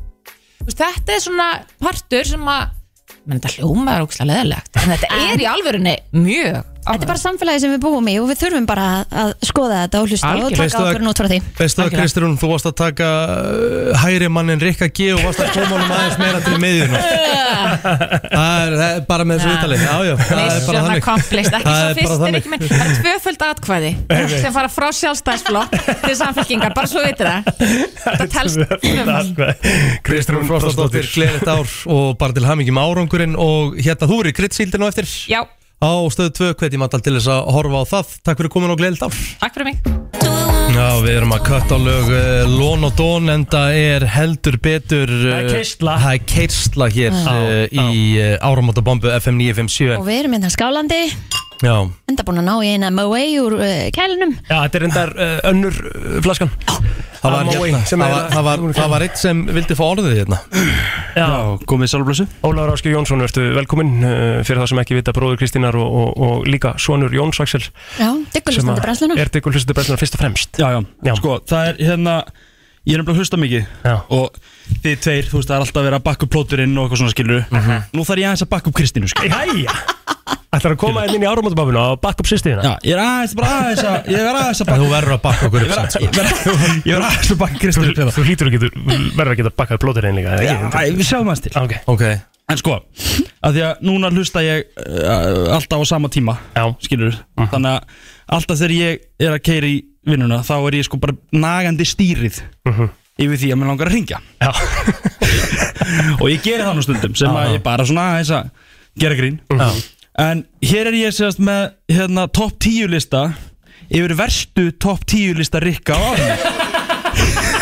Speaker 12: Þú veist, þetta er svona partur sem að menn þetta hljómaður ógslag leðilegt en þetta er í alvörunni mjög
Speaker 3: Þetta er bara samfélagi sem við búum í og við þurfum bara að- að skoða þetta og hlusta og
Speaker 1: Algjörlega.
Speaker 3: taka
Speaker 1: Veistu að-
Speaker 3: ákvörðun út frá því
Speaker 1: Veistu það
Speaker 3: Algjörlega.
Speaker 1: Kristrún, þú varst að taka uh, hægri mannin Rikka G og varst að koma honum aðeins meira til miðjuna
Speaker 3: (laughs)
Speaker 1: Það er, það er bara með þessu viðtali Já, já, það er bara
Speaker 12: Mission
Speaker 1: þannig
Speaker 12: accomplished, ekki
Speaker 1: Það
Speaker 12: svo
Speaker 1: er bara
Speaker 12: fyrst er
Speaker 1: þannig.
Speaker 12: ekki minn Það er tvöföld atkvæði
Speaker 1: Nei, nei.
Speaker 12: sem fara frá sjálfstæðsflokk til samfélkingar, bara svo vitið
Speaker 1: (laughs)
Speaker 12: það Þetta telst tvöföld
Speaker 3: um-
Speaker 1: Kristrún Frostadóttir, gleðið ár og bara til hamingjum árangurinn og hérna þú eru í kryddsíldinu eftir
Speaker 12: Já.
Speaker 1: á stöðu 2, hvetjum alltaf til þess að horfa á það Takk fyrir komin og gleðið ár
Speaker 12: Takk fyrir mig
Speaker 1: Já, við erum að kött á lög uh, Lón og Dón en það er heldur betur uh,
Speaker 2: Það er keyrsla.
Speaker 1: Það er keyrsla hér
Speaker 3: Já.
Speaker 1: uh, í uh, áramótabombu FM 957
Speaker 3: Og við erum hérna skálandi
Speaker 1: Já,
Speaker 3: enda búin að ná í eina MOA úr uh, kælunum
Speaker 2: Já, þetta er endar uh, önnur uh, flaskan
Speaker 1: það var,
Speaker 2: Amói,
Speaker 1: hérna,
Speaker 2: sem
Speaker 1: það
Speaker 2: er-
Speaker 1: var, það var, það var eitt sem vildi fá orðið hérna
Speaker 2: Já,
Speaker 13: komið sálblössu
Speaker 2: Ólaður Áskjö Jónsson, ertu velkominn uh, fyrir það sem ekki vita bróður Kristínar og, og, og líka sonur Jóns Axel
Speaker 3: Já, diggur
Speaker 2: sem að-
Speaker 3: hlustandi brennsluna
Speaker 2: Er Diggur hlustandi brennsluna fyrst og fremst
Speaker 13: já, já, sko, það er hérna Ég er nefnilega að hlusta mikið
Speaker 2: já.
Speaker 13: Og þið tveir, þú veist, það er alltaf að vera að bakka upp plóturinn og eitthvað svona skilur Nú þarf ég aðeins að bakka upp Kristínu sko.
Speaker 2: Mhm. Jæja Ætlar að koma inn í áramótabafinu og bakka upp sýstíðina
Speaker 13: Já, ég er aðeins, bara aðeins að Ég er aðeins að
Speaker 1: En
Speaker 13: bakka
Speaker 1: þú verður að bakka
Speaker 13: Ég
Speaker 1: okkur upp
Speaker 13: verð
Speaker 1: samt sko.
Speaker 13: að- ég verð að- ég verð aðeins að bakka Kristínu upp,
Speaker 2: Þú,
Speaker 13: hérna.
Speaker 2: þú hlýtur að getur, verður að geta bakkað blótir einn líka eða
Speaker 13: Já,
Speaker 2: ekki?
Speaker 13: við sjáum aðeins til
Speaker 2: Ok,
Speaker 1: Ok,
Speaker 13: En sko, að því að núna hlusta ég uh, alltaf á sama tíma
Speaker 2: Já.
Speaker 13: Skilur, þannig að alltaf þegar ég er að keira í vinnuna Þá er ég sko bara nagandi stýrið
Speaker 1: Mhm.
Speaker 13: Yfir því að mér langar að ringja
Speaker 2: já,
Speaker 13: (laughs) og ég geri það nú stundum sem að ég bara svona aðeins að gera grín en hér er ég sérst með hérna topp 10 lista yfir verstu topp 10 lista rikka á árinu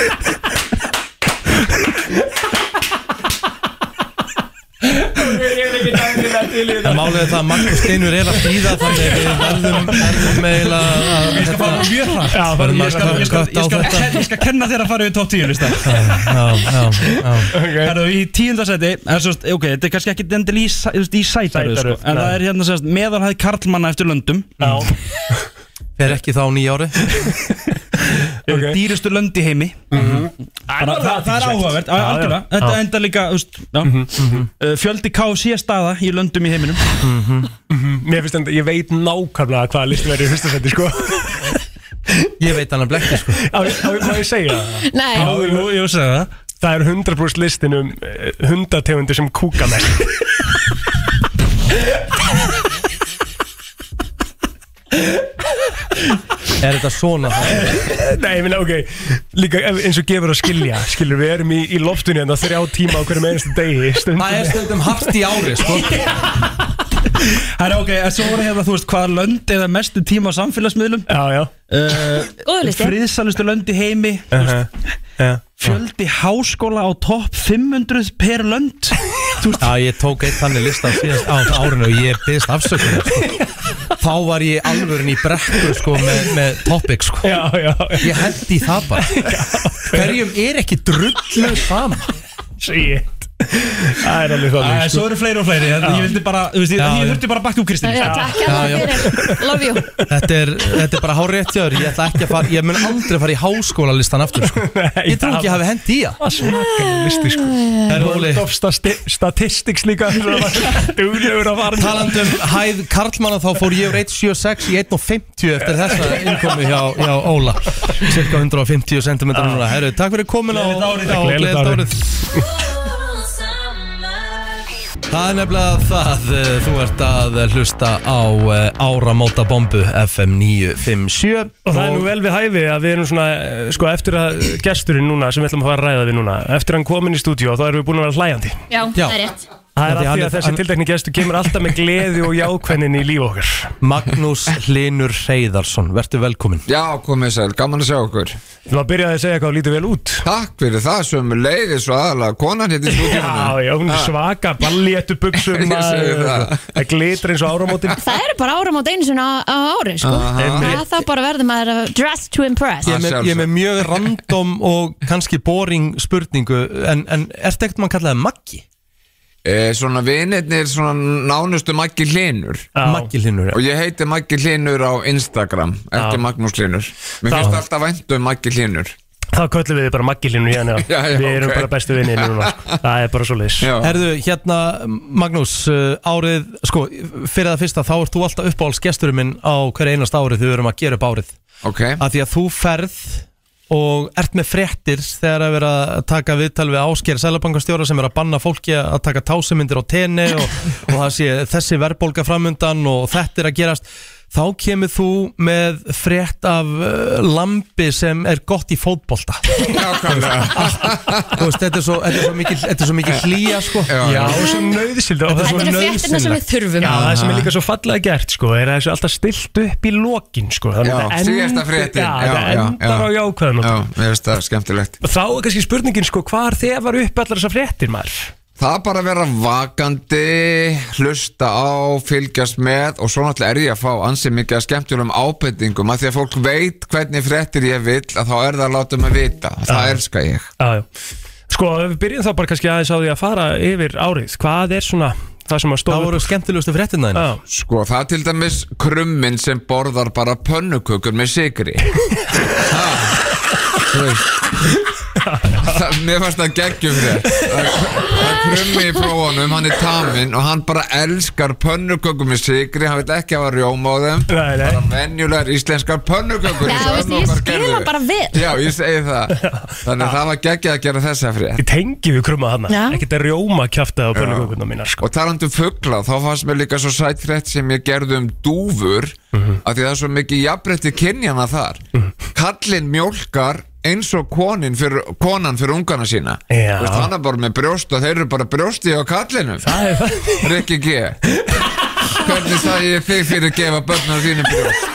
Speaker 1: en málið er það að Magnús Steinur er að býða þannig við verðum, verðum eiginlega að þetta mjög hrætt Já, verðum að
Speaker 13: ég skal,
Speaker 1: kött á
Speaker 13: ég, skal,
Speaker 1: (laughs) þetta
Speaker 13: ég skal kenna þér að fara yfir topp 10 lista
Speaker 1: Já, já, já
Speaker 13: Herðu, í tíundasæti er sérst, ok, þetta er kannski ekki dendil í, sæ- þú veist, í sætaröð sko,
Speaker 2: Sætaröð,
Speaker 13: en það
Speaker 2: nei.
Speaker 13: er hérna sérst meðalhæð karlmanna eftir löndum
Speaker 2: já
Speaker 1: (laughs) Fer ekki þá á nýja
Speaker 13: (laughs)
Speaker 1: ári
Speaker 13: okay. dýrustu lönd í heimi
Speaker 2: Mhm.
Speaker 13: Bara, það, það er áhugavert, á-
Speaker 2: Já, já.
Speaker 13: algjörlega Þetta
Speaker 2: Já.
Speaker 13: endar líka, þú veist, já
Speaker 5: Mm-hmm.
Speaker 13: Uh, Fjöldi KFC staða í löndum í heiminum
Speaker 2: Mhm. Mér finnst þetta, ég veit nákvæmlega hvaða listu verður í fyrsta seti sko
Speaker 1: (laughs) Ég veit hann að blekki sko
Speaker 2: Á, á, má ég segja það?
Speaker 3: Nei,
Speaker 13: jú, jú, segðu það
Speaker 2: Það er 100% listin um eh, hundategundir sem kúka með
Speaker 1: (laughs) Er þetta svona það?
Speaker 2: Nei, ég minna, ok, líka ef- eins og gefur að skilja Skilur, við erum í, í loftunni en það þrjá tíma á hverjum einasta degi stundum.
Speaker 1: Það er stundum haft í ári sko
Speaker 13: Herra, ok, en svo voru hérna, þú veist, hvaða lönd eða mestu tíma á samfélagsmiðlum
Speaker 2: Já, já
Speaker 13: uh,
Speaker 3: góðu listi
Speaker 13: Friðsalustu lönd í heimi
Speaker 2: uh -huh.
Speaker 13: Fjöldi háskóla á topp 500 per lönd
Speaker 1: Já, ég tók eitt þannig lista síðast á árinu og ég byrðist afsökunar sko. Þá var ég alvörin í brekku sko, með, með topic sko.
Speaker 2: já, já, já
Speaker 1: Ég held í það bara Hverjum er ekki drullu sama
Speaker 2: Shit Það er alveg þannig
Speaker 13: Æ,
Speaker 2: sko.
Speaker 13: Eh, Svo eru fleiri og fleiri, en ég vildi bara, þú veist, ég,
Speaker 1: hérna. Já,
Speaker 13: ég
Speaker 1: já.
Speaker 13: þurfti bara að bakka upp Kristín
Speaker 3: Já, takk hérna fyrir, love you
Speaker 1: Þetta er, þetta er bara hárétt hjá þér Ég ætla ekki að fara, ég mun aldrei fara í háskóla listan aftur sko. Ég trú ekki að hafa hendi í það
Speaker 2: (laughs) Það er svakalega listi sko
Speaker 1: Það er Óli,
Speaker 2: World of stati Statistics líka
Speaker 1: (laughs)
Speaker 2: Duglegur að fara
Speaker 1: talandi um hæð Karlmanna þá fór ég úr 1.76 í 1.50 eftir þessa innkomi hjá, hjá Óla Cirka 150 cm núna Herru, takk fyrir komin á
Speaker 2: Gleðilegt árið. Gleðilegt
Speaker 1: Gleðið
Speaker 2: árið.
Speaker 1: árið Það er nefnilega það, eh, þú ert að hlusta á eh, áramótabombu FM 957
Speaker 2: Og það er nú vel við hæfi að við erum svona eh, Sko eftir að gesturinn núna sem við ætlum að fara að ræða við núna Eftir hann komin í stúdíu þá erum við búin að vera hlæjandi
Speaker 3: Já,
Speaker 1: Já.
Speaker 3: það er rétt
Speaker 2: Það
Speaker 1: Já,
Speaker 2: er
Speaker 1: því
Speaker 2: af því
Speaker 1: hann
Speaker 2: að
Speaker 1: er-
Speaker 2: þessi
Speaker 1: hann-
Speaker 2: tiltekni gestur kemur alltaf með gleði og jákvennin í líf okkar
Speaker 1: Magnús Hlinur Reyðarsson, verður velkomin
Speaker 14: Já, komið sæl, gaman að sjá okkur
Speaker 2: Þú maður byrjaði að segja hvað þú lítur vel út
Speaker 14: Takk fyrir það sem leiðis og aðalega konan hitt í
Speaker 2: Já,
Speaker 14: stúdíunum
Speaker 2: já, hún er svaka, balléttu buksum
Speaker 14: (laughs) Ég segi það.
Speaker 2: Það glitra eins og áramótin
Speaker 14: (laughs)
Speaker 3: Það eru bara áram á deynsun á, á ári sko.
Speaker 2: Einmitt.
Speaker 3: Það það bara verður maður að dress to impress
Speaker 1: Ég er með- ég er með mjög random og kannski boring spurningu En, en ertu ekkert mann kallaði Maggi?
Speaker 14: e, Svona vinirnir, svona nánustu Maggi Hlinur
Speaker 1: Maggi Hlinur,
Speaker 14: Og ég heiti Maggi Hlinur á Instagram Eftir Magnús Hlinur Mér finnst alltaf vænt um Maggi Hlinur
Speaker 11: Þá köllum við þig bara maggilinu
Speaker 14: (laughs)
Speaker 11: hérna
Speaker 1: Já, já,
Speaker 11: Við erum
Speaker 1: ok.
Speaker 11: bara bestu vinni núna sko. Það er bara svo leis
Speaker 1: Herðu, hérna Magnús, uh, árið, sko, fyrir það fyrsta þá ert þú alltaf uppáhaldsgesturinn minn á hverju einast árið þegar við erum að gera upp árið
Speaker 14: Ok
Speaker 1: að Því að þú ferð og ert með fréttir þegar að vera að taka viðtal við ásker sælabankastjóra sem er að banna fólki að taka tásumindir á tenni og, og það sé þessi verðbólga framundan og þetta er að gerast þá kemur þú með frétt af uh, lambi sem er gott í fótbolta (laughs) Þú veist, þetta er svo, þetta er svo mikil, þetta er svo mikil hlýja sko.
Speaker 11: Já, og svo nöðsild
Speaker 1: Þetta
Speaker 3: eru fréttirnar sem við þurfum.
Speaker 11: Já, það sem er
Speaker 1: Aha.
Speaker 11: líka svo fallega gert sko, er að þessu alltaf stilt upp í lokin sko. þannig
Speaker 14: Já,
Speaker 11: að þetta
Speaker 14: síðasta
Speaker 11: endir-
Speaker 14: fréttin
Speaker 11: Já, þetta endar á jákvæðan
Speaker 14: Já, mér finnst það skemmtilegt
Speaker 11: Og Þá er kannski spurningin sko, hvar þegar var upp allar þessar fréttir maður?
Speaker 14: Það er bara að vera vakandi, hlusta á, fylgjast með og svo náttúrulega er ég að fá ansið mikið að skemmtjulum ábendingum að því að fólk veit hvernig fréttir ég vil að þá er það að láta mig vita, það elska ég
Speaker 11: Já, já. Sko, ef við byrjum þá bara kannski aðeins á því að fara yfir árið Hvað er svona það sem að stóða?
Speaker 14: Það voru
Speaker 1: skemmtilegustu fréttina þínar.
Speaker 14: Sko, það er til dæmis krummin sem borðar bara pönnukökur með sigri Ha, þú veist. Það, mér fannst það geggjum þér Það það er krummi í prófunum, hann er taminn og hann bara elskar pönnukökur með sigri hann vil ekki hafa rjóma á þeim
Speaker 11: nei, nei.
Speaker 14: bara venjulegar íslenskar pönnukökur
Speaker 3: Já,
Speaker 14: eins og
Speaker 3: veist,
Speaker 14: ömmurnar
Speaker 3: ég
Speaker 14: gerðu.
Speaker 3: skila bara vel
Speaker 14: Já, ég segi
Speaker 11: (laughs)
Speaker 14: það Þannig að það var geggjað að gera þessa frétt
Speaker 11: Ég tengi við krumma hana,
Speaker 14: Já.
Speaker 11: ekkert að rjóma kjaftaði á pönnukökunna mínar sko.
Speaker 14: Og talandi um fugla, þá fannst mér líka svo sætt frétt sem ég gerði um dúfur
Speaker 11: Mhm.
Speaker 14: af því það er svo mikið jafnrétti kynjana þar Kallinn mjólkar eins og konin fyrir, konan fyrir ungana sína
Speaker 11: Já.
Speaker 14: Þú veist, hann er bara með brjóst og þeir eru bara brjósti á kallinum
Speaker 11: (laughs)
Speaker 14: Rikki G Hvernig sagði ég þig fyrir að gefa börnum þínum brjóst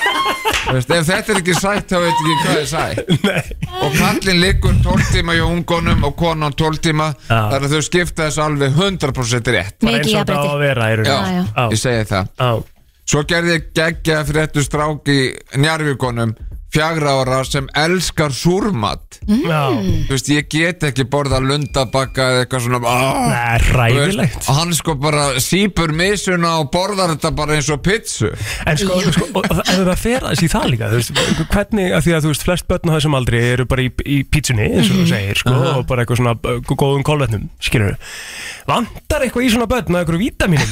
Speaker 14: Þú veist, ef þetta er ekki sætt þá veit ég ekki hvað er sætt og kallinn liggur 12 tíma hjá ungunum og konan 12 tíma þar að þau skipta þessu alveg 100% rétt
Speaker 11: Bara eins og þetta á að vera í
Speaker 14: Já,
Speaker 11: rauninni. Já.
Speaker 14: ég segi það
Speaker 11: Já.
Speaker 14: Svo gerði ég geggja fréttu strák í njarvíkonum fjagra ára sem elskar súrmat
Speaker 11: Mm. Já.
Speaker 14: Þú veist, ég get ekki borða lundabakka eða eitthvað svona "Ah, aah.
Speaker 11: Nei,
Speaker 14: Þú
Speaker 11: ræðilegt
Speaker 14: veist, Hann sko bara sípur misuna og borðar þetta bara eins og pizzu
Speaker 11: En sko, sko og, og, ef það fer aðeins í það líka þú veist, hvernig, af því að þú veist, flest börn á þessum aldri eru bara í, í pítsunni, eins og þú
Speaker 14: Mhm.
Speaker 11: segir sko,
Speaker 14: Aha.
Speaker 11: og bara eitthvað svona uh, gó- góðum kólvetnum skilur vantar eitthvað í svona börn að eitthvað vítamínum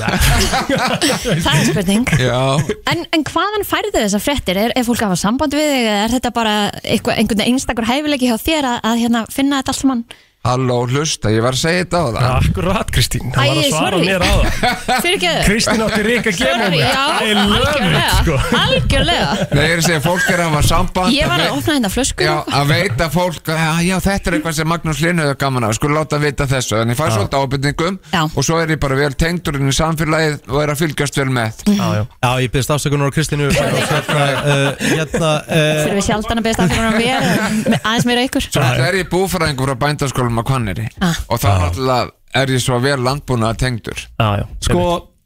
Speaker 3: Það er spurning
Speaker 14: (laughs) Já
Speaker 3: En, en hvaðan færðu þessar fréttir? Er, er fólk að hafa samband við þig eða er þetta bara einhver, einhvern einstakur hæfileiki hjá þér að, að hérna, finna þetta allt saman?
Speaker 14: Halló, hlusta, ég var að segja þetta á það
Speaker 11: Akkurat, Kristín, það var að svara mér á það
Speaker 3: (laughs) Fyrir ekki
Speaker 11: Kristín átti ríka
Speaker 3: Sorry,
Speaker 11: gemómi
Speaker 3: já,
Speaker 11: I love it sko
Speaker 3: algjörlega Algjörlega
Speaker 14: Nei, ég er að segja, fólk er að hafa samband
Speaker 3: Ég var
Speaker 14: að
Speaker 3: að
Speaker 14: veit-
Speaker 3: opna hérna flösku
Speaker 14: Já, að veita fólk að já, já, þetta er eitthvað sem Magnús Linnuð er gaman af, sko láta vita þessu þannig ég fæ svolítið ábyrningum og svo er ég bara vel tengdurinn í samfélagið og er að fylgjast vel með
Speaker 11: Já, já.
Speaker 1: já ég byrðist afsökunar á
Speaker 3: (laughs)
Speaker 1: Kristínu Magnús, hérna, uh, hérna uh,
Speaker 3: Fyrir við sjaldan að beðast aftur um mér eða aðeins meira ykkur
Speaker 14: Það er ég búfræðingur frá bændaskólum á Hvanneri
Speaker 3: Ah.
Speaker 14: og þá náttúrulega er ég svo vel landbúna tengdur
Speaker 11: Já, já
Speaker 1: sko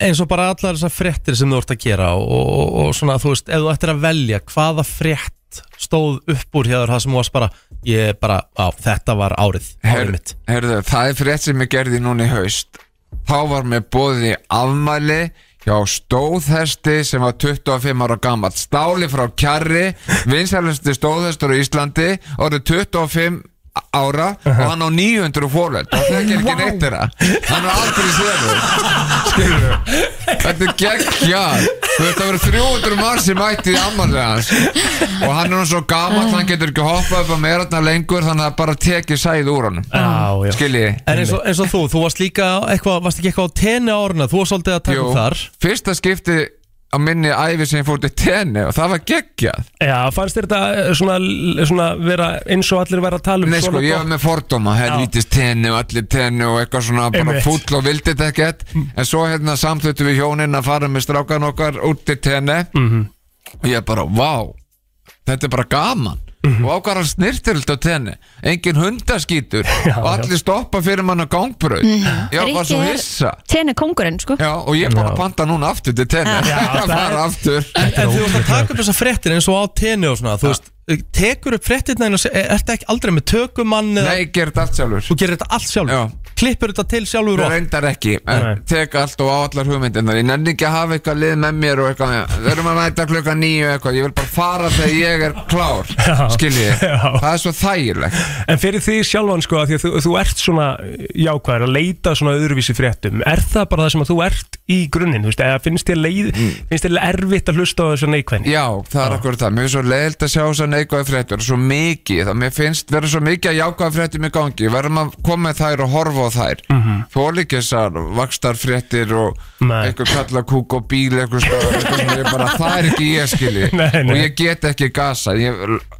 Speaker 1: eins og bara allar þessar fréttir sem þú ert að gera og, og, og svona þú veist, ef þú ættir að velja hvaða frétt stóð upp úr hér það sem þú varst bara, ég bara á, þetta var árið, árið mitt
Speaker 14: Herðu, það er frétt sem ég gerði núna í haust Þá var mér bóðið í afmæli hjá stóðhesti sem var 25 ára gammal stáli frá kjarri, vinsælusti stóðhestur á Íslandi, orðið 25 ára og hann á 900 fólöld, það er ekki neitt þeirra hann er aldrei séður skilur þetta er geggjað þú veist það voru 300 mann sem mætti í afmælið hans og hann er nú svo gammal hann getur ekki hoppað upp á meirarna lengur þannig að það bara tekið sæð úr honum
Speaker 11: já, já.
Speaker 14: skilji
Speaker 1: En eins og, eins og þú, þú varst líka eitthvað, varst ekki eitthvað á tenni áruna, þú varst svolítið að taka upp þar
Speaker 14: fyrsta skipti á minni æfi sem ég fór til tenni og það var geggjað
Speaker 11: Já, fannst þér þetta eh, svona, svona vera eins og allir vera að tala um
Speaker 14: Nei sko,
Speaker 11: svona
Speaker 14: ég var með fordóma, helvítist tenni og allir tenni og eitthvað svona bara
Speaker 11: Einmitt. Mm.
Speaker 14: fúll og vildi þetta ekkert En svo hérna samþöttu við hjónin að fara með strákan okkar út til tenni
Speaker 11: Mhm.
Speaker 14: Og ég bara, vá, þetta er bara gaman
Speaker 11: Mhm.
Speaker 14: Og ákvar hann snirtir á tenni, engin
Speaker 11: (laughs)
Speaker 14: hundaskítur Og allir stoppa fyrir mann á gangbröð
Speaker 3: Mhm.
Speaker 14: Ég var svo hissa
Speaker 3: Tenni kongurinn sko
Speaker 14: Já, og ég er bara að panta núna aftur til tenni
Speaker 3: Já.
Speaker 14: (laughs)
Speaker 3: Já,
Speaker 14: að
Speaker 3: það
Speaker 14: fara aftur
Speaker 1: En, en þú varst að taka upp þessar fréttir eins og á tenni og svona, þú veist tekur upp fréttirna en e, ertu ekki aldrei með tökumann eða-
Speaker 14: Nei, ég ger þetta allt sjálfur
Speaker 1: Þú gerir þetta allt sjálfur
Speaker 14: Já.
Speaker 1: klippur þetta til sjálfur og
Speaker 14: reyndar ekki en tek allt og á allar hugmyndirnar ég nenni ekki að hafa eitthvað lið með mér og eitthvað við erum að mæta klukka nýju eitthvað ég vil bara fara þegar ég er klár skiljið það er svo þægilegt
Speaker 2: En fyrir því sjálfan sko að því að þú, þú ert svona jákvæður að leita svona öðruvísi fréttum er það bara það sem að þú ert í grunninn þú veist, eða finnst þér leið
Speaker 14: Mm.
Speaker 2: finnst þér erfitt að hlusta á þessu neikvæðni
Speaker 14: Já, það er akkur það, mér finnst svo leiðilt að sjá þess að neikvæða fréttur, svo mikið það mér finnst vera svo mikið að jákvæða fréttum í gangi Við verðum að koma með þær og horfa á þær mm
Speaker 2: Mhm.
Speaker 14: -hmm. þessar vakstar fréttir og einhver kallakúk og bíl einhver stöður, eitthvað sem ég
Speaker 2: (laughs)
Speaker 14: bara það er ekki ég skilji
Speaker 2: Nei, nei.
Speaker 14: og ég get ekki gasa, ég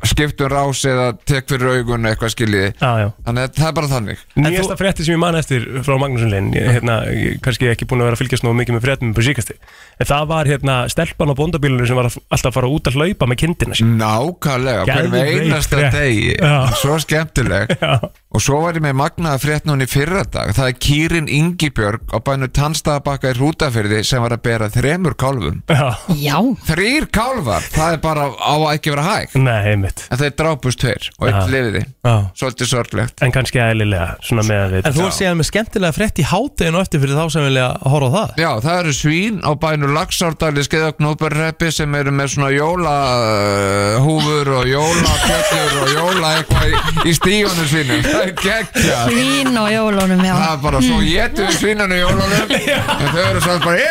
Speaker 14: skiptum rás eða tek fyrir augun eitthvað skilji
Speaker 2: Já, já
Speaker 14: þannig að það er bara þannig
Speaker 2: Nýjasta þú... frétti sem ég man eftir frá Magnúsin Linn ég, hérna, ég, kannski ekki búin að vera að fylgjast nú mikið með fréttum på síkasti, en það var hérna stelpan á bóndabílunum sem var að- alltaf að fara út að hlaupa með kindina sín
Speaker 14: Nákvæmlega, hverjum
Speaker 2: Geðveik
Speaker 14: einasta
Speaker 2: frétt.
Speaker 14: degi
Speaker 2: Já.
Speaker 14: Svo skemmtileg Og svo var ég með magnaða frétt núna í fyrra dag Það er Kýrin Ingibjörg á bænum tannstæðabakka í Rútafyrði sem var að bera þremur kálfum
Speaker 3: Já
Speaker 14: Þrýr kálfar, það er bara á að ekki vera hægt
Speaker 2: Nei, einmitt
Speaker 14: En þeir drápust tveir og
Speaker 2: Já.
Speaker 14: einn lifiði
Speaker 1: Já.
Speaker 14: Svolítið sorglegt
Speaker 2: En kannski eðlilega, svona með að við
Speaker 1: En þú er síðan með skemmtilega frétt í hátteginu eftir fyrir þá sem vilja horfa á það
Speaker 14: Já, það eru svín á bænum Laxárdali skeiðaknúperreppi sem eru með svona jólahúfur og jólapjöllur og jóla eitthvað í, í stíunum sínum Það er geggjað
Speaker 3: Svín og jólunum, já Mm.
Speaker 14: Það er bara svo getur við svínanu í jólunum en þau eru svo bara ég,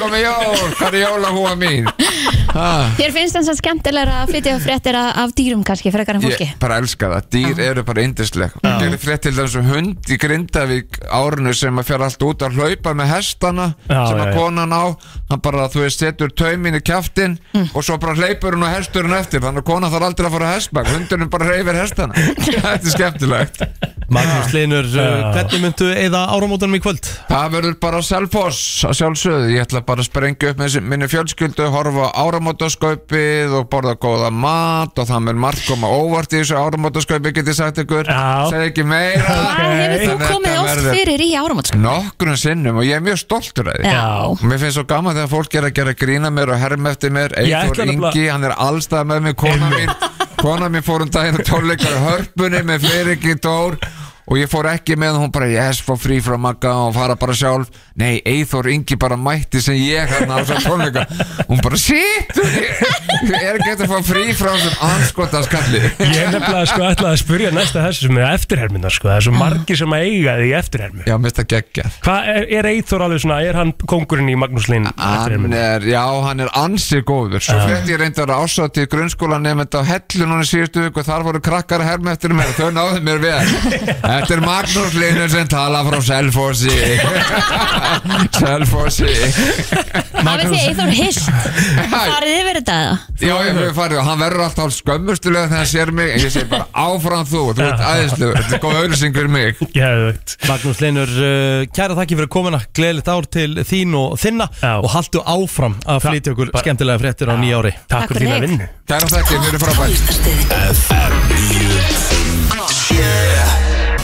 Speaker 14: komið jól, hvað er jólahúa mín ha,
Speaker 3: Þér finnst þess að skemmtilegra að flytja fréttir af af dýrum kannski, frekar en fólki
Speaker 14: ég bara elska það, dýr eru bara yndisleg ég gerði frétt til þessum hund í Grindavík árinu sem að fer allt út að hlaupa með hestana
Speaker 2: Já,
Speaker 14: sem
Speaker 2: já,
Speaker 14: að
Speaker 2: já.
Speaker 14: konan á hann bara, þú veist, setur taumin í kjaftin
Speaker 3: Mm.
Speaker 14: og svo bara hleypur hún og hestur hún eftir þannig að konan þarf aldrei að fara hestbæk hundunum bara hreyfir
Speaker 3: (laughs)
Speaker 14: hestana þetta er skemmtilegt
Speaker 1: Magnús Linur,
Speaker 14: Já.
Speaker 1: hvernig myndu eða áramótanum í kvöld?
Speaker 14: Það verður bara selfoss að sjálfsögðu, ég ætla bara að sprengja upp með þessi- minni fjölskyldu, horfa á áramótaskaupið og borða góða mat og það mér margt koma óvart í þessu áramótaskaupi get ég sagt ykkur, segi ekki meira
Speaker 3: Hvað hefur þú
Speaker 14: Þannig að
Speaker 3: komið
Speaker 14: þetta
Speaker 3: oft
Speaker 14: verður
Speaker 3: fyrir í áramót? sko?
Speaker 14: Nokkrum sinnum og ég er mjög stoltur að því
Speaker 3: Já.
Speaker 14: Og Mér finnst svo gaman þegar fólk er að gera grína mér og herma eftir mér
Speaker 2: Ég
Speaker 14: Eithor
Speaker 2: ætla
Speaker 14: Ingi,
Speaker 2: nefnilega-
Speaker 14: hann er allstað með mér, kona mín Kona mín fór um daginn að tónleika í hörpunni með Fleiriki Dór Og ég fór ekki með hún bara, yes, fór frí frá Magga og fara bara sjálf Nei, Eithor Ingi bara mætti sem ég hann á þessar tónleika Hún bara, shit, ég er ekki eftir að fá frí frá þessum anskotaskalli
Speaker 2: (laughs) Ég er nefnilega sko ætlaði að spyrja næsta þessu sem er eftirherminar sko, það er svo margir sem að eiga því eftirhermi
Speaker 14: Já, minnst það geggjað
Speaker 2: Hvað er, er Eithor alveg svona, er hann kongurinn í Magnús Linn
Speaker 14: Hann
Speaker 2: eftirherminu?
Speaker 14: er, já, hann er ansið góður Svo
Speaker 2: Já.
Speaker 14: frétt ég reyndar að ásátti grunnskólan nefnda á hellu núna í síðustu viku Þar voru krakkar að herma eftir mér Þau náðu mér vel Þetta er Magnús Linur sem tala frá Selfossi (laughs) Selfossi
Speaker 3: Hafið þið eitthvað
Speaker 14: (laughs)
Speaker 3: hist? Farið þið verið þetta?
Speaker 14: Já, ég hef farið og hann verður alltaf skömmustulega þegar hann sér mig En ég segi bara áfram þú, þú ert æðislu Þetta er góð auðlýsing fyrir mig
Speaker 2: Geðvögt
Speaker 1: Magnús Linur, uh, kæra þakki fyrir komuna Gleðilegt ár til þín og þinna Og haldu áfram að flytja okkur skemmtilega fréttir á nýja ári
Speaker 2: Takk fyrir þína vinnu.
Speaker 14: Kæra þakki fyrir frábært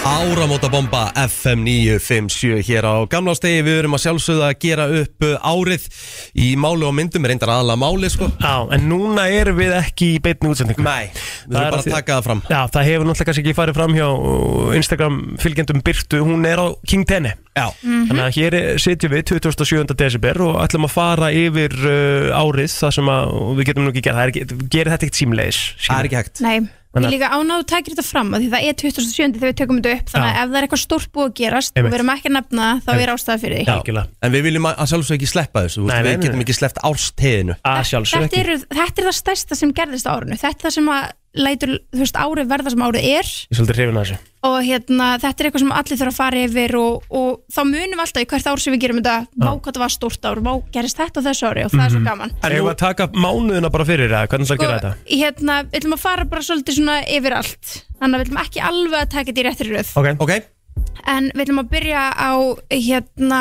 Speaker 1: Áramótabomba FM 957 hér á gamla stegi Við erum að sjálfsögða að gera upp uh, árið í máli og myndum, reyndar aðalega máli sko
Speaker 2: Já, en núna erum við ekki í beinni útsendingu
Speaker 1: Nei, við erum bara að taka það fram
Speaker 2: Já, það hefur náttúrulega kannski ekki farið fram hjá uh, Instagram fylgjendum Byrtu, hún er á King Tenni
Speaker 1: Já
Speaker 2: Mhm. Þannig að hér er- sitjum við 27. desember og ætlum að fara yfir uh, árið það sem að, og við getum nú ekki gert, það er ekki, gerir þetta ekkert símleis Það er
Speaker 1: ekki hægt
Speaker 15: Nei,
Speaker 2: Þannig
Speaker 15: ég
Speaker 2: að-
Speaker 15: líka ánáðu takir þetta fram af því það er 27. þegar við tökum þetta upp þannig að
Speaker 1: Já.
Speaker 15: ef það er eitthvað stórt búið að gerast og
Speaker 1: Einmitt.
Speaker 15: við erum ekki að nefna þá er ástæða fyrir því
Speaker 1: Já, en við viljum að að sjálfsögðu ekki sleppa þessu nei,
Speaker 2: Nei,
Speaker 1: Við
Speaker 2: nei, nei,
Speaker 1: getum ekki sleppt ársteginu
Speaker 2: Að
Speaker 15: þetta, eru, þetta er það stærsta sem gerðist á árinu þetta er það sem að lætur þú veist, árið verða sem árið er
Speaker 2: Ég er svolítið hrifin að þessu
Speaker 15: og hérna, þetta er eitthvað sem allir þurfa að fara yfir og, og þá munum við alltaf í hvert ár sem við gerum þetta, vá hvað það var stórt ár vá gerist þetta á þessu ári og það er svo gaman
Speaker 2: Mhm. En við að taka mánuðina bara fyrir það, hvernig það gera þetta?
Speaker 15: hérna, við ætlum að fara bara svolítið svona yfir allt þannig að við ætlum ekki alveg að taka þetta í réttri röð
Speaker 2: Ok,
Speaker 1: okay.
Speaker 15: en við ætlum að byrja á hérna,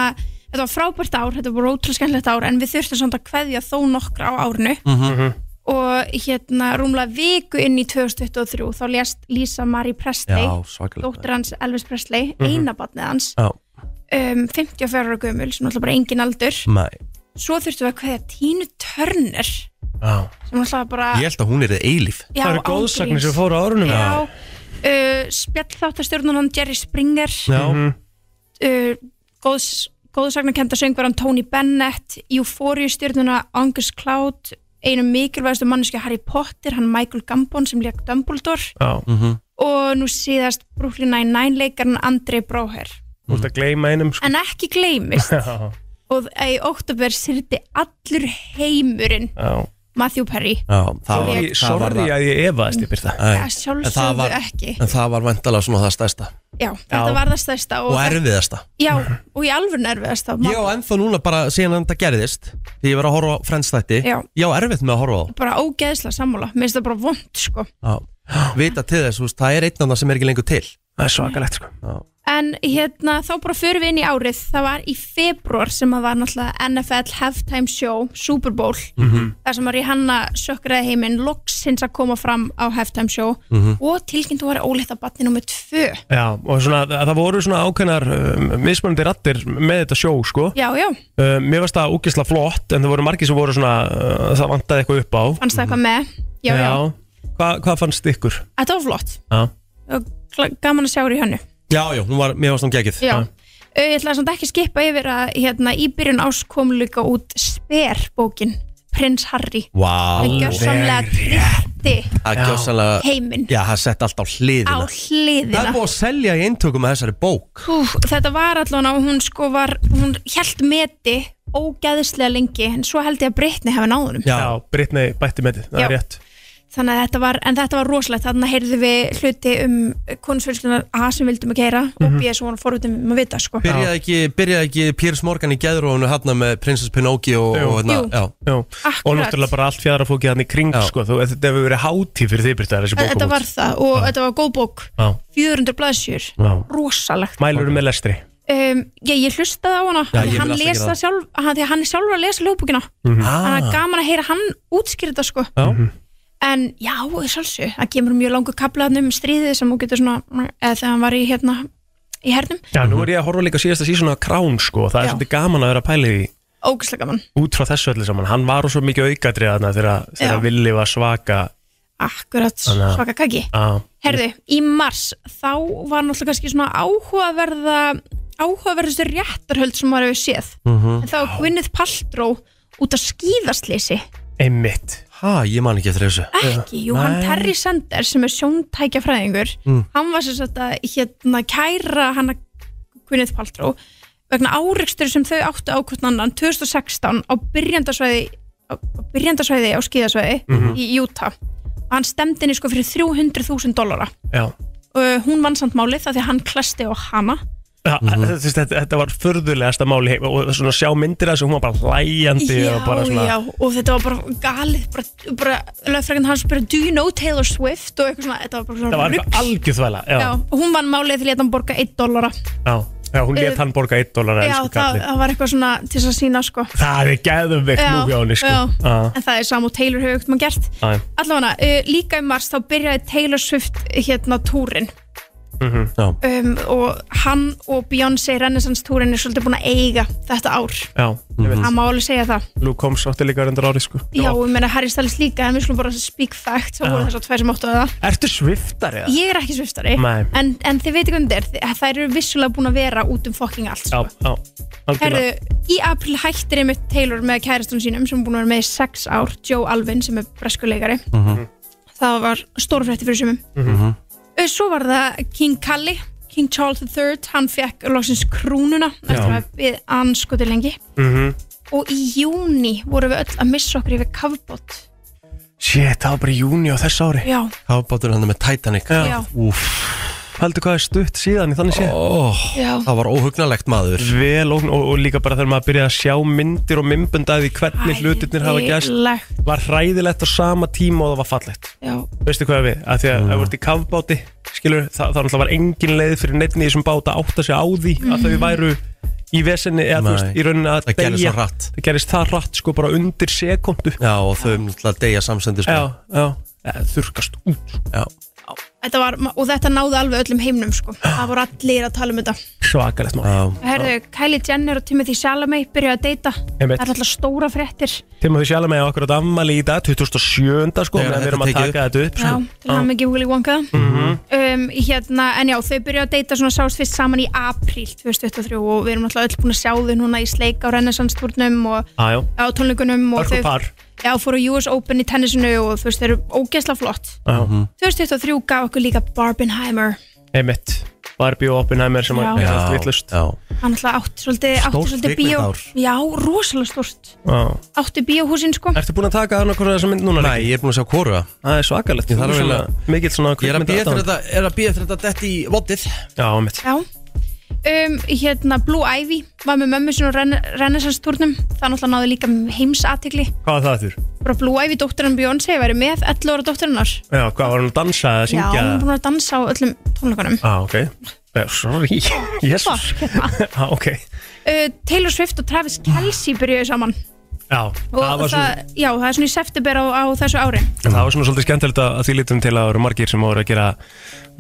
Speaker 15: þetta var frábært ár þetta var ótrúlega skemmtilegt ár en við þurftum samt að kveðja þó nokkra á árinu og hérna rúmlega viku inn í 2023 þá lést Lisa Marie Presley
Speaker 1: Já, svakalegt.
Speaker 15: dóttir hans Elvis Presley,
Speaker 1: Mhm.
Speaker 15: eina barnið hans
Speaker 1: Já,
Speaker 15: um, 54 ára gömul, sem alltaf bara engin aldur
Speaker 1: nei
Speaker 15: svo þurftum við að kveðja Tínu Turner sem
Speaker 1: Já.
Speaker 15: alltaf bara
Speaker 1: Ég held að hún er eilíf
Speaker 15: Já, Það eru án góðsagnir gríns. sem fóru
Speaker 2: á árunum
Speaker 5: Mhm.
Speaker 2: Mhm.
Speaker 15: Já, uh, spjall þáttarstjórnunan Jerry Springer
Speaker 1: Já.
Speaker 15: uh, góðs, góðsagnakenda söngvaran Tony Bennett, Euphoria stjórnuna Angus Cloud, einum mikilvægastu manneskja Harry Potter, hann Michael Gambon sem lék Dumbledore
Speaker 2: Já
Speaker 1: Mhm.
Speaker 15: og nú síðast Brooklyn Nine-Nine leikarinn Andrei Bróher.
Speaker 2: Þú ert að gleyma einum sko
Speaker 15: En ekki
Speaker 2: (laughs)
Speaker 15: gleymist,
Speaker 2: Já,
Speaker 15: og í oktober syrti allur heimurinn
Speaker 2: já
Speaker 15: Matthew Perry.
Speaker 1: það var
Speaker 15: Ég-
Speaker 1: það var
Speaker 2: Sorry
Speaker 1: það.
Speaker 2: að ég efaðist í byrta
Speaker 1: Nei.
Speaker 15: Að sjálfsögðu
Speaker 1: En það var-
Speaker 15: ekki.
Speaker 1: En það var vandalega svona það stærsta
Speaker 15: Já, þetta var það stærsta.
Speaker 1: Og erfiðasta
Speaker 15: Já, og í alveg erfiðasta.
Speaker 1: Ég á ennþá núna bara síðan þetta gerðist Því ég var að horfa á frendstætti
Speaker 15: Já.
Speaker 1: Ég á erfitt með að horfa á það
Speaker 15: bara ógeðsla sammála, mér finnst það bara vond sko.
Speaker 1: Já. Vita til þess, þú veist, það er einn annað sem er ekki lengur til
Speaker 2: Það er svakalegt sko
Speaker 15: en hérna þá bara förum við inn í árið það var í februar sem að var náttúrulega NFL halftime show, Super Bowl
Speaker 1: Mhm.
Speaker 15: þar sem að Rihanna sökkraði heiminn loksins að koma fram á halftime show
Speaker 2: Mhm.
Speaker 15: og tilkynntu var óleitt að batni nummer tvö
Speaker 2: Já, og svona, það voru svona ákveðnar um, mismunandi rattir með þetta sjó sko
Speaker 15: já, já,
Speaker 2: Uh, mér varst það úkisla flott en það voru margir sem voru svona uh, það vantaði eitthvað upp á
Speaker 15: fannst það eitthvað
Speaker 1: Mhm.
Speaker 15: með já, já,
Speaker 2: Hva, hvað fannst ykkur?
Speaker 15: þetta var flott
Speaker 2: Já,
Speaker 15: og gla- gaman að sjá Rihannu
Speaker 1: já, já hún var, mér varst hún gegið
Speaker 15: já, Ö, ég ætla samt ekki að skipa yfir að hérna, í byrjun ás kom líka út sper bókin, Prins Harry
Speaker 1: Vá,
Speaker 15: það gjörsamlega tryllti
Speaker 1: Það gjössalega
Speaker 15: Heiminn.
Speaker 1: Já, það sett allt á hliðina
Speaker 15: á hliðina
Speaker 1: Það er búið að selja í eintökum að þessari bók
Speaker 15: Hú, þetta var allan á hún sko var, hún held meti ógæðislega lengi en svo held ég að Brittany hefði náðunum
Speaker 2: já. Brittany bætti með þetta, það
Speaker 15: Já.
Speaker 2: er rétt
Speaker 15: þannig að þetta var, en þetta var rosalegt þannig að heyrðu við hluti um konusfjölskunar A sem vildum að keira
Speaker 2: Mhm.
Speaker 15: og B sem hún fóruðum um að vita sko
Speaker 1: Byrjaði ekki, byrjaði ekki Piers Morgan í geðrónu hann með Princess Pinocchio og,
Speaker 2: Jú.
Speaker 1: og hérna,
Speaker 15: Jú.
Speaker 1: já.
Speaker 2: Jú. og náttúrulega bara allt fjara fókið hann í kring sko, þú, þetta hefur verið hátíð fyrir þið Britta þessi bók
Speaker 15: þetta var það og þetta var góð bók
Speaker 2: það
Speaker 15: 400 blaðsjur,
Speaker 2: Já.
Speaker 15: rosalegt
Speaker 2: Mælur með lestri
Speaker 15: um, ég, ég hlustaði á hana
Speaker 2: Já,
Speaker 15: því
Speaker 2: ég vil
Speaker 15: hann
Speaker 2: alltaf
Speaker 15: les
Speaker 2: gera
Speaker 15: það
Speaker 2: það.
Speaker 15: sjálf, hann, því að hann er sjálfur að lesa lögbúkina
Speaker 2: Mhm.
Speaker 15: þannig
Speaker 2: Ah.
Speaker 15: að gaman að heyra hann útskýrða sko
Speaker 2: Já.
Speaker 15: En já, í sjálfsög, það kemur mjög langur kaplaðnum um stríðið sem hún getur svona, eða þegar hann var í hérna, í hernum,
Speaker 2: Já, nú er ég að horfa líka síðasta síðan á Crown sko, það er
Speaker 15: Já.
Speaker 2: svolítið gaman að vera að pæli því
Speaker 15: ógæslega gaman.
Speaker 2: út frá þessu öllu saman, hann var úr svo mikið aukatrið þarna þegar,
Speaker 15: Já.
Speaker 2: þegar Willi var svaka
Speaker 15: Akkurat,
Speaker 2: Þannig að-
Speaker 15: svaka kaki.
Speaker 2: á,
Speaker 15: Herðu, í mars, þá var náttúrulega kannski svona áhugaverða, áhugaverðustu réttarhöld sem maður hefur séð.
Speaker 2: Mm.
Speaker 1: Mhm.
Speaker 15: En þá var Gwyneth Paltrow út að skýðaslýsi.
Speaker 2: Einmitt
Speaker 1: Ha, ég man ekki eftir þessu
Speaker 15: Ekki, jú, hann
Speaker 1: Nei.
Speaker 15: Terry Sanders sem er sjóntækjafræðingur,
Speaker 1: Mm.
Speaker 15: hann var sem sagt að hérna kæra hana Gwyneth Paltrow vegna áreikstur sem þau áttu á hvort annan 2016 á byrjandasvæði á á byrjandasvæði á skíðasvæði
Speaker 2: Mhm.
Speaker 15: í Utah og hann stemdi henni sko fyrir 300.000 dólara
Speaker 2: Já
Speaker 15: og eh, hún vann samt málið það því að hann klesti á hana
Speaker 2: Já,
Speaker 15: Mhm.
Speaker 2: þetta, þetta, þetta var förðulegasta máli heim, og svona sjá myndir þessu, hún var bara hlæjandi
Speaker 15: já,
Speaker 2: og bara svona
Speaker 15: já, og þetta var bara galið bara, bara lögfrækinn hans bara do you know Taylor Swift og eitthvað svona þetta var bara svona
Speaker 2: það var
Speaker 15: rugl.
Speaker 2: eitthvað algjöðvæla já,
Speaker 15: Já,
Speaker 2: já.
Speaker 15: og hún vann málið því að hann borga 1 dólara
Speaker 2: Já. hún
Speaker 15: Uh,
Speaker 2: let hann borga 1 dólar
Speaker 15: Já, það, það var eitthvað svona til þess að sína sko.
Speaker 2: það er geðum veikt
Speaker 15: Já,
Speaker 2: múfi á henni sko.
Speaker 15: já.
Speaker 2: Já.
Speaker 15: En það er Sam og Taylor hefur ekkert maður gert
Speaker 2: Já, já.
Speaker 15: Allavega, uh, líka í mars þá byrjaði Taylor Swift hérna túrin
Speaker 2: Mhm.
Speaker 15: um, og hann og Beyoncé Renaissance túrin er svolítið búin að eiga þetta ár
Speaker 2: Já, ég veit.
Speaker 15: Það má alveg segja það
Speaker 2: Luke Combs átti líka reyndar árið sko.
Speaker 15: Já, ég meina Harry Styles líka en við slum bara speak fact þá
Speaker 2: Já.
Speaker 15: voru þess að tvær sem áttu að það
Speaker 2: Ertu sviftari? eða?
Speaker 15: Ég er ekki sviftari
Speaker 2: Nei.
Speaker 15: en, en þið veitir hvernig þetta er þið- þær eru vissulega búin að vera út um fucking allt
Speaker 2: Já, já,
Speaker 15: Herðu,
Speaker 2: algjörlega
Speaker 15: í april hættir einmitt Taylor með kærastunum sínum sem er búin að vera með í sex ár, Joe Alvin sem er breskuleikari
Speaker 2: Mhm.
Speaker 15: það var stórfrétti fyrir sumum Ö, svo var það King Kalli King Charles III, hann fekk loksins krúnuna eftir
Speaker 2: Já.
Speaker 15: að við anskoti lengi
Speaker 2: Mhm.
Speaker 15: og í júni vorum við öll að missa okkur yfir kafbót
Speaker 2: Shit, það var bara í júni á þess ári
Speaker 15: Já.
Speaker 1: Kafbátur hann með Titanic
Speaker 15: Já.
Speaker 1: Úff
Speaker 2: Haldur hvað er stutt síðan í þannig sé
Speaker 1: oh,
Speaker 15: Já.
Speaker 1: Það var óhugnalegt maður
Speaker 2: Vel og, og, og líka bara þegar maður byrjaði að sjá myndir og mymbundaði hvernig hlutirnir hafa
Speaker 15: Hræðilegt.
Speaker 2: gæst Var hræðilegt á sama tíma og það var fallegt
Speaker 15: Já.
Speaker 2: Veistu hvað er við? Að því
Speaker 1: Mm.
Speaker 2: að ef þú ert í kafbáti skilur, það, það náttúrulega var engin leið fyrir neittni í þessum báta að átta sig á því að þau
Speaker 15: Mm.
Speaker 1: Mhm.
Speaker 2: væru í vesenni eða þú veist,
Speaker 1: Nei.
Speaker 2: í rauninni að
Speaker 1: Það gerðist
Speaker 2: deyja.
Speaker 1: svo hratt.
Speaker 2: Það gerist það rætt sko bara undir sekundu
Speaker 1: Já, og þau um náttúrulega degja samsendir sko.
Speaker 2: Já, já, þurrkast út
Speaker 1: Já,
Speaker 15: þetta var, og þetta náði alveg öllum heimnum sko. það voru allir að tala um þetta
Speaker 2: Svakalegt mál
Speaker 15: Herðu, Kylie Jenner og Timothy Chalamet byrjuðu að deyta það
Speaker 2: Einmitt.
Speaker 15: er alltaf stóra fréttir
Speaker 2: Timma þú sjálf með okkur að ammali í dag 2007 sko,
Speaker 1: Þegar
Speaker 2: meðan við erum að
Speaker 1: þetta
Speaker 2: taka þetta upp sko.
Speaker 15: Já, til hann ekki Willy Wonka
Speaker 2: Mhm.
Speaker 15: um, hérna, En já, þau byrjuðu að deyta svona sást fyrst saman í apríl 2023 og við erum alltaf öll búin að sjá þau núna í sleik á Renaissance-turnum og
Speaker 2: Jájá
Speaker 15: á tónleikunum og
Speaker 2: Hörku
Speaker 15: þau
Speaker 2: par
Speaker 15: já, fóru á US Open í tennisinu og þú veist, þau eru ógeðslega flott
Speaker 1: Mhm.
Speaker 2: Já.
Speaker 15: 2023 gaf okkur líka Barbenheimer
Speaker 2: Einmitt Barbie og Oppenheimer sem
Speaker 15: Já.
Speaker 2: var
Speaker 15: Já,
Speaker 2: allt vittlust
Speaker 15: hann alltaf átt svolítið, átti
Speaker 2: Stórt
Speaker 15: svolítið bíó
Speaker 2: kvikmyndaár.
Speaker 15: já, rosalega stórt átti bíóhúsin sko
Speaker 2: Ertu búin að taka hann okkur þessa mynd núna? Nei,
Speaker 1: ég er búin að sjá hvoru
Speaker 2: Það er svakalegt
Speaker 1: Ég þarf
Speaker 2: Þú svona- Mikill svona
Speaker 1: Ég er að bíða eftir
Speaker 2: kvikmyndaaðdáandi.
Speaker 1: þetta, er að bíða eftir þetta detti í vottið
Speaker 2: Já, einmitt
Speaker 15: já um, hérna Blue Ivy var með mömmu sinni og Ren Renaissance-turnum það náttúrulega náði líka heimsatikli
Speaker 2: Hvað var það þurr?
Speaker 15: bara Blue Ivy dótturinn Beyoncé væri með 11 ára dótturinnar
Speaker 2: Já, hvað var hann að dansa eða
Speaker 15: já,
Speaker 2: syngja?
Speaker 15: hún er búin að dansa á öllum tónleikunum
Speaker 2: Já, ok Eh, Sorry (laughs) Jesus
Speaker 15: Fuck, hérna.
Speaker 2: (laughs) Já, ok
Speaker 15: uh, Taylor Swift og Travis Kelce byrjuðu saman
Speaker 2: Já,
Speaker 15: og
Speaker 2: það var svona
Speaker 15: það, já, það er svona í september á, á þessu ári
Speaker 2: En það var svona svolítið skemmtilegt að að því lítum til að það voru margir sem voru að gera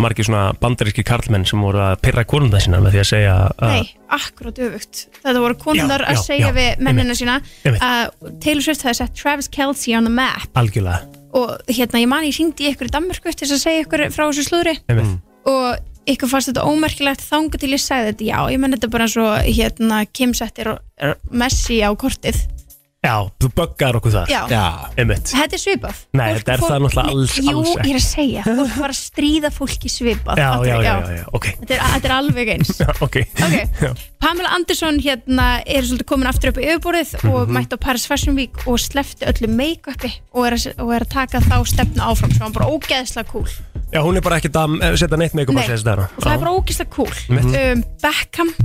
Speaker 2: margir svona bandaríski karlmenn sem voru að pyrra konunda sína með því að segja uh, að
Speaker 15: Nei, akkurat öfugt Þetta voru konundar
Speaker 2: Ah. Já,
Speaker 15: að
Speaker 2: já,
Speaker 15: segja
Speaker 2: já,
Speaker 15: við mennina
Speaker 2: einmitt,
Speaker 15: sína
Speaker 2: einmitt.
Speaker 15: að Taylor Swift hefði sett Travis Kelce on the map
Speaker 2: algjörlega
Speaker 15: og hérna, ég man ég syngdi ykkur í Danmörku til þess að segja ykkur frá þessu slúðri
Speaker 1: Mm.
Speaker 2: einmitt.
Speaker 15: og ykkur fannst þetta ómerkilegt þanga til ég sagði þetta, já, ég menn þetta bara svo hérna, Kim settir Messi á kortið
Speaker 2: Já, þú böggar okkur þar
Speaker 15: Já. Já.
Speaker 2: Einmitt
Speaker 15: Þetta er svipað
Speaker 2: Nei, þetta er það náttúrulega alls-
Speaker 15: Jú,
Speaker 2: alls ekki.
Speaker 15: ég er að segja, fólk var að stríða fólki svipað
Speaker 2: Já,
Speaker 15: fattar
Speaker 2: já,
Speaker 15: þú?
Speaker 2: já, já, já, ok
Speaker 15: Þetta, er, þetta er alveg eins
Speaker 2: Já, Ok, Já.
Speaker 15: Pamela Anderson hérna er svolítið komin aftur upp í yfirborðið og
Speaker 2: Mhm.
Speaker 15: mætti á Paris Fashion Week og slefti öllu make-upi og er, að, og er að taka þá stefnu áfram sem var bara ógeðslega cool
Speaker 2: Já, hún er bara ekkert að eh, setja neitt meikum
Speaker 15: Nei,
Speaker 2: að segja þetta
Speaker 15: og það er bara ógeðslega cool
Speaker 2: Mitt.
Speaker 15: um, Beckham,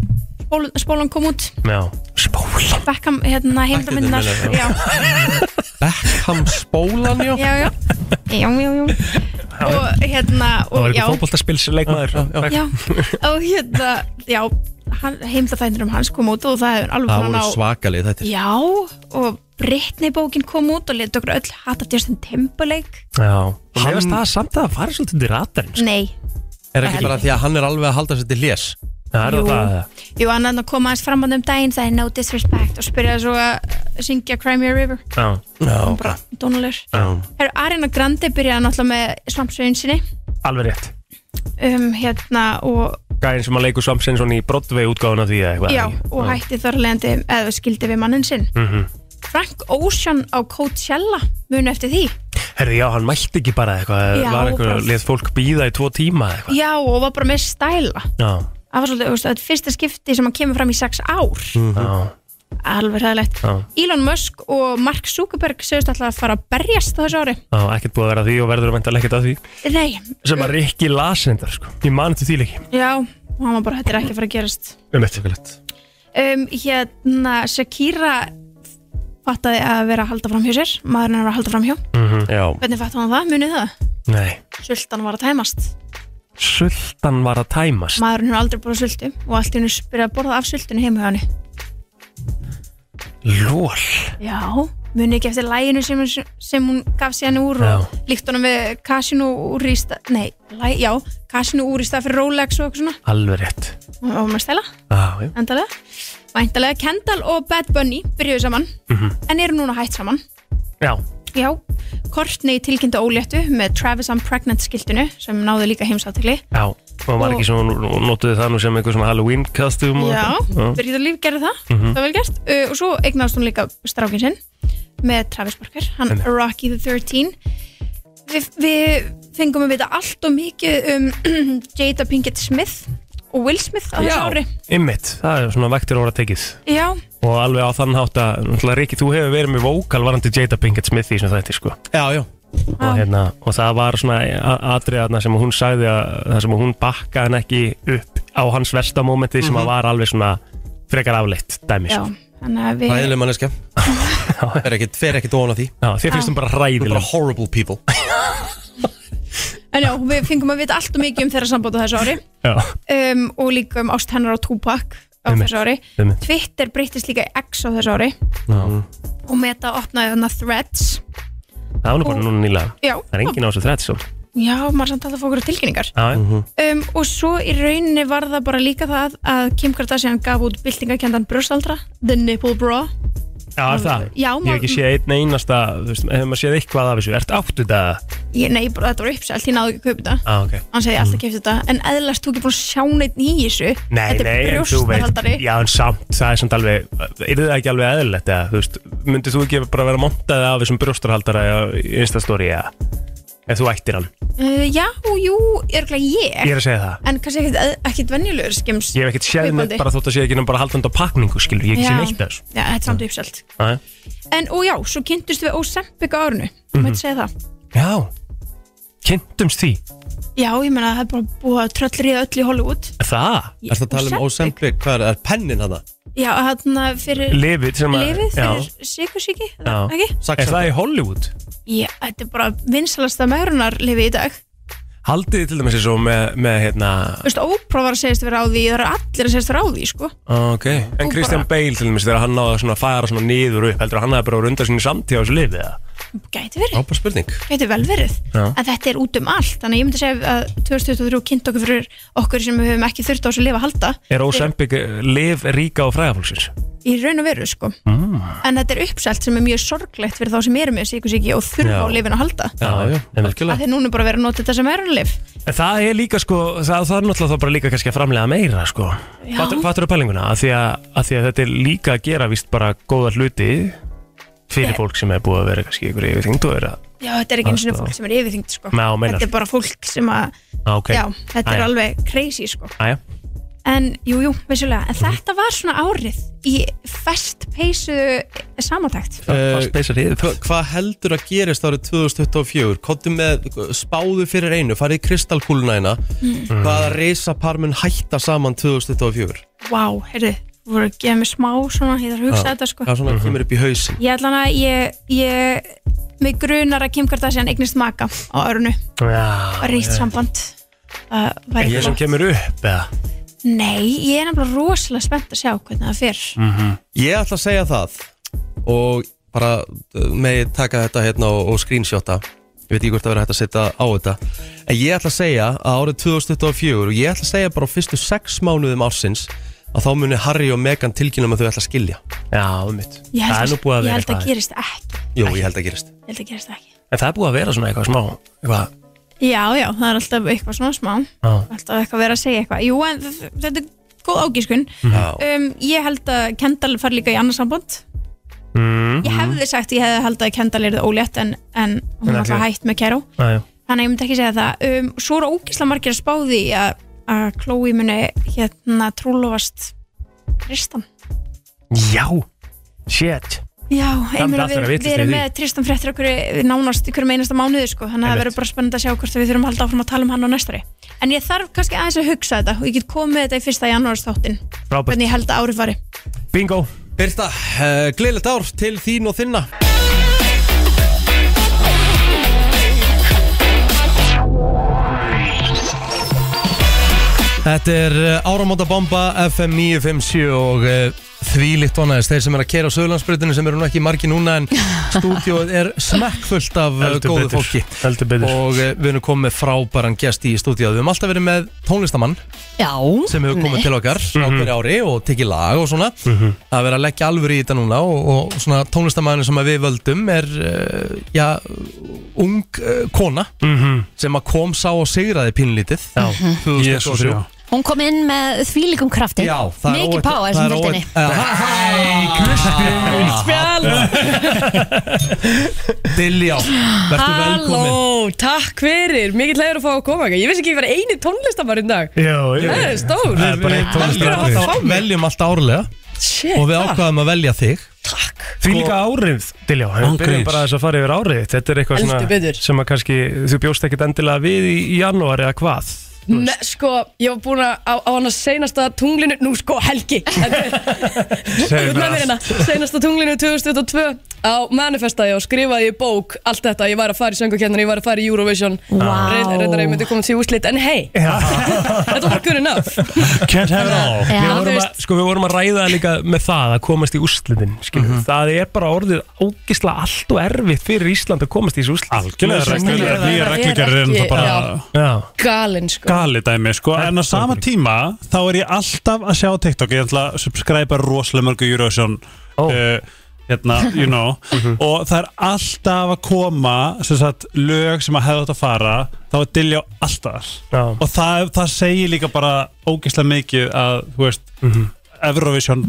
Speaker 15: spólan, spólan kom út
Speaker 2: Já, spóla
Speaker 15: Beckham, hérna heimdaminnar
Speaker 2: Bekkirnir,
Speaker 15: já.
Speaker 1: Beckham spólan, já
Speaker 15: já, já, já, já, já og hérna
Speaker 2: Það var
Speaker 15: og, já,
Speaker 2: eitthvað fótboltaspilsleikmaður
Speaker 15: já, og hérna já, heimdaþændur um hans kom út og það er alveg
Speaker 1: Það
Speaker 15: búin að
Speaker 1: voru
Speaker 15: ná-
Speaker 1: svakalið þetta
Speaker 15: Já, og Britney bókin kom út og leti okkur öll hata Justin Timberlake
Speaker 2: Já, hann veist það samt að það fara svolítið til ratarinn sko.
Speaker 15: Nei,
Speaker 1: Er ekki bara því að hann er alveg að halda sér til hlés
Speaker 2: Það er
Speaker 15: Jú.
Speaker 2: það
Speaker 15: jú, hann hann kom aðeins fram að um daginn sagði no disrespect og spyrjaði svo að syngja Cry Me a River,
Speaker 2: Já,
Speaker 1: já,
Speaker 15: Donalur
Speaker 2: já
Speaker 15: Herru, Arina Grandi byrjaði náttúrulega með svampsveginn sinni
Speaker 2: Alveg rétt
Speaker 15: um, hérna, og,
Speaker 2: Gæðin sem að leikur Svampsinsson í Broadway útgáðuna því eða eitthvað
Speaker 15: já, og hætti þar leðandi eða skildi við mannin sinn
Speaker 2: Mhm.
Speaker 15: Frank Ocean á Coachella muni eftir því
Speaker 2: Herði, já, hann mætti ekki bara eitthvað eh,
Speaker 15: Já,
Speaker 2: Var einhver,
Speaker 15: bara-
Speaker 2: leð fólk býða í tvo tíma eða eitthvað
Speaker 15: Já, og var bara með stæla
Speaker 2: Já,
Speaker 15: Það var svolítið, þú veist, þetta er fyrsta skipti sem hann kemur fram í sex ár
Speaker 2: já,
Speaker 15: Alveg hræðilegt
Speaker 2: já
Speaker 15: Elon Musk og Mark Zuckerberg segist alltaf að fara að berjast á þessu ári
Speaker 2: Já, ekkert búið að vera að því og verður að venda ekkert að því
Speaker 15: Nei,
Speaker 2: Sem að Rikki las reyndar, sko Ég mani til því leiki
Speaker 15: já, hann var bara, þetta er ekki að fara að gerast
Speaker 2: Um eitt Svakalegt
Speaker 15: um, Hérna, Shakira fattaði að vera að halda fram hjá sér maðurinn er að vera að halda fram hjá
Speaker 2: Já
Speaker 15: Hvernig fattaði hann það, munið það?
Speaker 2: Mhm. Nei
Speaker 15: Sultan var að tæmast
Speaker 2: Sultan var að tæmast
Speaker 15: Maðurinn hefur aldrei borðað sultu og allt í hennu byrjaði að borða af sultunni heim hjá henni
Speaker 2: Lól
Speaker 15: Já, munið ekki eftir læginu sem, sem hún gaf sér henni úr og líkt honum við kasinu úr í stað Nei, læ, já, kasinu úr í stað fyrir Rolex og eitthvað svona
Speaker 2: Alveg rétt
Speaker 15: og var með stæla
Speaker 2: Já, já
Speaker 15: endalega Væntalega Kendall og Bad Bunny byrjuðu saman
Speaker 2: Mhm.
Speaker 15: en eru núna hætt saman
Speaker 2: Já
Speaker 15: Já, Courtney tilkynnti óléttu með Travis I'm Pregnant skiltinu sem náðu líka heimsáttikli
Speaker 2: Já, og var ekki sem hún notuði það nú sem einhver svona Halloween kastjum
Speaker 15: Já, Birgitta Líf gerði það,
Speaker 2: Mhm.
Speaker 15: það var vel gert uh, og svo eignast hún líka strákin sinn með Travis Barker, hann
Speaker 2: Einmitt.
Speaker 15: Rocky the 13 Við við fengum að vita allt og mikið um (clears throat) Jada Pinkett Smith og Will Smith á þessu ári
Speaker 2: Ymmit, Um það er svona vektir óra tekið
Speaker 15: Já,
Speaker 2: Og alveg á þann hátt að, náttúrulega Rikki, þú hefur verið með vókal varandi Jada Pinkett Smith í svona þætti, sko
Speaker 1: Já, já
Speaker 2: Og, hérna, og það var svona atriðarna sem hún sagði að það sem hún bakkaði hann ekki upp á hans versta mómenti sem
Speaker 1: Mhm.
Speaker 2: að var alveg svona frekar afleitt dæmi
Speaker 15: já,
Speaker 2: sko.
Speaker 15: þannig að við
Speaker 1: Ræðileg manneskja Fer ekkit, fer ekkit ofan á því
Speaker 2: Já, þér
Speaker 15: finnst Já. hún bara
Speaker 2: ræðileg
Speaker 1: Bara horrible people
Speaker 15: En já, við fengum að vita allt og mikið um þeirra samband á þessu ári
Speaker 2: Já,
Speaker 15: um, og líka um ást hennar á Tupac á
Speaker 2: Einmitt,
Speaker 15: þessu ári
Speaker 2: einmitt.
Speaker 15: Twitter breytist líka í X á þessu ári
Speaker 2: já.
Speaker 15: og Meta opnaði þarna Threads
Speaker 2: það var nú bara núna nýlega
Speaker 15: Já.
Speaker 2: Það er engin á þessu sko. þrætt svo
Speaker 15: já, maður samt alltaf fókur á tilkynningar
Speaker 2: -hmm.
Speaker 15: um, og svo í rauninni var það bara líka það að Kim Kardashian gaf út byltingakjöndan brjóstaldra, The Nipple Bra
Speaker 2: Já, er það?
Speaker 15: Já,
Speaker 2: Ég hef ekki
Speaker 15: maður-
Speaker 2: séð einn einasta, þú veist, hefur maður séð eitthvað af þessu Ert áttu þetta?
Speaker 15: ég, nei, bara, þetta var uppselt, ég náðu ekki að kaupa þetta
Speaker 2: Ah, ok
Speaker 15: hann segi alltaf kemst þetta, en eðlast þú ekki búin að sjá neitt í þessu
Speaker 2: Nei,
Speaker 15: þetta
Speaker 2: nei,
Speaker 15: er
Speaker 2: en þú veit
Speaker 15: brjóstaldari
Speaker 2: Já, en samt, það er samt alveg Er það ekki alveg eðlilegt, eða, þú veist Myndið þú ekki bara vera montaðið af þessum brjóstarhaldara í Instastory, eða Ef þú ættir hann
Speaker 15: uh, já, jú, örglega ég
Speaker 2: Ég er að segja það.
Speaker 15: en kannski ekkit, eð- ekkit venjulegur skims
Speaker 2: Ég hef ekkert séð neitt
Speaker 15: Kaupandi.
Speaker 2: bara þótt að sé ekki nefn bara haldandi á pakningu, skilur Ég hef ekki
Speaker 15: Já.
Speaker 2: séð neitt af þessu
Speaker 15: já, þetta er samt uppselt
Speaker 2: Æ.
Speaker 15: en, og já, svo kynntust við Ozempic á árinu mm
Speaker 2: Mhm.
Speaker 15: -hmm. segja það
Speaker 2: Já, kynntumst því
Speaker 15: Já, ég meina það er bara búið að tröllriða öll í Hollywood
Speaker 2: Það?
Speaker 1: Er það að tala um Ozempic? Hvað er, er pennin hana?
Speaker 15: Já, þarna fyrir
Speaker 1: Lyfið sem að-
Speaker 15: Lifið fyrir
Speaker 1: já.
Speaker 15: sykursíki það- ekki?
Speaker 2: Er það í Hollywood?
Speaker 15: Já, þetta er bara vinsalasta meðrunar lifið í dag
Speaker 2: Haldið þið til dæmis eins og með, með hérna
Speaker 15: Þú veist, Oprah var að segjast vera á því Það eru allir að segjast vera á því, sko
Speaker 2: Ok, en
Speaker 15: Og
Speaker 2: Kristján
Speaker 15: bara-
Speaker 2: Bale til dæmis þegar hann náði að svona fara svona niður upp heldur að hann hefði bara verið undan sinni samtíð á þessu lifið eða?
Speaker 15: Gæti verið,
Speaker 1: bara spurning
Speaker 15: gæti vel verið
Speaker 2: Já.
Speaker 15: En þetta er út um allt Þannig að ég myndi segja að 2023 kynnt okkur fyrir okkur sem við höfum ekki þurft á þessu lifa að halda
Speaker 2: Er Ozempic liv ríka og fræðafólksins?
Speaker 15: Í raun og veru, sko
Speaker 2: Mm.
Speaker 15: En þetta er uppselt sem er mjög sorglegt fyrir þá sem eru með sykursíki og þurfa
Speaker 2: Já.
Speaker 15: á lifin að halda
Speaker 2: Já, já,
Speaker 15: Af
Speaker 2: en
Speaker 15: því að núna er bara verið að nota þetta sem meðrunarlif
Speaker 2: En það er líka sko, það, það er náttúrulega þá bara líka kannski að framlega meira sko
Speaker 15: Já.
Speaker 2: Hvað eru pælinguna? Að því að, að því að þetta er líka að gera víst bara góða hluti fyrir
Speaker 15: Nei.
Speaker 2: fólk sem er búið að vera kannski ykkur yfirþyngd og er að
Speaker 15: Já, þetta er ekki eins og
Speaker 2: Aðstoða.
Speaker 15: fólk sem er yfirþyngd sko.
Speaker 2: Ná, meinar.
Speaker 15: Þetta er bara fólk sem að
Speaker 2: Ah, ok.
Speaker 15: Já, þetta er
Speaker 2: Jæja.
Speaker 15: alveg crazy sko.
Speaker 2: Æja,
Speaker 15: En, jú, jú, vissulega En þetta var svona árið í fast peysu samantækt
Speaker 1: Uh, hva- hvað heldur að gerist árið 2024 kottum með spáðu fyrir einu farið í kristalkúluna eina
Speaker 15: Mm.
Speaker 1: mm. hvaða reysapar mun hætta saman 2024
Speaker 15: Vá, heyrðu, þú voru að gefa mér smá svona, ég þarf að hugsa
Speaker 1: Já,
Speaker 15: þetta sko.
Speaker 1: það svona kemur upp í hausin
Speaker 15: Ég ætla hana, ég, ég mig grunar að Kim Kardashian eignist maka á örnu
Speaker 2: Já,
Speaker 15: og ríkt
Speaker 2: já.
Speaker 15: samband uh,
Speaker 2: er Ah, ég sem kemur upp eða?
Speaker 15: Nei, ég er nefnilega rosalega spennt að sjá hvernig það fer
Speaker 1: ég ætla að segja það og bara uh, megi taka þetta hérna og, og screenshota ég veit ekki hvort það verður hægt að setja á þetta en ég ætla að segja að árið 2024 og ég ætla að segja bara á fyrstu sex mánuðum ársins að þá muni Harry og Meghan tilkynna um að þau ætla að skilja
Speaker 2: Já, um mitt
Speaker 15: Ég held að- Ég held að gerist ekki
Speaker 1: Jú, ég held að gerist
Speaker 15: Ég held að gerist ekki
Speaker 2: En það er búið að vera svona eitthvað smá eitthvað.
Speaker 15: Já, já, það er alltaf eitthvað svona smá
Speaker 2: Já.
Speaker 15: Alltaf eitthvað að vera að segja eitthvað Jú, en þ- þetta er góð ágískun
Speaker 2: Já.
Speaker 15: um, Ég held að Kendall fari líka í annarsamband
Speaker 2: Mhm.
Speaker 5: Eh,
Speaker 2: Mm.
Speaker 15: Ég hefði sagt, ég hefði held að Kendall er ólétt en, en hún
Speaker 2: En
Speaker 15: er
Speaker 2: ekki.
Speaker 15: alltaf hætt með Kero
Speaker 2: Æja,
Speaker 15: Þannig að ég myndi ekki segja það um, Svo eru ógísla margir að spáði að, að Chloe muni hérna trúlofast Tristan
Speaker 2: Já, shit
Speaker 15: Já,
Speaker 2: Það myndi
Speaker 15: einhverja
Speaker 2: allt
Speaker 15: við,
Speaker 2: vera
Speaker 15: við
Speaker 2: vitlaust í
Speaker 15: erum
Speaker 2: því.
Speaker 15: með Tristan fréttir okkur nánast ykkur einasta mánuði sko, þannig að það
Speaker 2: Einmitt.
Speaker 15: verður bara spennandi að sjá hvort að við þurfum að halda áfram að tala um hann á næstari En ég þarf kannski aðeins að hugsa þetta og ég get komið með þetta í fyrsta janúarsþáttin
Speaker 1: Frábært.
Speaker 15: hvernig ég held að árið fari
Speaker 2: Bingo
Speaker 1: Birta, uh, gleðilegt ár til þín og þinna Þetta er eh, Áramóta Bomba FM 957 og uh, þvílitt vonaðist þeir sem er að kera á Söðurlandsbrutinu sem eru nú ekki margi núna (laughs) en stúdíóið er smekkfullt af uh,
Speaker 2: Heldur
Speaker 1: góðu
Speaker 2: betur,
Speaker 1: fólki
Speaker 2: heldur betur.
Speaker 1: og uh, við erum komið frábæran gest í stúdíóið við erum alltaf verið með tónlistamann
Speaker 3: Já,
Speaker 1: sem hefur komið
Speaker 3: mitt.
Speaker 1: til okkar á
Speaker 2: Mhm.
Speaker 1: hverju ári og tekið lag og svona að vera að leggja alvöru í þetta núna og, og svona tónlistamæðinu sem að við völdum er uh, já, ung uh, kona
Speaker 2: Mhm.
Speaker 1: sem að kom sá og sigraði Mhm. pínlítið já,
Speaker 2: Jesús, já.
Speaker 3: Hún kom inn með þvílikum krafti
Speaker 1: Já, það er
Speaker 3: Mikið
Speaker 1: óvænt-
Speaker 3: páa
Speaker 1: það er
Speaker 3: sem fylgdi henni
Speaker 1: óvænt- Hæ,
Speaker 3: Kristín
Speaker 2: (laughs)
Speaker 1: Dilljá, verður velkomin
Speaker 16: Halló, takk fyrir, mikið hlægur að fá að koma hingað. Ég vissi ekki að ég var eini tónlistamæður í dag
Speaker 2: Jó,
Speaker 16: Það er stór.
Speaker 1: Það er bara eitt tónlistamæður
Speaker 16: Takk fyrir að fá mig.
Speaker 1: Veljum allt árlega
Speaker 16: Shit,
Speaker 1: og við
Speaker 16: takk.
Speaker 1: ákvaðum að velja þig
Speaker 2: Því líka árið, Diljá,
Speaker 1: Án
Speaker 2: við byrjum
Speaker 1: gríns.
Speaker 2: bara þess að fara yfir árið þitt. Þetta er eitthvað
Speaker 16: Heldur
Speaker 2: svona
Speaker 16: betur.
Speaker 2: sem að kannski þú bjóst ekkit endilega við í, í janúar eða hvað
Speaker 16: Ne, sko, ég var búin að á, á hann að seinasta tunglinu Nú sko, Helgi Þú
Speaker 2: Segðu mér
Speaker 16: ert með mér
Speaker 2: allt.
Speaker 16: hérna Seinasta tunglinu 2022 á manifestaði og skrifaði í bók allt þetta, ég var að fara í söngukennar, ég var að fara í Eurovision
Speaker 13: Vá.
Speaker 16: reyndar að ég myndi komast í úslit, en hei (laughs) þetta var good enough
Speaker 2: Can't have it all
Speaker 16: Já,
Speaker 2: Við
Speaker 16: þú
Speaker 2: vorum
Speaker 16: veist.
Speaker 2: að, sko, við vorum að ræða líka með það að komast í úrslitin mm Það er bara orðið ógisla allt og erfitt fyrir Ísland að komast í þessu úrslit
Speaker 17: Algjörlega, reglugerð-
Speaker 2: Sennilega það er
Speaker 17: nýjar reglugerðir eru
Speaker 2: ekki-
Speaker 17: náttúrulega bara-
Speaker 2: Já. Já.
Speaker 16: galinn sko
Speaker 17: gali dæmi sko, en á sama tíma þá er ég alltaf að sjá TikTok ég ætla að subscribe rosalega mörgu Eurovision uh, hérna, you know og það er alltaf að koma sem sagt, lög sem að hefða átt að fara þá er dilja á alltaf
Speaker 2: Já.
Speaker 17: og það, það segir líka bara ógeðslega mikið að, þú veist Eurovision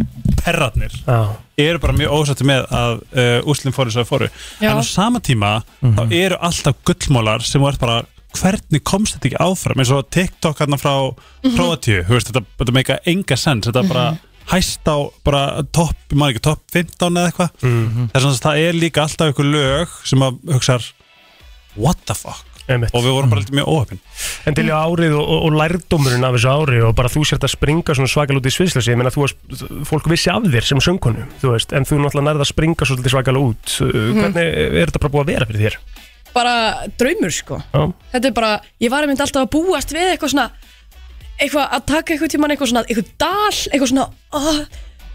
Speaker 17: perratnir
Speaker 2: Já.
Speaker 17: eru bara mjög ósætti með að uh, úslinn fóru sem það fóru
Speaker 16: Já.
Speaker 17: en á sama tíma
Speaker 2: Mhm.
Speaker 17: þá eru alltaf gullmólar sem er bara hvernig komst þetta ekki áfram eins og TikTok hérna frá
Speaker 16: Mhm.
Speaker 17: Kroatíu, þú veist, þetta, þetta meika enga sens, þetta bara
Speaker 16: Mhm.
Speaker 17: hæst á bara topp, ég maður ekki topp 15 eða eitthvað,
Speaker 2: Mm. Mhm.
Speaker 17: þess að það er líka alltaf einhver lög sem að hugsar what the fuck (laughs)
Speaker 2: Einmitt.
Speaker 17: og við vorum bara lítið mjög óöfn
Speaker 2: En til í árið og, og, og lærdómurinn af þessu ári og bara þú sért að springa svona svakal út í sviðslösi ég meina þú varst, fólk vissi af þér sem söngkonu þú veist, en þú náttúrulega nærði að springa svolítið svakal út Uh,
Speaker 16: Mhm.
Speaker 2: hvernig er þetta bara búið að vera fyrir þér?
Speaker 16: bara draumur sko
Speaker 2: Já,
Speaker 16: þetta er bara, ég var einmitt alltaf að búast við eitthvað svona eitthvað að taka eitthvað tíman eitthvað svona, eitthvað dal eitthvað svona, oh,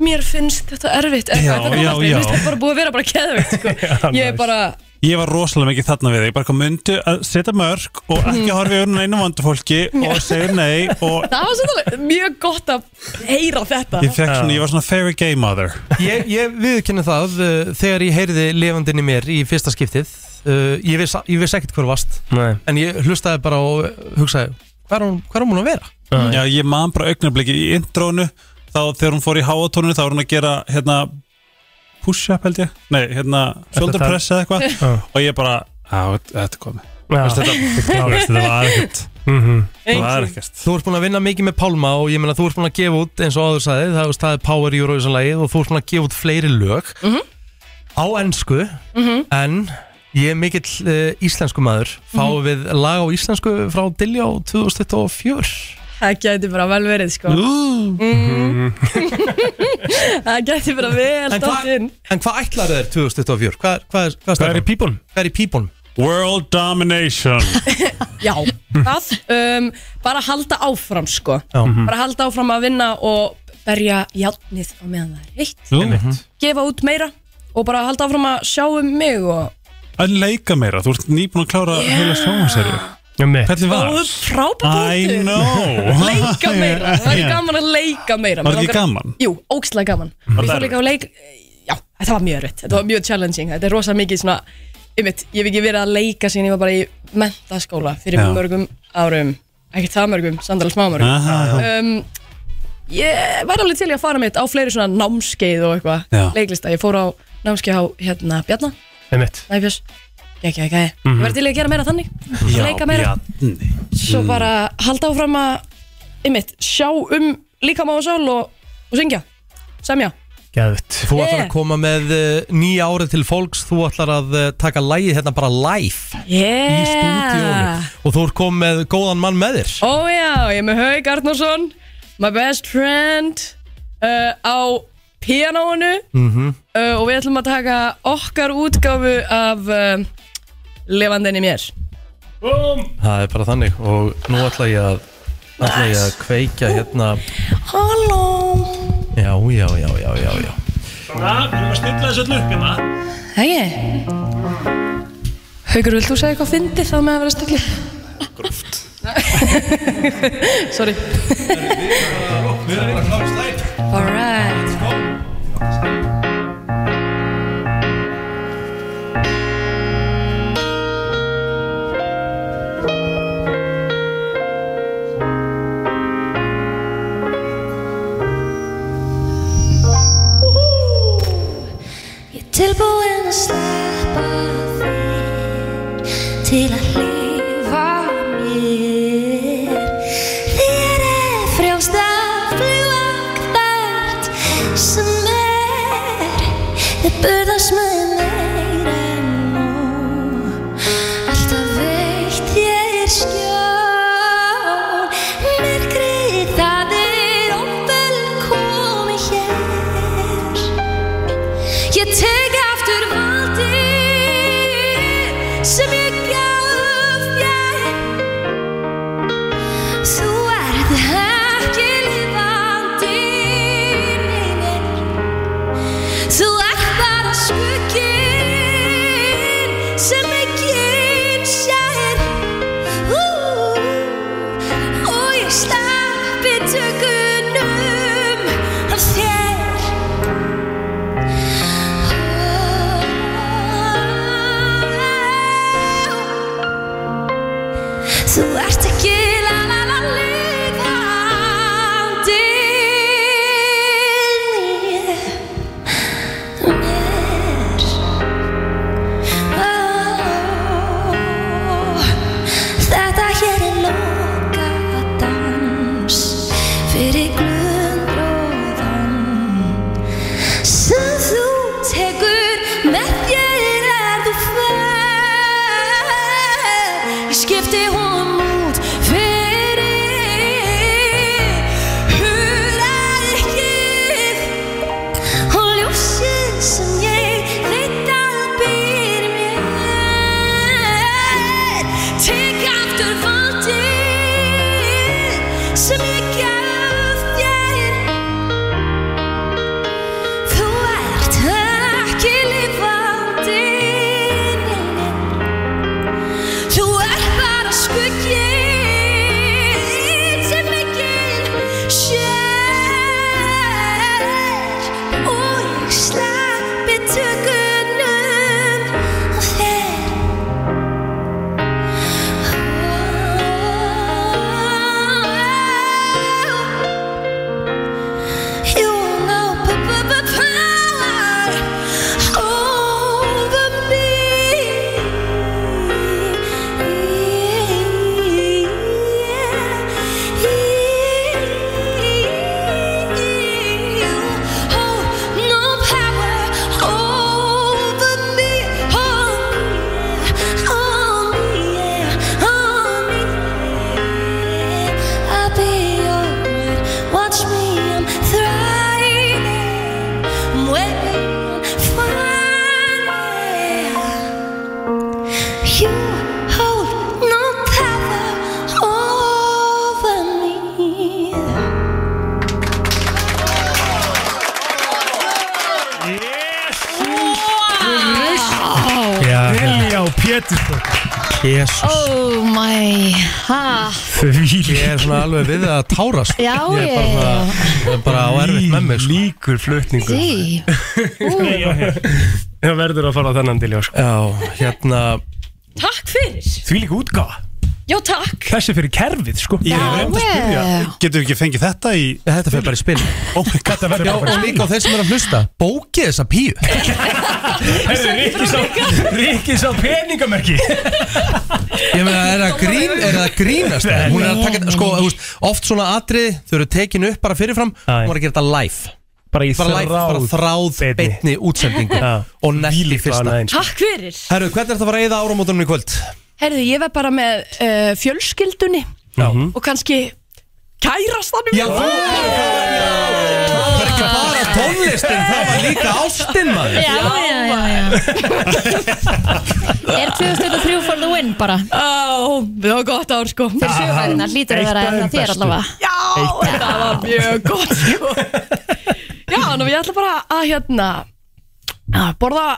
Speaker 16: mér finnst þetta erfitt
Speaker 17: Já,
Speaker 16: eitthvað, þetta kom
Speaker 17: já,
Speaker 16: aldrei,
Speaker 17: já.
Speaker 16: mér finnst þetta bara búið að vera bara keðvikt sko. ég er bara,
Speaker 17: ég var rosalega mikið þarna við þig, bara kom myndu að setja mörg og ekki
Speaker 16: Mhm.
Speaker 17: horfi unna einu vandufólki og segja nei og
Speaker 16: (laughs) það var svolítið mjög gott að heyra þetta
Speaker 17: ég, fekk svona, ég var svona fairy gay mother
Speaker 1: Ég, ég viðkynna það uh, þegar ég heyrði levandinni mér í fyrsta skiptið uh, ég, viss, ég viss ekkert hver vast
Speaker 2: Nei.
Speaker 1: en ég hlustaði bara og hugsaði hvað er hún, hvað er hún að vera?
Speaker 17: Já, ég man bara augnabliki í intrónu þá þegar hún fór í háatónu þá var hún að gera hérna push-up held ég, nei hérna shoulder
Speaker 2: það?
Speaker 17: press
Speaker 2: (laughs)
Speaker 17: eða
Speaker 2: Já.
Speaker 17: eitthvað og ég bara, á, þetta komi
Speaker 2: Já.
Speaker 17: Veistu, þetta,
Speaker 2: Klárast.
Speaker 17: veistu, þetta var ekkert
Speaker 2: Mhm,
Speaker 17: það var ekkert
Speaker 1: Þú ert búin að vinna mikið með Pálma og ég meina þú ert búin að gefa út eins og áður sagði það, það er Power Eurovision lagið og þú ert búin að gefa út fleiri lög
Speaker 16: Mhm.
Speaker 1: á ennsku
Speaker 16: Mhm.
Speaker 1: en ég er mikill uh, íslensku maður fáum
Speaker 16: Mhm.
Speaker 1: við lag á íslensku frá Dilljá 2024
Speaker 16: það gæti bara vel verið sko. mm. (laughs) það gæti bara vel
Speaker 1: En hvað-
Speaker 16: dátt inn
Speaker 1: En hvað ætlar þér 2024? Hvað, hvað, hvað, hvað er í
Speaker 2: pípunum?
Speaker 1: Hvað er í pípunum?
Speaker 17: World
Speaker 1: (laughs)
Speaker 17: Domination
Speaker 16: Já, það um, bara halda áfram sko
Speaker 1: Já.
Speaker 16: bara halda áfram að vinna og berja játnið á meðan það er heitt
Speaker 17: Einmitt.
Speaker 16: gefa út meira og bara halda áfram að sjá um mig og
Speaker 17: að leika meira, þú ert nýbúin að klára
Speaker 16: Já.
Speaker 17: heila sjónvarseri hvernig var?
Speaker 16: Góður, frábær
Speaker 17: I
Speaker 16: punktur.
Speaker 17: know.
Speaker 16: (laughs) Leika meira, það væri
Speaker 17: Já.
Speaker 16: gaman að leika meira
Speaker 17: Var
Speaker 16: Mig
Speaker 17: ekki
Speaker 16: langar-
Speaker 17: gaman? Mm.
Speaker 16: Jú, ógstlega gaman
Speaker 17: Var
Speaker 16: Mér
Speaker 17: það
Speaker 16: fór líka að leika Já, þetta var mjög erfitt, þetta var mjög challenging Þetta er rosa mikið svona einmitt, Ég hef ekki verið að leika sín, ég var bara í mentaskóla Fyrir
Speaker 17: Já.
Speaker 16: mörgum árum Ekkert það mörgum, sandal smá mörgum
Speaker 17: Aha.
Speaker 16: um, Ég væri alveg til í að fara mitt á fleiri svona námskeið og
Speaker 2: Já.
Speaker 16: eitthvað Leiklista, ég fór á námskeið á hérna Bjarna
Speaker 2: einmitt
Speaker 16: Næfjörs, ekki, ekki, ekki
Speaker 2: Mhm.
Speaker 16: Ég væri til í að gera meira þannig Leika meira svo
Speaker 2: Mhm. Mm.
Speaker 16: bara halda áfram að ymmit, sjá um líkama og sál og, og syngja, semja
Speaker 2: Gæðut
Speaker 1: Þú ætlar
Speaker 16: Yeah.
Speaker 1: að koma með uh, nýja árið til fólks Þú ætlar að uh, taka lægið hérna bara live
Speaker 16: yeah.
Speaker 1: Í stúdíónu Og þú ert komið með góðan mann með þér
Speaker 16: Ó já, ég er með Haug Arnarsson my best friend uh, á pianónu
Speaker 1: Mhm.
Speaker 16: uh, og við ætlum að taka okkar útgáfu af uh, levandinni mér Bum!
Speaker 1: Það er bara þannig Og nú ætla ég að ætla ég að kveikja hérna
Speaker 16: Halló
Speaker 1: Já, já, já, já, já, já
Speaker 17: Svona, við erum að stilla þessu öll upp hérna
Speaker 16: Hei Haugur, vilt þú segja eitthvað fyndið þá með að vera stöfli? Gróft (laughs) Sorry
Speaker 17: Við erum að klára slæt
Speaker 16: Alright
Speaker 8: Ég er tilbúin að sleppa þér til að hlýfa mér Þér er frjálst að fljúa hvert sem er Þið burðast með meira en nú Alltaf veitt ég skjól Myrkrið það er óvel komið hér Ég tek aftur vann
Speaker 5: Oh, Oh, oh,
Speaker 2: betur
Speaker 1: Jesus
Speaker 3: Oh my ha.
Speaker 1: Ég er svona alveg við að tára sko.
Speaker 3: Já,
Speaker 1: Ég er bara,
Speaker 3: ég-
Speaker 1: svona, ég er bara á erfitt með mig sko.
Speaker 2: Líkur flutningur
Speaker 3: Því
Speaker 2: Það verður að fara á þennan til já sko.
Speaker 1: Já, hérna
Speaker 16: Takk fyrir
Speaker 2: Því líka útgáfa
Speaker 16: Já, takk
Speaker 2: Þessi fyrir kerfið sko
Speaker 17: Ég er reynd að spyrja
Speaker 16: Já.
Speaker 17: Getum við ekki fengið þetta í
Speaker 1: Þetta fyrir
Speaker 2: (laughs)
Speaker 1: bara í spil
Speaker 17: Oh my god, það verður
Speaker 1: Já, og
Speaker 17: bara í
Speaker 1: líka á þeir sem er að hlusta Bókið þessa píu
Speaker 2: Rikki sá peningamerki
Speaker 1: Ég meina, er það grín, er það grínast eða? Hún er að taka, sko, þú veist, oft svona atrið Þau eru tekin upp bara fyrirfram Hún var að gera þetta live
Speaker 2: Bara í
Speaker 1: live, bara þráð beinni útsendingu Og nætti fyrsta
Speaker 16: Takk fyrir
Speaker 1: Herru, hvernig er það að fara að eyða áramótunum í kvöld?
Speaker 16: Herðu, ég var bara með uh, fjölskyldunni
Speaker 1: Já
Speaker 16: og kannski kærastanum
Speaker 1: Já, þú Það var ekki bara tónlistin, það var líka ástin maður
Speaker 3: Já, já, já, já. Er 2003 for the win bara?
Speaker 16: Ó, það var gott ár sko
Speaker 3: Fyrir sögurnar lítur að vera
Speaker 16: Eitt af
Speaker 3: hérna
Speaker 16: þeim
Speaker 3: þér
Speaker 16: bestu.
Speaker 3: allavega
Speaker 16: Já, það var mjög gott sko Já, ná, ég ætla bara að hérna að borða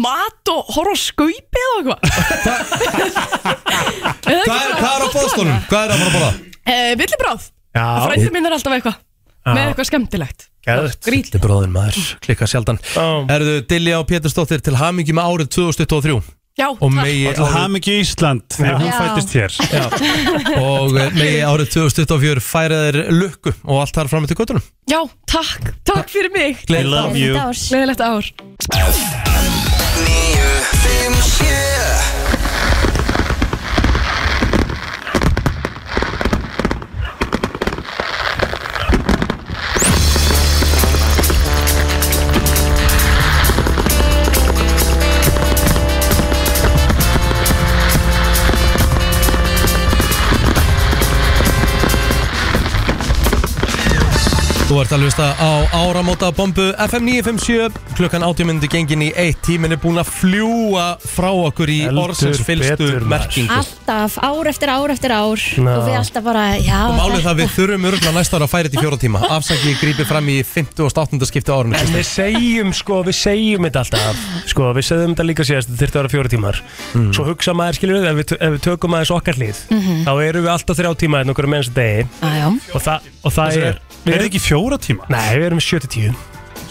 Speaker 16: mat og horfa á skaupið
Speaker 1: (laughs)
Speaker 16: og eitthvað Eða ekki
Speaker 1: Hvað er,
Speaker 16: bara
Speaker 1: hvað er á
Speaker 16: gott
Speaker 1: bóðstónum? Hvað er að fara að borða?
Speaker 16: Eh, Villibráð
Speaker 1: Já.
Speaker 16: Frændið minn er alltaf eitthvað
Speaker 1: Já.
Speaker 16: Með eitthvað skemmtilegt
Speaker 2: Gæðut
Speaker 1: Þetta bróðin maður, klikka sjaldan Erðu Dilja og Pétursdóttir til hamingi með árið 2023
Speaker 16: Já,
Speaker 1: Og megi
Speaker 17: Og til hamingju Ísland Þegar hún
Speaker 1: Já.
Speaker 17: fættist hér
Speaker 1: (laughs) Já. Og eh, megi árið 2024 færa þeir lukku og allt þar fram til kvötunum
Speaker 16: Já, takk, takk fyrir mig
Speaker 1: Gleðilegt I love ár. you.
Speaker 16: Gleðilegt ár
Speaker 1: Þú ert að hlusta á áramóta bombu FM 957 klukkan 80 myndi gengin í 1 tímin er búin að fljúa frá okkur í
Speaker 2: Heldur
Speaker 1: orðsins fylstu
Speaker 2: betur, maður.
Speaker 1: merkingu
Speaker 3: Alltaf, ár eftir ár eftir ár
Speaker 1: Ná.
Speaker 3: Og við alltaf bara, já
Speaker 1: Og málið það við þurfum örgulega næsta ára að færa þetta í fjóra tíma Afsaki ég grípi fram í 58. skipti á árunni
Speaker 2: En við segjum sko, við segjum þetta alltaf Sko, við segjum þetta líka síðast Þetta þurfti að vera fjóra tímar Svo hugsa maður, skilur við, ef við, ef við tökum aðeins okkar hlið
Speaker 3: Mhm.
Speaker 2: Þá eru við alltaf þrjá tíma hérna En okkur er mennst degi
Speaker 3: Æjá
Speaker 2: Og, þa og það
Speaker 17: Þessi
Speaker 2: er
Speaker 17: er- er þið ekki fjóra tíma?
Speaker 2: Nei, við erum 7-10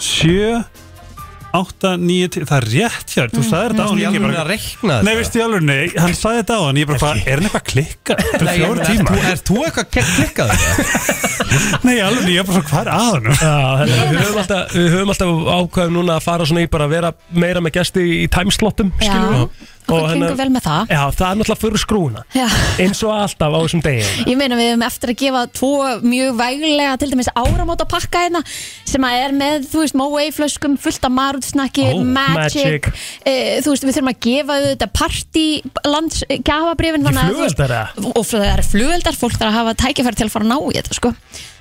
Speaker 17: 7, 8, 9, 10 Það er rétt hér,
Speaker 1: Mm,
Speaker 17: þú sagði þetta á hann
Speaker 1: Varstu í
Speaker 17: ég
Speaker 1: alvörunni
Speaker 17: bara-
Speaker 1: að reikna þetta?
Speaker 17: Nei, veist ég alveg, nei, hann sagði þetta á hann Ég bara, hvað, er hann eitthvað að klikka? Þetta er
Speaker 1: Nei, ég
Speaker 17: fjóra
Speaker 1: meina,
Speaker 17: tíma
Speaker 1: ert þú eitthvað klikkað?
Speaker 17: Nei, alveg, ég er bara svo, hvað er að hann?
Speaker 2: Já, þannig að við höfum alltaf, við höfum alltaf ákvæðum núna að fara svona í bara að vera meira með gesti í timeslottum,
Speaker 3: Já.
Speaker 2: skilur við.
Speaker 3: Okkur gengur vel með það.
Speaker 2: Já, það er náttúrulega fyrir skrúna,
Speaker 3: Já.
Speaker 2: eins og alltaf á þessum degi.
Speaker 3: Ég meina við höfum eftir að gefa tvo mjög væglega til dæmis áramóta pakka hérna sem að er með, þú veist, Moway flöskum fullt af marutsnakki,
Speaker 2: Ó,
Speaker 3: magic,
Speaker 2: Magic.
Speaker 3: E, þú veist, við þurfum að gefa auðvitað partí lands eh, gafabrifin
Speaker 2: Ekki flugeldar,
Speaker 3: og það er flugeldar, fólk þarf að hafa tækifæri til að fara að ná í þetta sko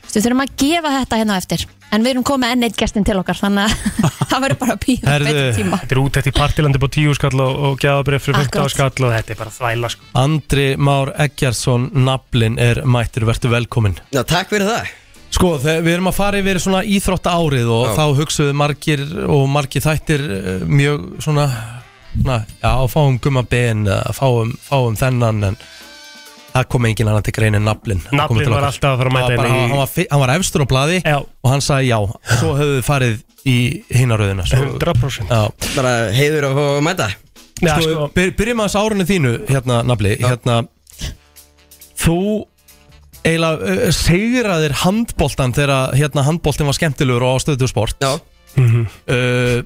Speaker 3: Þú veist, Við þurfum að gefa þetta hérna á eftir En við erum komið enn eitt gestinn til okkar Þannig að (laughs) það verður bara að býða betri tíma
Speaker 2: þetta er út eftir partilandi búið tíu skall og, og gjafabrið fyrir 15 skall og þetta er bara þvæla sko.
Speaker 1: Andri Már Eggjarsson Nablin er mættur, vertu velkomin
Speaker 4: Já, takk fyrir það
Speaker 1: Sko, þegar við erum að fara yfir svona íþrótta árið og
Speaker 4: Já.
Speaker 1: þá hugsuðu margir og margir þættir eh, mjög svona na, já, fáum gumma ben eða fáum, fáum um þennan en það kom engin annan til greinin Nablin að koma
Speaker 2: Nafnin
Speaker 1: til
Speaker 2: var
Speaker 1: okkar.
Speaker 2: alltaf að fara að mæta
Speaker 1: Það var bara-
Speaker 2: inn í-
Speaker 1: hann, var, fi- hann var efstur á blaði
Speaker 2: já.
Speaker 1: og hann sagði já, svo höfðu þið farið í hinaröðina
Speaker 2: 100%
Speaker 1: já.
Speaker 4: Bara heiður að fá að mæta
Speaker 1: Já, sko, sko. byr, byrjum aðeins á árunni þínu hérna, nafli hérna, þú eiginlega uh, segraðir handboltan þegar hérna, handboltin var skemmtilegur og á stöðu sport já
Speaker 2: Mhm.
Speaker 1: uh,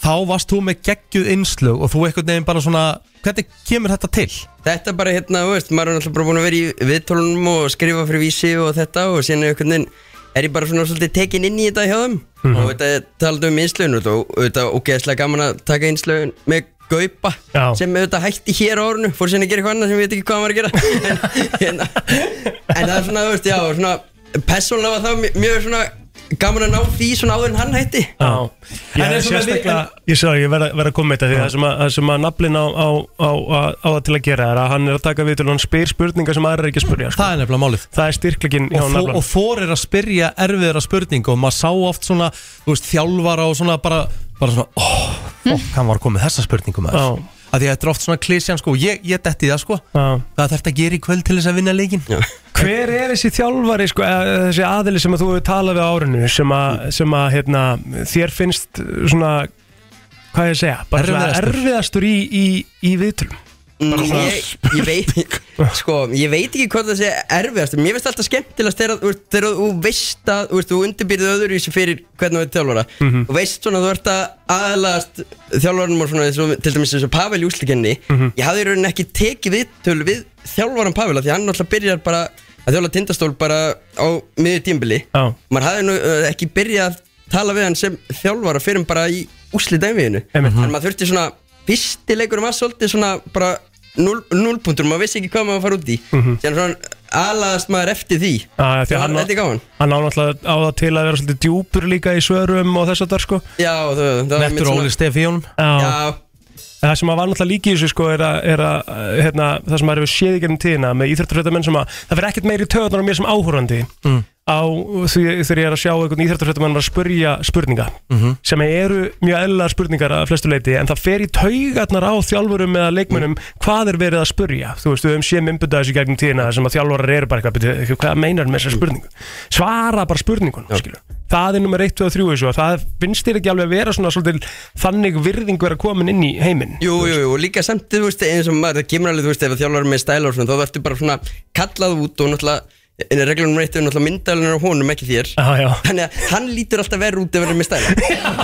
Speaker 1: þá varst þú með geggjuð innslug og þú eitthvað nefn bara svona hvernig kemur þetta til?
Speaker 4: Þetta er bara hérna, þú veist, maður er náttúrulega bara búin að vera í viðtólunum og skrifa fyrir vísi og þetta og síðan er einhvern veginn er ég bara svona svolítið tekin inn í þetta hjá þeim
Speaker 2: Mhm.
Speaker 4: og þetta talaðu um einslögun og þetta er ógeðslega gaman að taka einslögun með gaupa
Speaker 2: Já.
Speaker 4: sem auðvitað hætti hér á ornu fór síðan að gera eitthvað annað sem ég veit ekki hvað hann var að gera en,
Speaker 1: (laughs)
Speaker 4: hérna, en það er svona, þú veist, já, svona persónulega var það mj- mjög svona gaman að ná því svona áður en hann hætti
Speaker 2: Já, ég
Speaker 4: En er
Speaker 2: er
Speaker 4: svona
Speaker 2: sérstaklega
Speaker 4: líka-
Speaker 2: Ég sagði, ég verð verð að koma með þetta því það sem að, það sem að naflin á, á, á, á, á það til að gera er að hann er að taka við til og hann spyr spurningar sem aðra er ekki að spyrja sko.
Speaker 1: Það er nefnilega málið
Speaker 2: Það er styrklegin hjá
Speaker 1: og, þó,
Speaker 2: naflan
Speaker 1: og þorir að spyrja erfiðra spurningu og maður sá oft svona þú veist, þjálfara og svona bara, bara svona, ó, fokk, hann var að koma með þessa spurningu maður
Speaker 2: Já.
Speaker 1: að að því að þetta er oft svona klísjan sko, ég, ég detti í það sko hvað þarf að gera í kvöld til þess að vinna leikin
Speaker 2: Hver er þessi þjálfari, sko, eða þessi aðili sem að þú hefur talað við á árinu sem að, sem að hérna, þér finnst svona, hvað ég að segja bara svona
Speaker 4: Erfiðastur.
Speaker 2: erfiðastur í, í, í viðtölum
Speaker 4: Mm, Ég, ég, veit, (laughs) sko, ég veit ekki hvort það sé erfiðast Mér finnst alltaf skemmtilegast þegar þú- þegar þú veist að þú, veist, þú undirbyrðið öðru í sig fyrir hvernig þú ert þjálfara
Speaker 5: Mhm.
Speaker 4: Þú veist svona þú ert að aðalast þjálfaranum og svona þessu, til dæmis þessu Pavel í úslikenni
Speaker 5: Mhm.
Speaker 4: Ég hafði í rauninni ekki tekið viðtöl við þjálfaran Pavel af Því að hann alltaf byrjar bara að þjálfa tindastól bara á miður tímbili
Speaker 2: Já.
Speaker 4: Maður hafði nú uh, ekki byrjað að tala við hann sem þjálfara fyrir en bara í úslitæmiðinu Þannig að maður þurfti svona fyrsti leikurinn var svolítið svona bara núl, núlpuntur maður vissi ekki hvað maður var að fara út í mm
Speaker 2: Mhm.
Speaker 4: svona alaðast maður eftir því
Speaker 2: Já, því að hann,
Speaker 4: Þetta er gáðan
Speaker 2: hann á náttúrulega á það til að vera svolítið djúpur líka í svörum og þess að það sko
Speaker 4: Já, það, það var
Speaker 2: Nettur
Speaker 4: mitt svona-
Speaker 2: Óli
Speaker 1: Stefi Jón
Speaker 2: Já En Það sem að var náttúrulega líki í þessu sko er að, er að hérna, það sem maður hefur séð í gennum tíðina með íþjóttarfjöldamenn sem að það fyrir ekkert meiri töðunar á mér sem áhórandi
Speaker 1: Mm.
Speaker 2: á því þegar ég er að sjá einhvern íþjóttarfjöldamenn að spurja spurninga
Speaker 1: Mhm.
Speaker 2: sem eru mjög eðlilega spurningar að flestu leiti en það fer í taugarnar á þjálfurum eða leikmönnum hvað er verið að spurja þú veist, við höfum séð mymbundað þessu í gegnum tíðina þar sem að þjálfarar eru bara eitthvað, "Bíddu, hvað meinar með þessar spurningu svara bara spurningunum, skilur það er nummer 1, 2 og 3 þessu og það finnst þér ekki alveg að vera svona svolítið þannig virðing vera komin inn í heiminn
Speaker 4: Jú, jú, jú, og líka samt, þú veist, eins og maður, það kemur alveg, þú veist, ef að þjálfar er með stæla og svona, þá ertu bara svona kallað út og náttúrulega, en reglunum reytið er náttúrulega myndalunar á honum, ekki þér.
Speaker 2: Já, já.
Speaker 4: Þannig að hann lítur alltaf verð út ef hann er með stæla.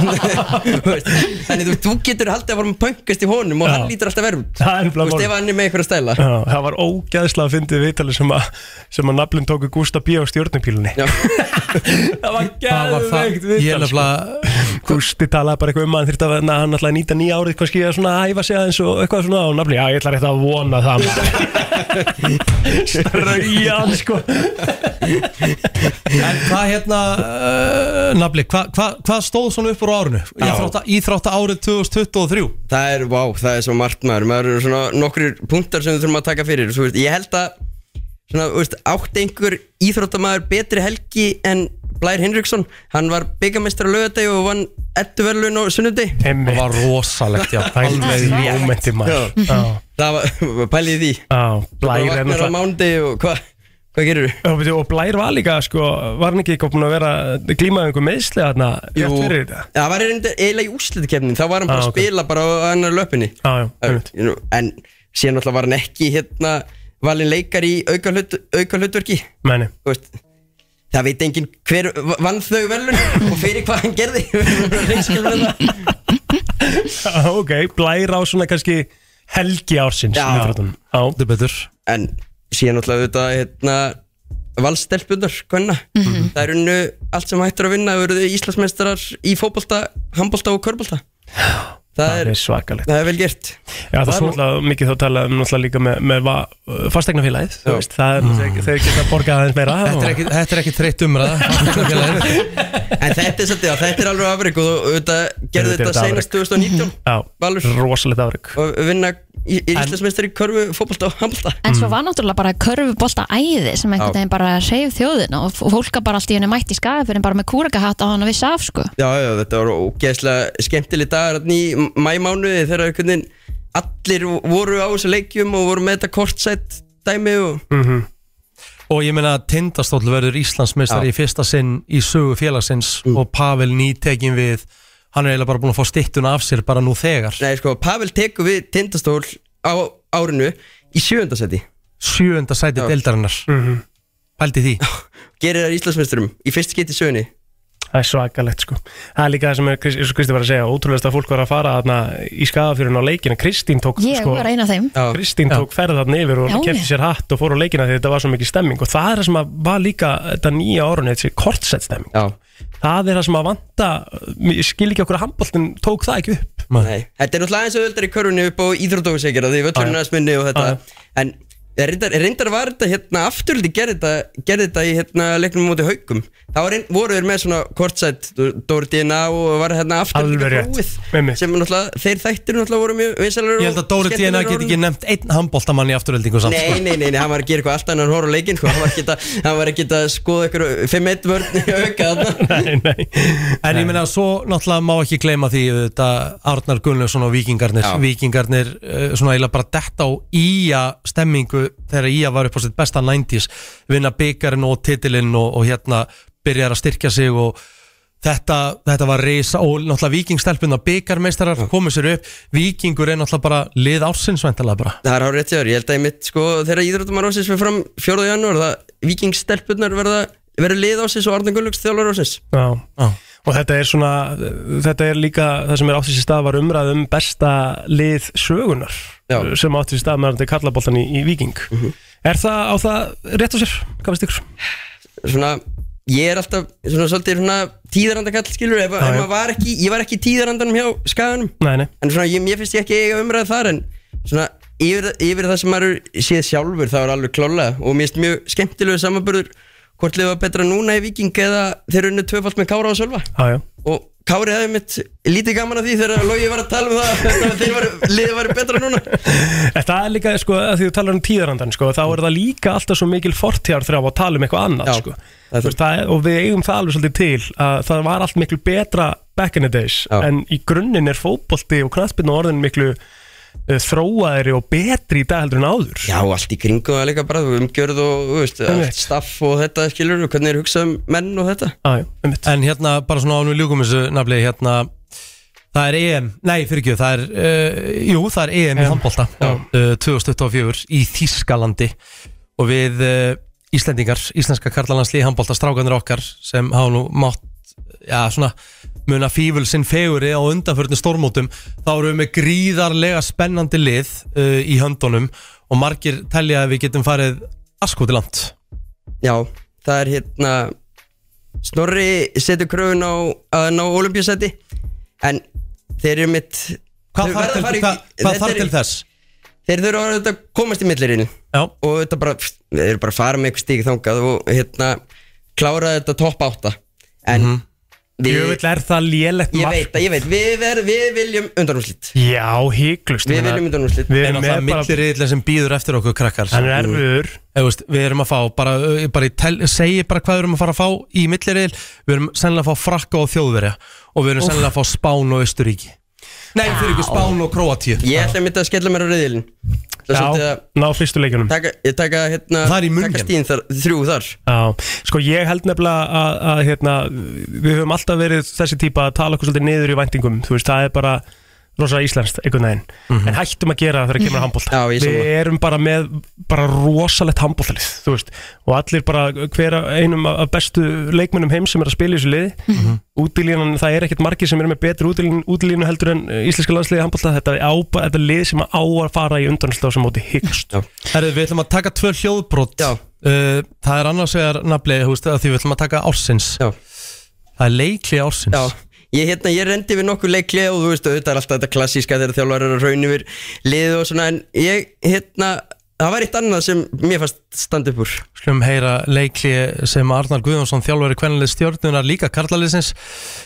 Speaker 4: (laughs) Þú veist, Þannig þú, þú getur haldið að fara með pöngast í honum og
Speaker 2: Já.
Speaker 4: hann lítur alltaf verð út.
Speaker 2: Það er nefnilega
Speaker 4: Þú veist,
Speaker 2: málið.
Speaker 4: ef hann er með einhverja stæla.
Speaker 2: Já, það var ógæðslega að fyndið viðtalið sem að, sem að naflinn tóku Gústa B. á stjórnupílunni (laughs) Það var geðveikt
Speaker 1: það- ég er
Speaker 2: viðtal sko. Gústi talaði bara eitthvað um að hann þyrfti að na, hann ætlaði að nýta nýja árið kannski að svona æfa sig aðeins og eitthvað svona og naflinn, já ég ætla rétt að vona það
Speaker 4: (laughs)
Speaker 2: Ströjan sko
Speaker 1: En hvað hérna, uh, Nafli, hvað hva, hva stóð svona upp úr á árinu? Íþrótta, íþrótta árið 2023
Speaker 4: Það er, vá, það er svo margt maður maður eru svona nokkur punktar sem við þurfum að taka fyrir Þú veist, ég held að svona, þú veist, átt einhver íþróttamaður betri helgi en Blær Hinriksson hann var byggamestrar á lögadegi og vann ettu verðlun á sunnundi
Speaker 2: Það
Speaker 1: var rosalegt, já, alveg í
Speaker 2: mómenti maður. Já.
Speaker 4: Það var, (laughs) pælið í því
Speaker 2: Já, Blær er
Speaker 4: er
Speaker 2: náttúrulega-
Speaker 4: náttúrulega Mándi og hvað Hvað gerir þú?
Speaker 2: Og, og Blær var líka sko, var hann ekki eitthvað búin að vera glímaði einhver meðsli þarna
Speaker 4: Jú,
Speaker 2: rétt fyrir þetta?
Speaker 4: það var reyndar eiginlega í úslitkefnin þá var hann bara
Speaker 2: Ah,
Speaker 4: að
Speaker 2: ok.
Speaker 4: spila bara á annar löpunni
Speaker 2: ah,
Speaker 4: já, en síðan alltaf var hann ekki hérna valin leikar í auka, hlut, auka hlutverki
Speaker 2: Meni.
Speaker 4: veist, það veit enginn hver vann þau velun
Speaker 2: (laughs)
Speaker 4: og fyrir hvað hann gerði
Speaker 2: Já, (laughs) ok, blær á svona kannski helgi ársins í íþróttum. Já, þetta
Speaker 1: er betur
Speaker 4: en síðan alltaf þetta hérna valstelpunar, hvenna
Speaker 2: Mhm.
Speaker 4: það er unnu allt sem hættur að vinna það eru Íslandsmeistarar í fótbolta, handbolta og körbólta það er,
Speaker 2: svakalegt
Speaker 4: það er vel gert
Speaker 2: Já, það,
Speaker 4: Og
Speaker 2: er
Speaker 4: svo-
Speaker 2: náttúrulega mikið þá talað um náttúrulega líka með, með va- uh, fastegnafélagið, þú
Speaker 1: Já.
Speaker 2: veist, það er náttúrulega, þeir geta borgað aðeins meira
Speaker 1: Þetta er ekki, þetta er ekki þreytt umræða
Speaker 4: en þetta er svolítið, já, þetta er alveg afrygg og þú- þetta gerði
Speaker 2: Þetta er
Speaker 4: þetta senast 2019
Speaker 2: Já, rosalegt afrygg
Speaker 4: og vinna í Íslandsmeistar í körfu, fótbolta og handbolta
Speaker 3: En svo var náttúrulega bara körfubolta æði sem einhvern
Speaker 4: Mm. Já.
Speaker 3: veginn bara reyf þjóðin og f- fólk var bara allt í henni mætt í skagafyrin bara með kúrakahatt á hann að vissi af sko.
Speaker 4: Já, já, þetta var ógeðslega skemmtileg dagar þarna í mæmánuði þegar einhvern veginn allir voru á þessu leikjum og voru með þetta kortsætt dæmi og
Speaker 2: -hmm.
Speaker 1: Mhm. Og ég meina að Tindastóll verður Íslandsmeistar
Speaker 4: Já.
Speaker 1: í fyrsta sinn í sögu félagsins og Pavel nýtekin við hann er eiginlega bara búin að fá stittuna af sér bara nú þegar
Speaker 4: Nei, sko, Pavel tekur við tindastól á árinu í sjöundasæti
Speaker 1: Sjöunda sæti deildarinnar Pældi því
Speaker 4: Mhm. (laughs) Gerir það Íslandsmeisturum í fyrst geti sögunni
Speaker 2: (laughs) Það er svakalegt sko Það er líka það sem er, Krist- eins og Kristi var að segja ótrúlegast að fólk var að fara þarna í skafafjörun á leikina Kristín tók
Speaker 3: Ég
Speaker 2: sko,
Speaker 3: var ein af þeim. Já.
Speaker 2: Kristín tók ferð þarna yfir og
Speaker 3: Já,
Speaker 2: kefti
Speaker 3: já.
Speaker 2: sér hatt og fór á leikina því þetta var svo mikið stemming og það er það sem að var líka þetta nýja árun þessi kortsett stemming
Speaker 4: Já.
Speaker 2: Það er það sem að vanta ég skil ekki okkur að handbóltin tók það ekki upp
Speaker 1: Ah,
Speaker 4: Nei, þetta er náttúrulega aðeins auðvöldar í körfunni upp á íþrótdófisækjara því
Speaker 2: Já, já.
Speaker 4: völlurinn aðeins minni og þetta
Speaker 2: Já,
Speaker 4: en Ég Reyndar, reyndar var þetta hérna afturhaldi gerði þetta, gerði þetta í hérna leiknum móti haukum þá reynd, voru þeir með svona kortsætt Dóri DNA og var hérna afturhaldi
Speaker 1: Alveg rétt.
Speaker 4: búið sem náttúrulega þeir þættir náttúrulega voru mjög vinsalega
Speaker 1: Ég held að Dóri DNA get ekki nefnt einn handbóltamann í afturöldingu samt
Speaker 4: Nei,
Speaker 1: sko.
Speaker 4: nei, nei, nei, hann var að gera eitthvað allt annan hóra á leikinn sko. hann var ekki að, hann var ekki að skoða eitthvað 5-1 vörn í auka þarna
Speaker 1: En ég meina, svo náttúrulega má ekki gleyma því þetta Arnar Gunnlaugsson og Víkingarnir
Speaker 4: Já.
Speaker 1: Víkingarnir, eh, svona eiginlega bara detta á íja stemmingu þegar íja var upp á sitt besta 90s vinna byggarinn og titilinn og, og hérna byrjar að styrkja sig og þetta, þetta var reysa og náttúrulega Víkingstelpinn og byggarmeistarar komu sér upp Víkingur er náttúrulega bara lið ásinsvæntalega bara
Speaker 4: Það er hár rétt hjá þér, ég held að ég mitt sko þegar íþróttumar ásins fyrir fram 4. janúar það vikingstelpurnar verða verður lið ásins og Arnur Gunnlaugs þjálfur ásins
Speaker 2: Já. Og þetta er svona, þetta er líka það sem er átti sér stað var umræð um besta lið sögunar Já. Mhm. sem átti sér stað með þetta kallaboltan í, í Viking. Er það á það rétt á sér? Hvað veist ykkur?
Speaker 4: svona ég er alltaf svona svolítið svona tíðarandakall skilur ef, ef maður var ekki, ég var ekki í tíðarandanum hjá skaganum
Speaker 2: Nei, nei.
Speaker 4: en svona ég, mér finnst ég ekki eiga umræð þar en svona yfir, yfir það sem maður séð sjálfur það er alveg klálega og mér finnst mjög skemmtilegu samanburður hvort lifa betra núna í Viking eða þeir unnu tvöfalt með Kára og Sölva
Speaker 2: Já, já.
Speaker 4: og Kári hefði mitt lítið gaman af því þegar Lógi var að tala um það að þeir var, liðið var betra núna
Speaker 2: En það er líka, sko, að því þú talar um tíðarandan, sko, þá er það líka alltaf svo mikil fortjár þrjá að tala um eitthvað annað, sko. Það er, það er, og við eigum það alveg svolítið til að það var allt miklu betra back in the days, en í grunninn er fótbolti og knastbyrna orðin miklu uh, þróaðri og betri í dag heldur en áður.
Speaker 4: (laughs) Já, allt í kringum það líka bara umgjörð og þú veist, allt staff og þetta skilur og hvernig er hugsað um menn og þetta
Speaker 2: ah,
Speaker 1: En hérna, bara svona ánum við ljúkum þessu nafnilegi hérna, það er EM Nei, fyrir ekki, það er uh, Jú, það er EM í handbólta uh, 2024 í Þískalandi og við uh, Íslendingar Íslenska karlalandsli í handbólta strákanir okkar sem hafa nú mátt já, svona, muna fíful sinn feguri á undanförnum stormótum þá erum við með gríðarlega spennandi lið uh, í höndunum og margir telja að við getum farið askótiland
Speaker 4: Já, það er hérna Snorri setur kröfun á að ná olimpíusetti en þeir eru mitt
Speaker 1: Hvað þarf til- hvað- hvað þarf til þess?
Speaker 4: Þeir þurfa að þetta komast í millirinn
Speaker 1: og
Speaker 4: þetta bara, þeir eru bara að fara með eitthvað stík þangað og hérna klára þetta topp átta en
Speaker 1: Mhm.
Speaker 4: mm
Speaker 2: Jöfull er það lélegt
Speaker 4: Ég
Speaker 2: mark.
Speaker 4: veit, það, ég veit, við, ver, við viljum undanúslit
Speaker 2: Já, hygglust
Speaker 4: Við viljum undanúslit
Speaker 1: Við erum með milliriðlega sem býður eftir okkur krakkar
Speaker 2: Hann er erfiður.
Speaker 1: Eða, veist, Við erum að fá, bara, eh, bara í tel, segi bara hvað við erum að fara að fá í milliriðil Við erum sennilega að fá frakka og þjóðverja Og við erum
Speaker 4: Úff.
Speaker 1: sennilega að fá Spán og Östuríki Nei, fyrir ekki Spán og Kroatíu
Speaker 4: Ég ætla að mynda að skella mér á reyðilin
Speaker 2: Já, ná fyrstu leikjunum.
Speaker 4: taka, Ég taka hérna
Speaker 2: Það er í München.
Speaker 4: Taka stíðin þar, þrjú þar
Speaker 2: Já, sko ég held nefnilega að, að hérna, við höfum alltaf verið þessi típa að tala okkur svolítið niður í væntingum þú veist, það er bara rosa íslenskt einhvern veginn, en hættum að gera það þegar kemur að handbólta,
Speaker 4: Mhm. Já, ég
Speaker 2: við
Speaker 4: sammála.
Speaker 2: erum bara með bara rosalegt handbóltalið þú veist, og allir bara hver af- einum af af bestu leikmönnum heim sem er að spila í þessu liði, mm -hmm. það er ekkert margir sem er með betri útilínu, útilínu heldur en eh, íslenska landsliði handbólta, þetta, er á- þetta er lið sem á að fara í undanúrslit á þessu móti hyggst.
Speaker 1: Herri, við ætlum að taka tvö hljóðbrot uh, Það er annars vegar nafnlega, þú veist, að því við ætlum að taka ársins
Speaker 4: Já.
Speaker 1: Það er leikli ársins
Speaker 4: Já, ég, hérna, ég rendi við nokkuð leikli og þú veist, auðvitað er alltaf þetta klassíska þegar þjálfar er að raun yfir liðu og svona en ég, hérna, það var eitt annað sem mér fannst standa upp úr
Speaker 1: Skulum heyra leikli sem Arnar Guðjónsson þjálfari kvennileg stjórnunar líka karlaliðsins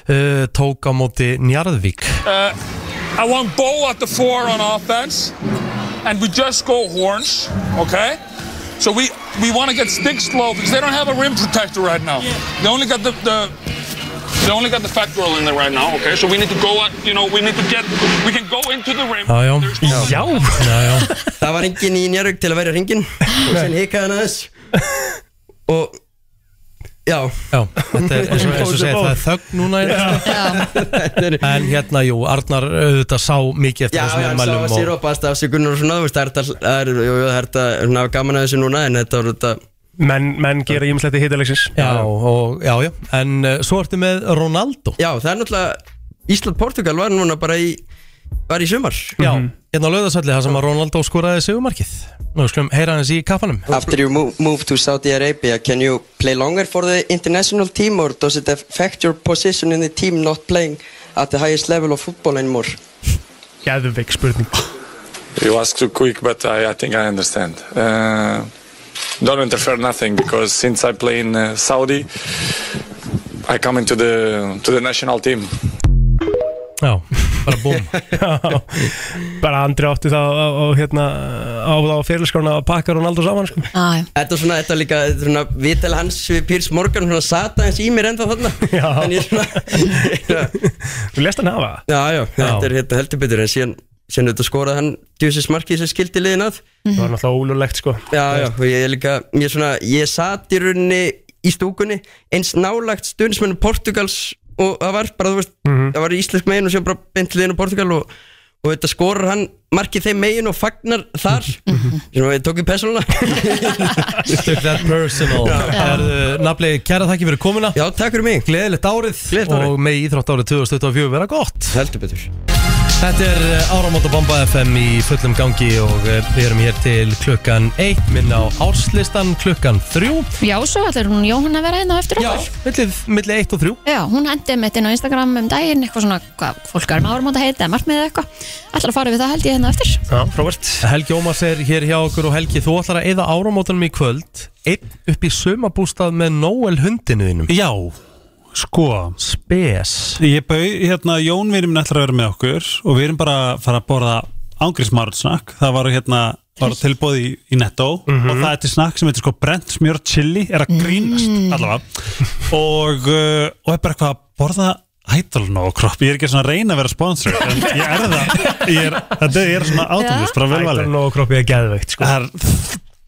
Speaker 1: uh, tók á móti Njarðvík
Speaker 18: Uh, I want Bo at the four on offense, and we just go horns, okay? So we we want to get sticks low because they don't have a rim protector right now. They only got the, the they only got the fat girl in there right now, okay? So we need to go at you know we need to get we can go into the rim.
Speaker 1: Já, já
Speaker 4: Já,
Speaker 1: já, já.
Speaker 4: Það var engin í njörg til að verja ringin og sen hikaði hann aðeins og já
Speaker 1: Já, þetta er eins og, eins og segir, það er þögn núna í (laughs) þessu. En hérna, jú, Arnar auðvitað sá mikið eftir
Speaker 4: Já,
Speaker 1: þessum
Speaker 4: hann sá að sér
Speaker 1: og...
Speaker 4: opast afsökunar og svona, þú veist, það er þetta- það er jú, jú, það er þetta svona að hafa gaman að þessu núna en þetta var þetta
Speaker 2: Menn, menn gera ímslætti hitalegsins
Speaker 1: Já, og, já, já, en uh, svo ertu með Ronaldo
Speaker 4: Já, það er náttúrulega, Ísland-Portugal var núna bara í, var í sumar
Speaker 1: Já,
Speaker 2: Mhm.
Speaker 1: hérna á laugasöldi, það sem að Ronaldo skoraði sigumarkið. Nú skulum heyra hans í kaffanum.
Speaker 4: After you move, move to Saudi Arabia, can you play longer for the international team or does it affect your position in the team not playing at the highest level of football anymore?
Speaker 2: Gæðveik spurning
Speaker 18: You ask too quick, but I, I think I understand. Uh, don't interfere nothing because since I play in uh, Saudi, I come into the to the national team.
Speaker 1: Já, bara
Speaker 17: (laughs)
Speaker 1: búm
Speaker 2: Bara andri átti það á, á, hérna, á, á fyrirskrána og pakkar hún aldrei saman sko.
Speaker 3: ah,
Speaker 4: Þetta er svona, þetta er líka þetta er svona, viðtal hans við Pírs Morgan svona sata hans í mér ennþá þarna en ég er svona
Speaker 2: Þú lest hann hafa?
Speaker 4: Já, já, þetta er hérna heldur betur en síðan, síðan þetta skoraði hann djúsins markið sem skildi liðin að
Speaker 2: Það var náttúrulega ólulegt sko
Speaker 4: Já, já, og ég er líka, ég er svona ég sat í rauninni í stúkunni eins nálagt stundismennu Portugals og það var bara, þú veist,
Speaker 2: Mhm.
Speaker 4: það var í íslensk megin og sér bara beint liðin á Portugal og, og þetta skorar hann markið þeim megin og fagnar þar
Speaker 2: Mhm.
Speaker 4: sem ég tók í persónuna
Speaker 1: Took that personal Erðu, Nafli, kæra þakki fyrir komuna
Speaker 4: Já, takk fyrir mig
Speaker 1: Gleðilegt árið Og með íþrótt árið 2024 vera gott
Speaker 4: Heldur betur
Speaker 1: Þetta er eh, Áramóta Bomba FM í fullum gangi og eh, við erum hér til klukkan 1 minn á árslistan klukkan 3
Speaker 3: Já, svo ætlar hún Jóhann að vera hérna á eftir okkur
Speaker 1: millið, millið 1 og 3
Speaker 3: Já, hún hendi mitt inn á Instagram um daginn eitthvað svona, hvað fólk er um áramóta heiti eða markmið eða eitthvað ætlar að fara við það held ég hérna á eftir
Speaker 2: Já, frábært
Speaker 1: Helgi Ómars er hér hjá okkur og Helgi, þú ætlar að eyða áramótanum í kvöld einn upp í sumabústað með Noel hundinu þínum
Speaker 17: Já, sko
Speaker 1: Spes
Speaker 17: Ég bau, hérna, Jón vinur minn ætlar að vera með okkur og við erum bara að fara að borða ángriðsmárulsnakk, það var hérna var tilbúið í, í Netto
Speaker 2: Mhm.
Speaker 17: og það er til snakk sem heitir sko brent smjör chili er að grínast
Speaker 2: Mm.
Speaker 17: allavega og, uh, og er bara eitthvað að borða hættalun og kropp, ég er ekki svona að reyna að vera sponsor en ég er það ég er, þetta er
Speaker 2: (laughs)
Speaker 17: svona átumlust, bara velvali
Speaker 2: Ætlun og kroppi er geðveikt sko.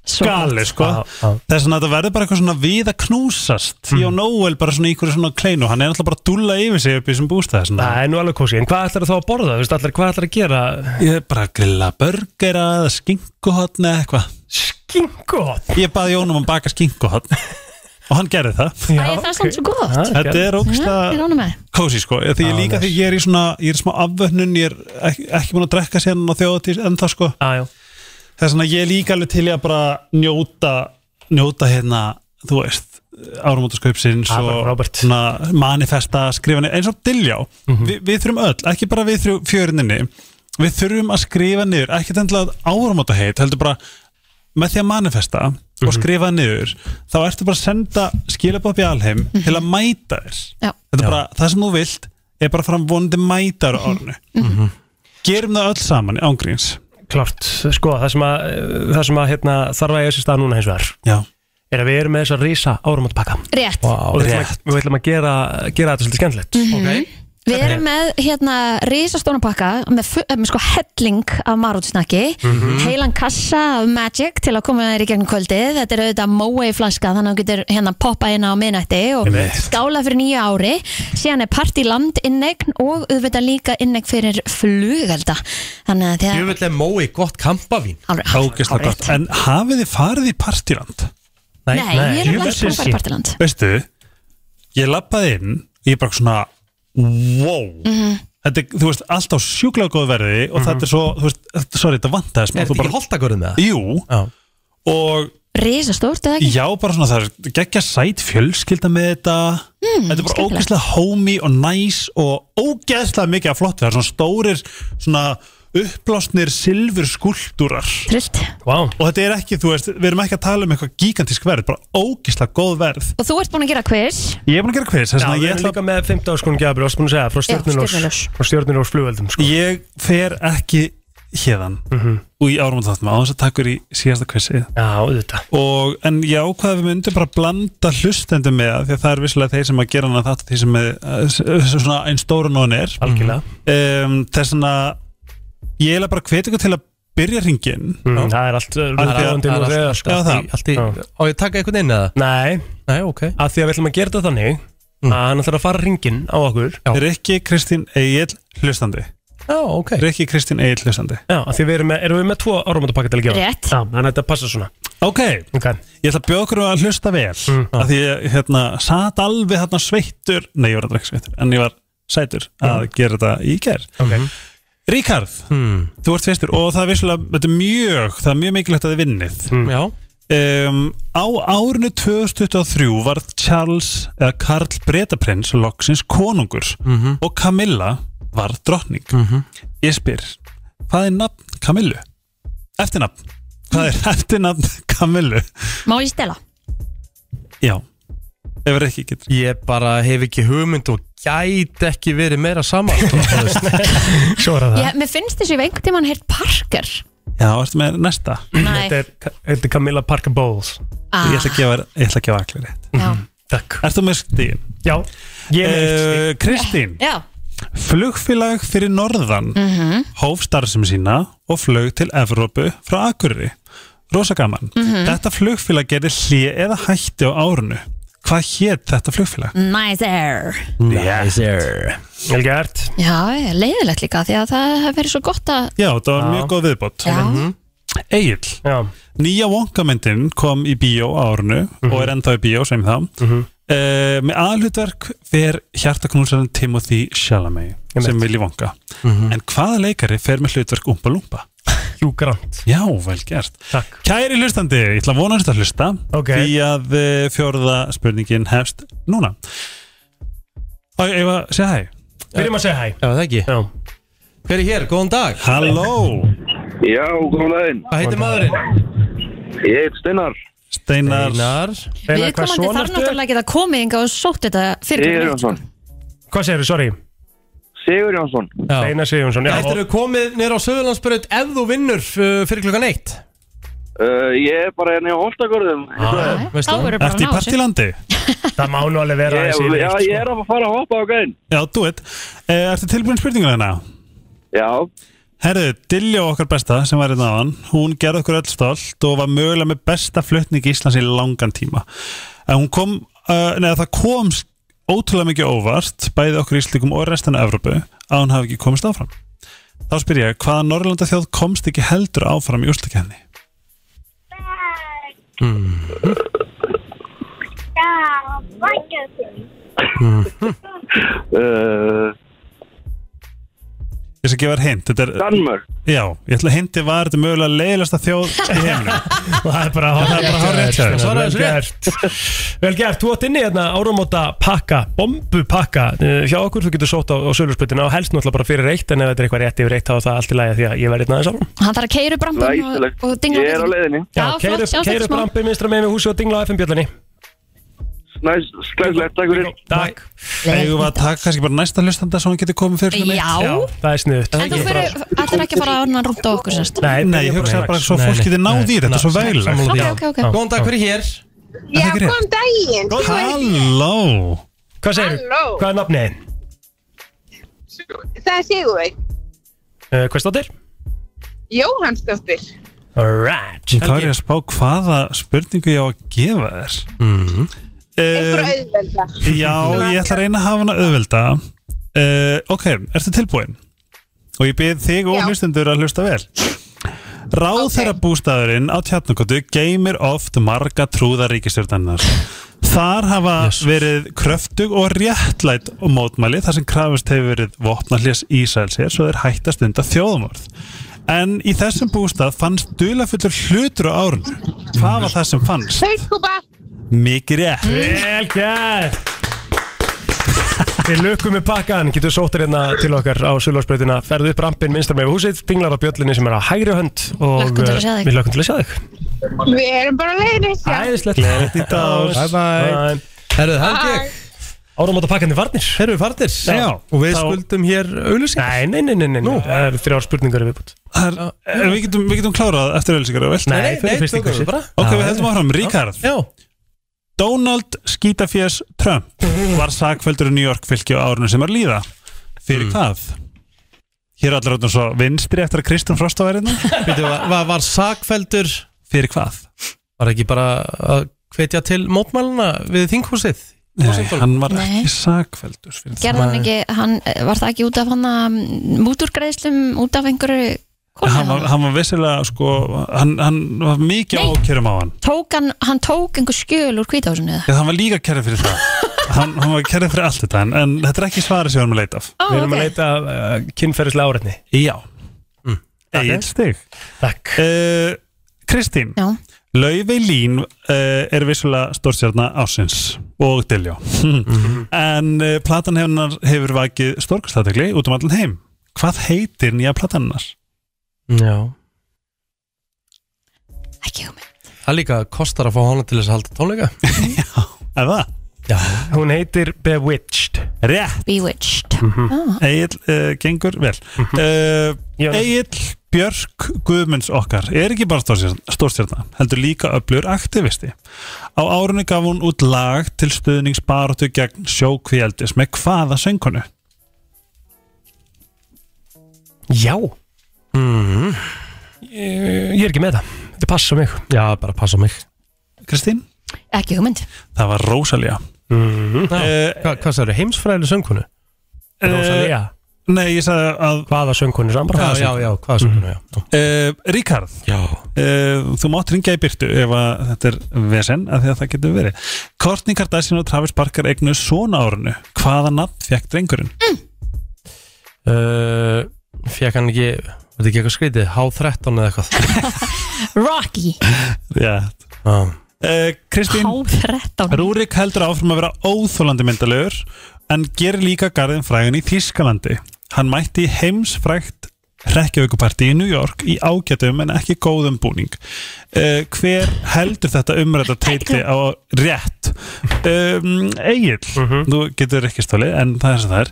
Speaker 17: Það er gali sko þess að þetta verður bara eitthvað svona við að knúsast því og
Speaker 2: Hmm.
Speaker 17: Nóel bara svona í hverju svona kleinu hann er alltaf bara að dúlla yfir sig upp í þessum bústæð svona.
Speaker 2: Það er nú alveg kósi, en hvað ætlar þá að borða? Þú veist allir, hvað ætlar að gera?
Speaker 17: Ég er bara að grilla burgera eða skinkuhotn eða eitthvað
Speaker 2: Skinkuhotn?
Speaker 17: Ég baði Jónum að
Speaker 2: (laughs)
Speaker 17: baka skinkuhotn og hann gerði það
Speaker 3: Æ, það er svona svo gott
Speaker 17: Þetta er ógsta
Speaker 3: Já, ég rána með
Speaker 17: kósi sko því ég líka því ég er í svona ég er í smá afvöhnun, ég er ekki, ekki búin að drekka síðan á þjóðatís en það sko
Speaker 2: ah,
Speaker 17: það er svona ég er líka alveg til í að bara njóta njóta hérna, þú veist árumótaskaupsins
Speaker 2: Ah, bara
Speaker 17: og svona, manifesta skrifanir eins og Diljá,
Speaker 2: Mhm.
Speaker 17: Vi, við þurfum öll ekki bara við þrjú fjörininni við þurfum að skrifa niður, ekki tendilega árumóta heit, heldur bara með því að manifesta og
Speaker 2: Mhm.
Speaker 17: skrifa niður þá ertu bara að senda skilabópi alheim til að mæta þér
Speaker 3: Já.
Speaker 17: Þetta er bara, það sem þú vilt er bara fram vonandi mætar á árnu Gerum það öll saman ángríns
Speaker 2: Klart, sko, það sem að, það sem að hérna, þarf að eiga sér stað núna hins vegar
Speaker 17: Já.
Speaker 2: er að við erum með þess að rísa árumóttpakka
Speaker 3: Rétt
Speaker 2: og við ætlum að, við ætlum að gera, gera þetta svolítið skemmtilegt
Speaker 3: Mhm. Við erum með hérna risastónapakka með, fu- eh, með sko helling af marútsnakki
Speaker 2: Mhm.
Speaker 3: heilan kassa af Magic til að koma þér í gegnum kvöldið þetta er auðvitað Moe flaska þannig að þú getur hérna poppa inn á minnætti og
Speaker 2: Einmitt.
Speaker 3: skála fyrir nýju ári síðan er partiland innegn og auðvitað líka innegn fyrir flugelda þannig að
Speaker 1: Ég
Speaker 3: þegar
Speaker 1: vil að mói gott kampavín
Speaker 17: Ógislega gott, en hafið þið farið í partíland?
Speaker 3: Nei, Nei, ég er alveg ekki búin að fara í partiland
Speaker 17: Veistu, ég lappaði inn og ég bara svona, wow
Speaker 3: Mhm.
Speaker 17: Þetta er, þú veist, allt á sjúklega góð verði og þetta er svo, þú veist, þetta- sorry, þetta vantaði smá
Speaker 1: Mhm. Er
Speaker 17: þú
Speaker 1: þetta
Speaker 17: bara-
Speaker 1: ekki holtakörðum með það?
Speaker 17: Jú, og
Speaker 3: Risastórt eða ekki?
Speaker 17: Já, bara svona það er geggja sæt fjölskylda með þetta Þetta er bara
Speaker 3: Mm, skemmtilegt.
Speaker 17: ógeðslega homey og nice og ógeðslega mikið af flott Það er svona stórir, svona uppblásnir silfur skúltúrar
Speaker 3: Trillt
Speaker 2: wow.
Speaker 17: Og þetta er ekki, þú veist, við erum ekki að tala um eitthvað gigantísk verð Bara ógeðslega góð verð
Speaker 3: Og þú ert búin að gera quiz
Speaker 17: Ég er búin að gera quiz þess
Speaker 2: Já,
Speaker 17: vegna
Speaker 2: við
Speaker 17: ég
Speaker 2: erum
Speaker 17: ætla-
Speaker 2: líka með 15 skonu gjafir, þú varst búin að segja, frá
Speaker 3: Já,
Speaker 2: stjórnirós
Speaker 3: stjörnuljós.
Speaker 2: frá stjórnirós flugveldum sko. Mhm.
Speaker 17: Ég fer ekki hérðan og í árum og þáttum á þess að takkur í síðasta quizið
Speaker 2: Já, auðvitað
Speaker 17: og, En já, hvað við myndum bara blanda hlustendum með það, því að það er visslega þeir sem að gera hana þátt þeir sem er, eh, s- eh, svona einn stóru nóðin er
Speaker 2: Algjörlega.
Speaker 17: um, Þess vegna ég er bara hvet ykkur til að byrja hringin
Speaker 2: Mm, það er allt uh,
Speaker 17: Það er
Speaker 2: ráðandi nú
Speaker 17: allt-
Speaker 2: þegar,
Speaker 17: allt-
Speaker 2: sko.
Speaker 17: já, það.
Speaker 1: allt í-
Speaker 2: Á
Speaker 1: ég að taka einhvern inn eða?
Speaker 2: Nei
Speaker 1: Nei, ok Mm.
Speaker 2: Af því að við ætlum að gera þetta þannig að hann ætlar að fara ringin á okkur
Speaker 17: Já. Rikki Kristín Egil hlustandi
Speaker 1: Já, ok
Speaker 17: Rikki Kristín Egil hlustandi
Speaker 2: Já, af því við erum með, erum við með tvo áramöndapakka til að gera
Speaker 3: Rétt
Speaker 2: Já, þannig að þetta passa svona
Speaker 17: Ok,
Speaker 2: okay.
Speaker 17: ég ætla að bjóða okkur að hlusta vel mm,
Speaker 2: Mhm.
Speaker 17: að því ég hérna, satt alveg hérna sveittur Nei, ég var aldrei ekki sveittur En ég var sætur að
Speaker 2: Mhm.
Speaker 17: gera þetta í Hmm. ger
Speaker 2: okay.
Speaker 1: Mhm.
Speaker 17: Ríkarð, þú ert sveittur Og það er vissulega, þetta er mjög Það er mjög mikilvægt að þið vinnið
Speaker 1: mm.
Speaker 17: um, Á árinu 2023 var Charles eða Karl Bretaprins loksins konungur
Speaker 1: Mhm.
Speaker 2: Mhm.
Speaker 17: og Camilla var drottning Ég spyr, hvað er nafn Camillu? Eftirnafn Hvað er eftirnafn Kamilu?
Speaker 3: Má ég stela?
Speaker 17: Já Ef ekki getur
Speaker 1: Ég bara hef ekki hugmynd og gæti ekki verið meira saman sko, þú veist. (laughs)
Speaker 17: Svo er það
Speaker 3: Ég, mér finnst þessu einhvern tímann heilt Parker
Speaker 17: Já, ertu með næsta?
Speaker 3: Nei.
Speaker 2: Þetta er, þetta er Camilla Parker Bowles Mm.
Speaker 3: Ah.
Speaker 17: Ég ætla að gefa, þér- ég ætla að gefa allir rétt
Speaker 3: Já.
Speaker 17: Takk Ertu með stíðin? Já
Speaker 2: ég er með eitt
Speaker 17: uh, Kristín
Speaker 3: Já
Speaker 17: Flugfélag fyrir norðan
Speaker 3: Mhm.
Speaker 17: hóf starfsemi sína og flög til Evrópu frá Akureyri Rosa gaman
Speaker 3: Mhm.
Speaker 17: Þetta flugfélag gerði hlið eða hætti á árunu Hvað hétt þetta flugfélag?
Speaker 3: Nice air
Speaker 17: Nice air Vel gert
Speaker 3: Já, ég, leiðilegt líka því að það hefur verið svo gott að
Speaker 17: Já, þetta var
Speaker 3: Já.
Speaker 17: mjög góð viðbót
Speaker 3: Já. Mhm.
Speaker 17: Egil Nýja vonkamyndin kom í bíó á árunu og er ennþá í bíó sem það mm með aðhlutverk fer hjartaknúsarinn Timothy Chalamet sem vilji vonka en hvaða leikari fer með hlutverk Umpa Lumpa? Hugh Grant Já, vel gert Takk. Kæri hlustandi, ég ætla að vona þetta að hlusta okay. því að eh, fjórða spurningin hefst núna Æ, Ég var að segja hæ
Speaker 2: Byrjum að segja hæ
Speaker 1: Já, það ekki
Speaker 2: Já.
Speaker 1: Hver er hér? Góðan dag
Speaker 17: Halló
Speaker 19: Já, góðan daginn
Speaker 1: Hvað heitir maðurinn?
Speaker 19: Ég heit Steinar
Speaker 17: Steinar
Speaker 1: Steinar
Speaker 3: Við komandi þarf náttúrulega ekki að koma yngi og sótt þetta fyrir
Speaker 19: Jónsson
Speaker 2: sko. Hvað segirðu, sorry?
Speaker 19: Sigur Jónsson
Speaker 2: Einar Sigurjónsson, já
Speaker 1: Þetta eru komið nýra á Söðurlandsbyrjut ef þú vinnur uh, fyrir klukkan eitt
Speaker 19: uh, Ég er bara hérna á Holtagörðum
Speaker 1: Veistu
Speaker 19: þá
Speaker 1: það?
Speaker 19: verður bara að ná þessu.
Speaker 2: Það má nú alveg vera
Speaker 19: Ég-
Speaker 2: þessi
Speaker 19: Já, ég er að fara að hoppa á gæðin
Speaker 17: Já, þú veit Eh, Ertu tilbúin spurninguna hérna?
Speaker 19: Já
Speaker 17: Herðu, Dilljó okkar besta sem var hérna á hann hún gerði okkur öll stolt og var mögulega með besta flutning í Íslands í langan tíma en hún kom, uh, neða það kom ótrúlega mikið óvart bæði okkur íslikum og restan af Evrópu að hún hafi ekki komist áfram Þá spyr ég, hvaða Norrlanda þjóð komst ekki heldur áfram í úrslikenni?
Speaker 19: uh,
Speaker 17: Ég skal gefa þér hint þetta er,
Speaker 19: Danmörk.
Speaker 17: Já, ég ætla að hindi var þetta mögulega leiðilegasta þjóð í heiminum Og það er bara
Speaker 2: Það
Speaker 17: það er bara hár rétt hjá þér.
Speaker 2: Vel gert Vel gert, þú átt inni hérna áramóta pakka, bombupakka eh, hjá okkur, þú getur sótt á, á sölursputina og helst náttúrulega bara fyrir eitt en ef þetta er eitthvað rétt yfir eitt þá er það allt í lagi því að ég verði hérna aðeins áfram
Speaker 3: Hann þarf að keiru bramban og, og dingla
Speaker 19: Ég er á leiðinni
Speaker 3: Já, flott, sjá þetta
Speaker 2: Keiru
Speaker 3: smá
Speaker 2: brambi minnstra með með húsi og dingla á FM bjöllunni
Speaker 19: Snæs, sklæslegt, takk fyrir
Speaker 2: Takk
Speaker 17: Eigum við að taka kannski bara næsta hlustanda svo hann getur komið fyrir klukkan eitt?
Speaker 3: Já. Já,
Speaker 2: það er sniðut
Speaker 3: En þú fyrir, ætlar ekki að fara að orna rúnt á okkur sérst
Speaker 17: Nei, nei, ég hugsa bara svo fólk getur náð í þetta, svo vegileg
Speaker 1: Sammála því.
Speaker 3: Ok, ok, ok.
Speaker 1: Góðan dag, hver er hér?
Speaker 20: Já,
Speaker 17: ekki rétt?
Speaker 20: góðan daginn
Speaker 15: então.
Speaker 17: Halló
Speaker 2: Hvað segir
Speaker 20: Halló.
Speaker 2: Hvað er nafnið?
Speaker 20: Það er Sigurveig
Speaker 17: Eh,
Speaker 2: Uh, hvað stóttir?
Speaker 20: Jóhannsdóttir
Speaker 2: Alright
Speaker 17: Þá er ég að spá hvaða spurningu ég á að gefa þér mm.
Speaker 20: Einhver auðvelda
Speaker 17: Já, ég ætla að reyna að hafa hana auðvelda uh, Ok, ertu tilbúin? Og ég byrð þig og hlustendur að hlusta vel Ráðherra bústæðurinn á tjarnakotu geymir oft marga trúða ríkistjórnarnar Þar hafa verið kröftug og réttlætt og mótmæli þar sem krafist hefur verið vopnallés Ísælsér svo þeir hætta stunda þjóðumorð En í þessum bústað fannst duðlafullur hlutur á árun Hvað var það sem fannst?
Speaker 20: Hauðkúpa
Speaker 17: Mikið rétt
Speaker 2: Vel gert Við lukkum með pakkan, getur sóttir hérna til okkar á Sullásbreytina Ferðu upp rampin minnstar með húsið, dinglar á bjöllinni sem er á hægri hönd og
Speaker 20: Hlökkum til að sjá
Speaker 2: eh,
Speaker 20: þig.
Speaker 2: við lökkum til að sjá þig
Speaker 20: Við erum bara á leiðinni
Speaker 2: Æðislegt Gleðið í dag Bye bye
Speaker 1: Herðu,
Speaker 20: það er ekki.
Speaker 2: Áramóta pakkandi varnir
Speaker 1: Herðu, varnir Já. Og við skuldum hér auðlýsingar
Speaker 2: Nei, nei, nei, nei, nei, nei. það eru þrjár spurningar í viðbútt
Speaker 17: Það er, er, Eh, við, getum, við getum klárað eftir ölsingar og vilt
Speaker 2: Nei, Nei, förum nei, fyrst í tökum við quiz. bara.
Speaker 17: Ok,
Speaker 2: Já,
Speaker 17: við
Speaker 2: já.
Speaker 17: heldum áfram, Ríkard
Speaker 1: Já
Speaker 17: Donald Skítafjess Trump var sakveldur í New York fylki á árunum sem er líða
Speaker 2: Mm.
Speaker 17: Fyrir hvað? Hér er allir áttum svo vinstri eftir að Kristján Frost
Speaker 2: (laughs)
Speaker 17: var hérna
Speaker 1: Veitu, var, var, var sakfeldur
Speaker 17: Fyrir hvað?
Speaker 1: Var ekki bara að hvetja til mótmæluna við þinghúsið?
Speaker 17: Nei, hann var
Speaker 3: Nei.
Speaker 17: ekki sakveldur fyrir
Speaker 3: Gerði hann ekki, hann, eh, var það ekki út af hann mm, múturgreiðslum, út af einhverju
Speaker 17: Hann var, hann var vissilega sko Hann, hann var mikið ákjörum á hann
Speaker 3: Tók hann, hann tók einhver skjöl úr kvítahúsinu eða?
Speaker 17: Já, hann var líka kærið fyrir það hann, hann var kærið fyrir allt þetta en, en þetta er ekki svarið sem við erum að leita af
Speaker 3: Ó,
Speaker 2: Við erum að leita uh, kynferðislega áreitni
Speaker 17: Já mm. Egil stig
Speaker 2: Takk
Speaker 17: uh, Kristín
Speaker 3: Já.
Speaker 17: Laufey Lín uh, er vissulega stórstjarnar ásins og Diljó
Speaker 2: Mhm.
Speaker 17: (laughs) En uh, platan hennar hefur vakið stórkastatikli út um allan heim Hvað heitir nýja platan hennar?
Speaker 1: Já Það líka kostar að fá hana til þess að halda
Speaker 17: (laughs)
Speaker 1: tónleika
Speaker 17: Er það?
Speaker 1: Já
Speaker 2: Hún heitir Bewitched
Speaker 17: Rétt Mhm.
Speaker 3: Bewitched Ah.
Speaker 17: Egil uh, gengur vel uh, Egil Björk Guðmunds okkar er ekki bara stórstjörna heldur líka öflur aktivisti á árunni gaf hún út lag til stuðningsbaróttu gegn sjókvíaldis með hvaða söngkonu?
Speaker 2: Já mm. ég, ég er ekki með það Þetta passa mig
Speaker 1: Já, bara passa mig
Speaker 17: Kristín?
Speaker 3: Ekki hugmynd
Speaker 17: Það var Rósalía
Speaker 1: mm.
Speaker 2: Mhm.
Speaker 1: Hva, Hvað sagður, heimsfræðileg söngkonu? Rósalía
Speaker 17: Nei, ég sagði að
Speaker 2: Hvaða söngkonu saman bara
Speaker 1: Já,
Speaker 2: hvaða
Speaker 1: já,
Speaker 2: söngkonu.
Speaker 1: já, hvaða söngkonu, já
Speaker 17: Uh, Ríkard uh, Þú mátt ringja í byrtu ef að þetta er vesen að því að það getur verið Kourtney Kardashian og Travis Barker eignu svona árunu Hvaða nafn fekk drengurinn?
Speaker 1: uh, Fekk hann ekki, var þetta ekki eitthvað skrítið H13 eða
Speaker 17: (laughs)
Speaker 1: eitthvað
Speaker 3: Rocky
Speaker 1: Eh,
Speaker 17: Rétt
Speaker 1: ah.
Speaker 17: uh, Kristín
Speaker 3: H13
Speaker 17: Rúrik heldur áfram að vera óþólandi myndalegur en gerir líka garðin frægan í Þískalandi Hann mætti í heimsfrægt hrekkjavíkuparti í New York í ágætum en ekki góðum búning uh, Hver heldur þetta umræta teiti á rétt? Um, Egil, þú getur ekki stólið en það er sem það er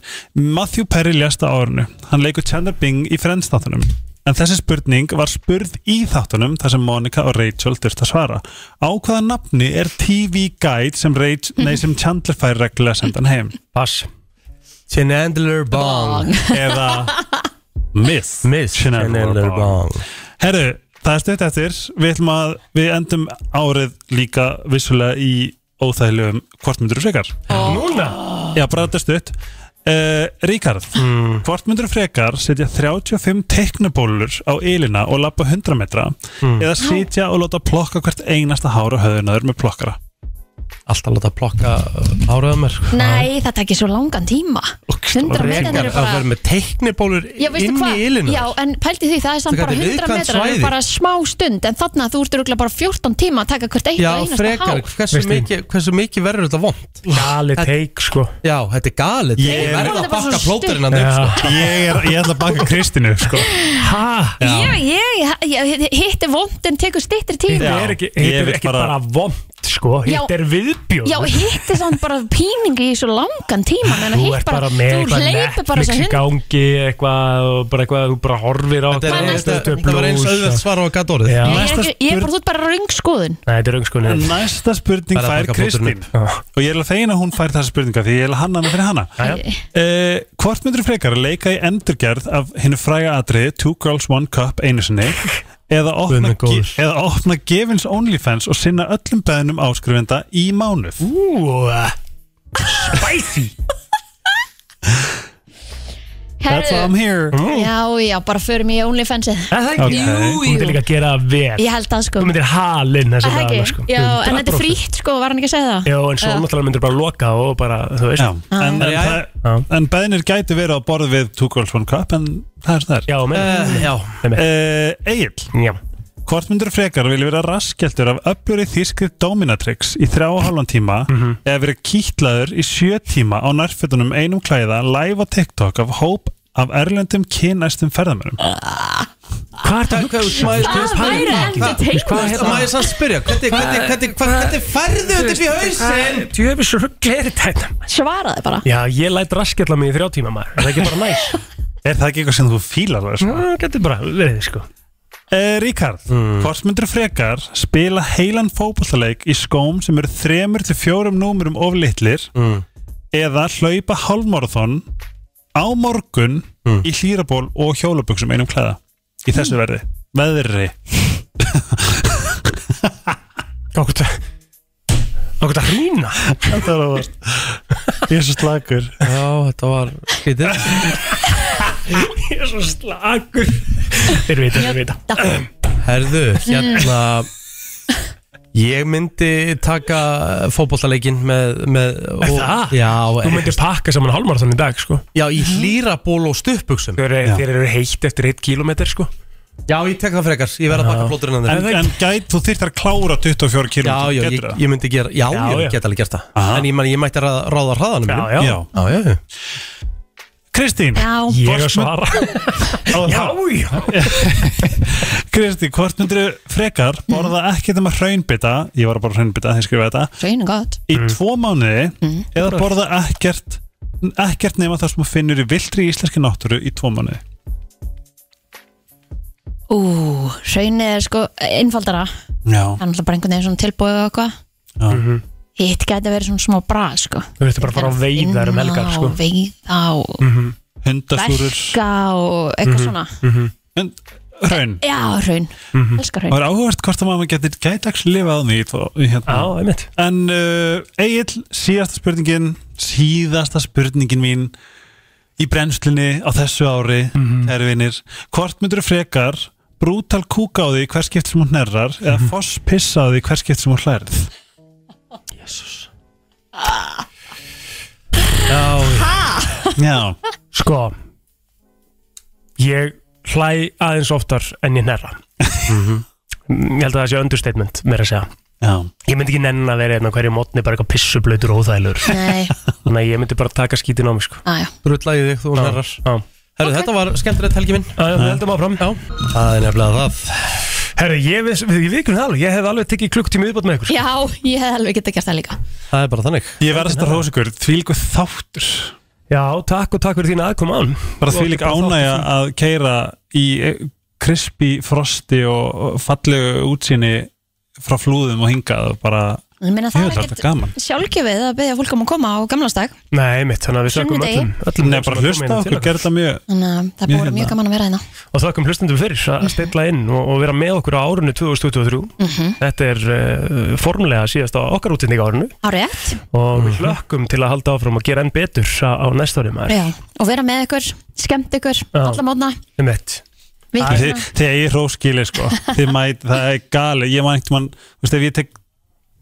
Speaker 17: Matthew Perry lést á árinu Hann leikur Chandler Bing í Friends þáttunum En þessi spurning var spurð í þáttunum þar sem Monica og Rachel dyrst að svara. Á hvaða nafni er TV Guide sem, Rach, nei, sem Chandler fær reglulega að senda hann heim?
Speaker 2: Pass.
Speaker 1: Chandler Bong
Speaker 17: (laughs) Eða Miss.
Speaker 1: Miss Chandler Bong
Speaker 17: Herru, það er stutt eftir. Við, ætlum að, við endum árið líka vissulega í óþægilegum hvort myndur þú frekar?
Speaker 2: Núna?
Speaker 17: Já, bara þetta er stutt. Uh, Ríkard,
Speaker 1: Hmm.
Speaker 17: hvort myndur þú frekar setja 35 teiknubólur á elina og lappa 100 metra
Speaker 1: Hmm.
Speaker 17: eða sitja og láta plokka hvert einasta hár á höfðunaður með plokkara
Speaker 1: Alltaf láta plokka uh, áraða mér
Speaker 3: Nei, það tekir svo langan tíma 100 metrar
Speaker 1: Rekar
Speaker 3: eru
Speaker 1: að
Speaker 3: bara
Speaker 1: vera með teiknibólur
Speaker 3: Já, veistu
Speaker 1: inn
Speaker 3: hvað?
Speaker 1: í ilinu
Speaker 3: Já, en pælti því, það er samt
Speaker 1: Það
Speaker 3: bara
Speaker 1: gæti
Speaker 3: 100
Speaker 1: viðkvæmt
Speaker 3: metrar
Speaker 1: svæði.
Speaker 3: er bara smá stund en þarna þú ert örugglega bara 14 tíma að taka hvert eitt
Speaker 1: Já,
Speaker 3: og einasta
Speaker 1: frekar,
Speaker 3: hár.
Speaker 1: hversu mikið, hversu mikið verður þetta vond?
Speaker 2: Gali teik, sko
Speaker 1: Já, þetta er gali teik
Speaker 17: Ég-
Speaker 1: Ég verður
Speaker 17: Þetta
Speaker 1: að
Speaker 17: er bara
Speaker 1: bakka
Speaker 17: svo
Speaker 1: plóterinn að þeim, sko
Speaker 17: ég, er, ég ætla að baka Kristínu sko.
Speaker 2: Hæ?
Speaker 3: Já, ég, ég, ég hitti vond en tekur styttir tíma
Speaker 2: Þetta er ekki, hitt er ekki bara, bara vond sko,
Speaker 3: Já.
Speaker 2: hitt er viðbjóð
Speaker 3: Já, hitti samt bara píningi í svo langan tíma meðan að
Speaker 2: Þú
Speaker 3: hitt
Speaker 2: ert bara með
Speaker 3: Þú
Speaker 2: eitthvað
Speaker 3: hleypur bara
Speaker 2: Netflix
Speaker 3: þess
Speaker 2: í gangi eitthvað og bara eitthvað þú bara horfir á
Speaker 1: Þetta er-
Speaker 2: eitthvað,
Speaker 1: þetta-
Speaker 2: stöðu
Speaker 1: þetta var eins
Speaker 2: blús
Speaker 1: auðvelt
Speaker 2: og-
Speaker 1: svar á að gata orðið
Speaker 2: Já.
Speaker 3: Ég er ekki- ég er bara, þú ert bara röng skoðun
Speaker 2: Nei, þetta er öngskunni
Speaker 17: Næsta spurning
Speaker 2: Bara
Speaker 17: fær
Speaker 2: taka fóturinn
Speaker 17: Kristín og ég er alveg fegin að hún fær þessa spurninga því ég er að hanna hana fyrir hana uh, Hvort myndur þú frekar að leika í endurgerð af hennu fræga atriði Two Girls One Cup einu
Speaker 2: (laughs)
Speaker 17: sinni eða opna, ge- eða opna Gevins OnlyFans og sinna öllum beðnum áskrifenda í mánuð
Speaker 2: Úúúú Spicy
Speaker 17: That's why I'm here.
Speaker 3: Já, já, bara förum í OnlyFansið
Speaker 2: Það
Speaker 17: ekki? Ok.
Speaker 2: Þú myndir líka að gera það vel
Speaker 3: Ég held Ah, það sko
Speaker 2: Þú myndir halinn þessi
Speaker 3: Það ekki,
Speaker 2: dagana, sko.
Speaker 3: já, en þetta er
Speaker 2: 100%.
Speaker 3: frítt sko, var hann ekki að segja það?
Speaker 2: Já, en svo náttúrulega myndir bara loka og bara, þú veist
Speaker 17: Já, en, en, en, en beðnir gæti verið á borð við Two Girls One Cup en það er það er
Speaker 2: Já,
Speaker 1: Eh, já.
Speaker 17: uh, Egil
Speaker 2: já.
Speaker 17: Hvort myndur frekar vilja vera raskjaldur af öflur í þýskri dominatrix í þrjá og halvan tíma
Speaker 2: Mhm.
Speaker 17: eða verið kýtlaður í sjö tíma á nærfötunum einum klæða live á TikTok af hóp af erlendum kynæstum ferðamörum
Speaker 1: Ah.
Speaker 2: Hvað er það
Speaker 1: að hugsa?
Speaker 17: Það væri entertainment.
Speaker 1: Má ég sann spyrja, hvernig, hvernig, hvernig, hvernig, hvernig færðu þetta upp í hausin?
Speaker 2: Djöfis ruggli er þetta
Speaker 3: Svaraði bara
Speaker 2: Já, ég læt raskella mig í þrjá tíma maður Er það ekki bara næs?
Speaker 17: Er það ekki eitthvað sem þú fílar það? Sko?
Speaker 2: Já, Mm, getur bara verið sko
Speaker 17: Eh, Ríkard, hvort myndur frekar spila heilan fótballleik í skóm sem eru þremur til fjórum númurum of litlir eða hlaupa hálfmarathon á morgun í hlýraból og hjólabuxum einum klæða í þessu verði,
Speaker 2: (laughs)
Speaker 17: veðri
Speaker 2: Ákvæmt Ákvæmt að hrína
Speaker 17: Þetta var óvart Ég er svo slakur
Speaker 1: Já, þetta var skritið
Speaker 2: Ég er svo slagur Þeir vita, þeir vita
Speaker 1: Herðu, hérna Ég myndi taka fótbollaleikin með, með og,
Speaker 2: það?
Speaker 1: Já,
Speaker 2: Þú myndir pakka saman hálmarathon í dag sko
Speaker 1: Já, í hlýraból og stuppbuxum
Speaker 2: Þeir, þeir eru heitt eftir eitt kílómetr sko
Speaker 1: Já, ég tek það frekar, ég verð að pakka plóturinn að
Speaker 17: En,
Speaker 1: þeir
Speaker 17: en gæt, þú þyrft að klára 24 km
Speaker 1: Já, já, ég, ég myndi gera, já,
Speaker 17: Já,
Speaker 1: ég
Speaker 17: já.
Speaker 1: get alveg gert það En ég, man, ég mætti ráða, ráða hraðanum
Speaker 17: Já,
Speaker 1: mínum.
Speaker 17: já.
Speaker 1: já, já.
Speaker 17: Kristín
Speaker 3: Já.
Speaker 17: Ég
Speaker 2: er að svara.
Speaker 17: Já, já Kristín, hvort myndir frekar borða ekkert um að hraunbytta Ég var bara hraunbytta, þegar ég skrifaði þetta
Speaker 3: Hraun er gott.
Speaker 17: Í tvo mánuði eða
Speaker 3: Bara-
Speaker 17: borða ekkert ekkert nema það sem þú finnur í vildri íslenski náttúru í tvo mánuði
Speaker 3: Ú, hraun er sko einfaldara
Speaker 17: Já
Speaker 3: Það er náttúrulega bara einhvern veginn svona tilbúið og eitthvað
Speaker 17: Mhm.
Speaker 3: Hitt gæti að vera svona smá brað sko
Speaker 2: Þú veist bara að fara á veiðar um helgar sko. Mm,
Speaker 3: Á veiða og
Speaker 17: Mm-hmm. Hundasúrur
Speaker 3: verka og eitthvað
Speaker 2: Mhm.
Speaker 3: svona
Speaker 17: Mhm,
Speaker 3: Eh,
Speaker 17: En hraun
Speaker 3: Já, hraun,
Speaker 17: Mhm.
Speaker 3: elskar
Speaker 17: Það
Speaker 3: hraun
Speaker 17: er áhugavert hvort að maður getur gætaks lifað á því þó- hérna.
Speaker 2: Já, einmitt
Speaker 17: En uh, Egil, síðasta spurningin síðasta spurningin mín í brennslunni á þessu ári
Speaker 2: Mhm.
Speaker 17: kæri vinir, hvort myndur frekar brútal kúka á því hver skipt sem hún hnerrar eða
Speaker 2: Mhm.
Speaker 17: foss pissa á því hver skipt sem hún hlærið
Speaker 2: Jesus.
Speaker 17: Já, já.
Speaker 2: Sko Ég hlæ aðeins oftar en ég nærra Ég held að það sé understatement meira að segja
Speaker 17: Já.
Speaker 2: Ég myndi ekki nennan að vera hérna á hverju mótni bara eitthvað pissublautur og óþælur
Speaker 3: Nei.
Speaker 2: Þannig að ég myndi bara taka skítin á mig sko
Speaker 3: Aja.
Speaker 1: Brulla í þig, þú hnerrar Herru, þetta var skemmtilegt helgi minn
Speaker 2: Já, við heldum áfram Já
Speaker 1: Það er nefnilega það
Speaker 2: Herru, ég, við, við vikum það alveg Ég hef alveg tekið klukktími viðbót með ykkur sko.
Speaker 3: Já, ég hef alveg getað gert það líka
Speaker 1: Það er bara þannig
Speaker 17: Ég verð að þetta hrósa ykkur, því líku þáttur
Speaker 2: Já, takk og takk fyrir þína aðkoma án
Speaker 17: bara
Speaker 2: Þú
Speaker 17: því
Speaker 2: átti
Speaker 17: líka
Speaker 2: bara
Speaker 17: ánægja
Speaker 2: þátt í því.
Speaker 17: að keira í eh, krispi frosti og fallegu útsýni frá flúðum og hingað og bara
Speaker 3: Ég meina það
Speaker 17: Jú,
Speaker 3: er
Speaker 17: þetta
Speaker 3: ekkert
Speaker 17: gaman.
Speaker 3: sjálfgefið að beðja fólk um að koma á gamlasdag
Speaker 2: Nei, mitt, þannig að við sökum
Speaker 3: Sunnudegi.
Speaker 2: öllum, öllum
Speaker 17: Nei, bara hlusta á okkur, gerða mjög
Speaker 3: Þannig að
Speaker 2: Mjög
Speaker 3: það búið
Speaker 2: hérna.
Speaker 3: mjög gaman að vera hérna
Speaker 2: Og þakkum hlustendum fyrir að stilla inn og, og vera með okkur á árunni 2023
Speaker 3: Mhm.
Speaker 2: Þetta er uh, formlega síðast á okkar útending árunnu
Speaker 3: Árétt
Speaker 2: og við hlökkum til að halda áfram og gera enn betur á, á næsta ári maður
Speaker 3: Mhm. Já, og vera með ykkur, skemmt ykkur,
Speaker 2: Já.
Speaker 3: alla mótna
Speaker 2: um eitt
Speaker 3: Við
Speaker 17: Þi- þegar ég hróskili sko þið mæt, það er gali, ég mætti mann þú veist, ef ég tek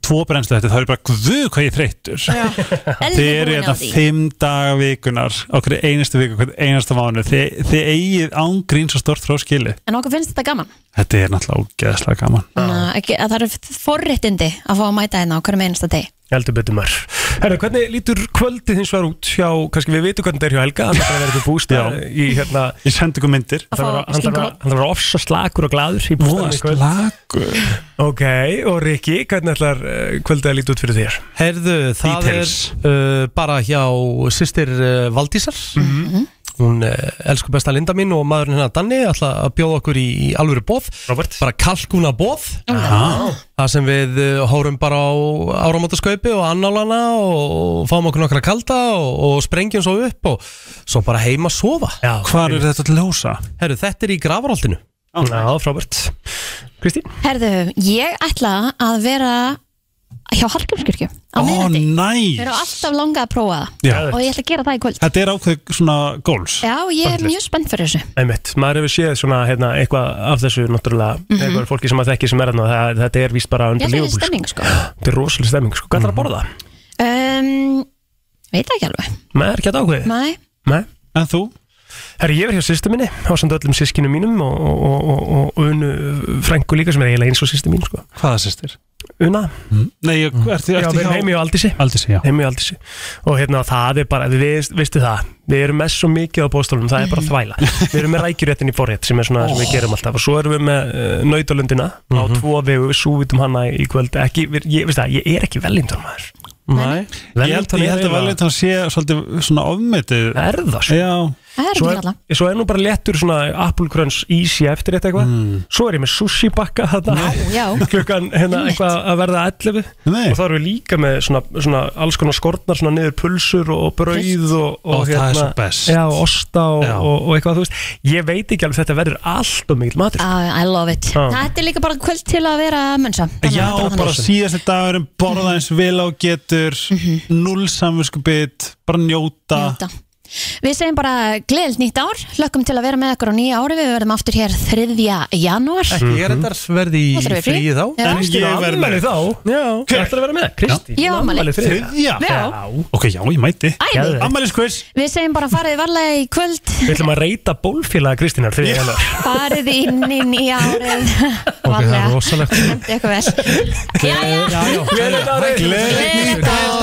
Speaker 17: tvo brennslu þetta þá er ég bara, guðu hvað ég er (laughs) þreyttur þið eru
Speaker 3: búin á
Speaker 17: þetta
Speaker 3: því.
Speaker 17: fimm daga vikunar á hverju einustu viku, hverju einasta mánu þið, þið eigið ángrín svo stort hróskili
Speaker 3: En okkur finnst þetta gaman
Speaker 17: þetta er náttúrulega ógeðslega gaman
Speaker 3: Þannig að ekki- að það eru forréttindi að fá að mæta hérna á hverjum einasta deg
Speaker 2: heldur betur maður Herra, hvernig lítur kvöldið hins var út hjá, kannski við vitum hvernig þetta er hjá Helga hann þarf að vera upp í bústa í hérna
Speaker 17: ég sendi ykkur myndir
Speaker 2: hann þarf að- hann þarf að hann þarf að vera ofsa slakur og gladur í
Speaker 17: Voða
Speaker 2: bústaðnum í kvöld. Ok, og Rikki, hvernig ætlar eh, kvöldið að líta út fyrir þér?
Speaker 1: Heyrðu, það
Speaker 2: Details.
Speaker 1: er uh, bara hjá sýstir uh, Valdísar
Speaker 2: Mhm.
Speaker 1: Hún uh, elsku besta Linda mín og maðurinn hennar Danni ætla að bjóða okkur í, í alvöru bóð
Speaker 2: Robert.
Speaker 1: Bara kalkuna bóð
Speaker 2: Já.
Speaker 1: Það sem við uh, hórum bara á áramótaskaupi og annálana og fáum okkur nokkra kalda og, og sprengjum svo upp og svo bara heima að sofa
Speaker 2: Já,
Speaker 17: Hvar er þetta til ljósa?
Speaker 1: Herru, þetta er í gravarholtinu
Speaker 2: Já, frábært Kristín?
Speaker 3: Herðu, ég ætla að vera hjá Hallgrímskirkju á
Speaker 17: Ó,
Speaker 3: miðnætti
Speaker 17: næs.
Speaker 3: Mér á alltaf langað að prófa það
Speaker 17: Já.
Speaker 3: og ég ætla að gera það í kvöld
Speaker 17: þetta er ákveð svona góls
Speaker 3: Já, ég er mjög spennt fyrir þessu
Speaker 2: Einmitt, maður hefur séð svona hérna, eitthvað af þessu náttúrulega mm
Speaker 3: Mhm.
Speaker 2: eitthvað fólki sem að þekki sem er hérna það- þetta er víst bara
Speaker 3: Ég
Speaker 2: undir
Speaker 3: ætla að
Speaker 2: lífbúl
Speaker 3: þetta er stemming sko
Speaker 2: Þetta er rosalega stemming, sko, hvað ætlar að borða?
Speaker 3: Mhm. um, Veit það ekki alveg
Speaker 2: Maður er ekki að ákveði
Speaker 3: Nei,
Speaker 2: Nei.
Speaker 17: En þú?
Speaker 2: Herri, ég er hjá sýstu minni á samt öllum sískinu mínum og, og, og, og, og unu frængu líka sem er eiginlega eins og sýstu mín sko.
Speaker 17: Hvaða sýstir?
Speaker 2: Una Mm.
Speaker 17: Nei, ég, ertu,
Speaker 2: Já,
Speaker 17: ertu
Speaker 2: við erum heimi á Aldísi
Speaker 17: Aldísi, já
Speaker 2: Heimi á Aldísi Og hérna, það er bara, við veistu það Við erum með svo mikið á bóstólum, það er bara þvæla Við erum með rækjuréttin í forrétt sem er svona sem við gerum alltaf Og svo erum við með uh, nautalundina á
Speaker 17: Mhm.
Speaker 2: tvo vegu, við súvitum hana í kvöld ekki, við, ég, veistu það, ég er ekki velindur maður
Speaker 17: Nei, ég held,
Speaker 2: Wellington
Speaker 17: ég held
Speaker 2: er
Speaker 17: að Wellington sé svolítið svona ofmetið
Speaker 2: Er það
Speaker 17: svo? Já,
Speaker 3: það
Speaker 2: svo
Speaker 3: er ekki hérna. alla
Speaker 2: er, svo er nú bara léttur svona Apple Crunch easy eftir þetta eitthvað
Speaker 17: Mm.
Speaker 2: Svo er ég með sushi bakka þarna
Speaker 3: Já,
Speaker 2: (laughs) klukkan hérna eitthvað að verða 11
Speaker 17: Nei.
Speaker 2: og þá erum við líka með svona, svona alls konar skortnar, svona niður pulsur og, og brauð og, og, hérna,
Speaker 17: Ó, það er svo best.
Speaker 2: já, og osta og,
Speaker 17: Já.
Speaker 2: og, og eitthvað þú veist, ég veit ekki alveg þetta verður allt og mikil matur
Speaker 3: Ah, I love it
Speaker 2: Já.
Speaker 3: Þetta er líka bara kvöld til að vera mönsa
Speaker 17: Eh, já bara síðast þetta dagurum
Speaker 3: Mhm.
Speaker 17: borða eins vel á getur null samvisku bit bara njóta, njóta.
Speaker 3: Við segjum bara gleðilt nýtt ár Lökkum til að vera með ykkur á nýja ári Við verðum aftur hér 3. janúar
Speaker 1: Ekki ég er þetta verði
Speaker 3: Þá
Speaker 1: í
Speaker 3: þurfum við frí.
Speaker 1: fríi þá
Speaker 3: Já. En
Speaker 2: Kristín á afmæli þá Já, Hver? ætlar að vera með, Kristín
Speaker 3: Ég á afmæli.
Speaker 17: Þriðja?
Speaker 3: Já.
Speaker 17: ok, já, ég mæti
Speaker 3: Æði.
Speaker 17: Ammæliskvist
Speaker 3: Við segjum bara farið varlega í kvöld
Speaker 2: Við ætlum að reyta bólfélaga Kristínar þriðja janúar.
Speaker 3: Farið inn í nýja árið (laughs)
Speaker 1: Ok, það er
Speaker 3: Varlega (laughs)
Speaker 1: rosalegt
Speaker 17: Eh,
Speaker 3: Þetta er eitthvað vel
Speaker 1: Gleðilegt árið.
Speaker 3: Gleðilt ár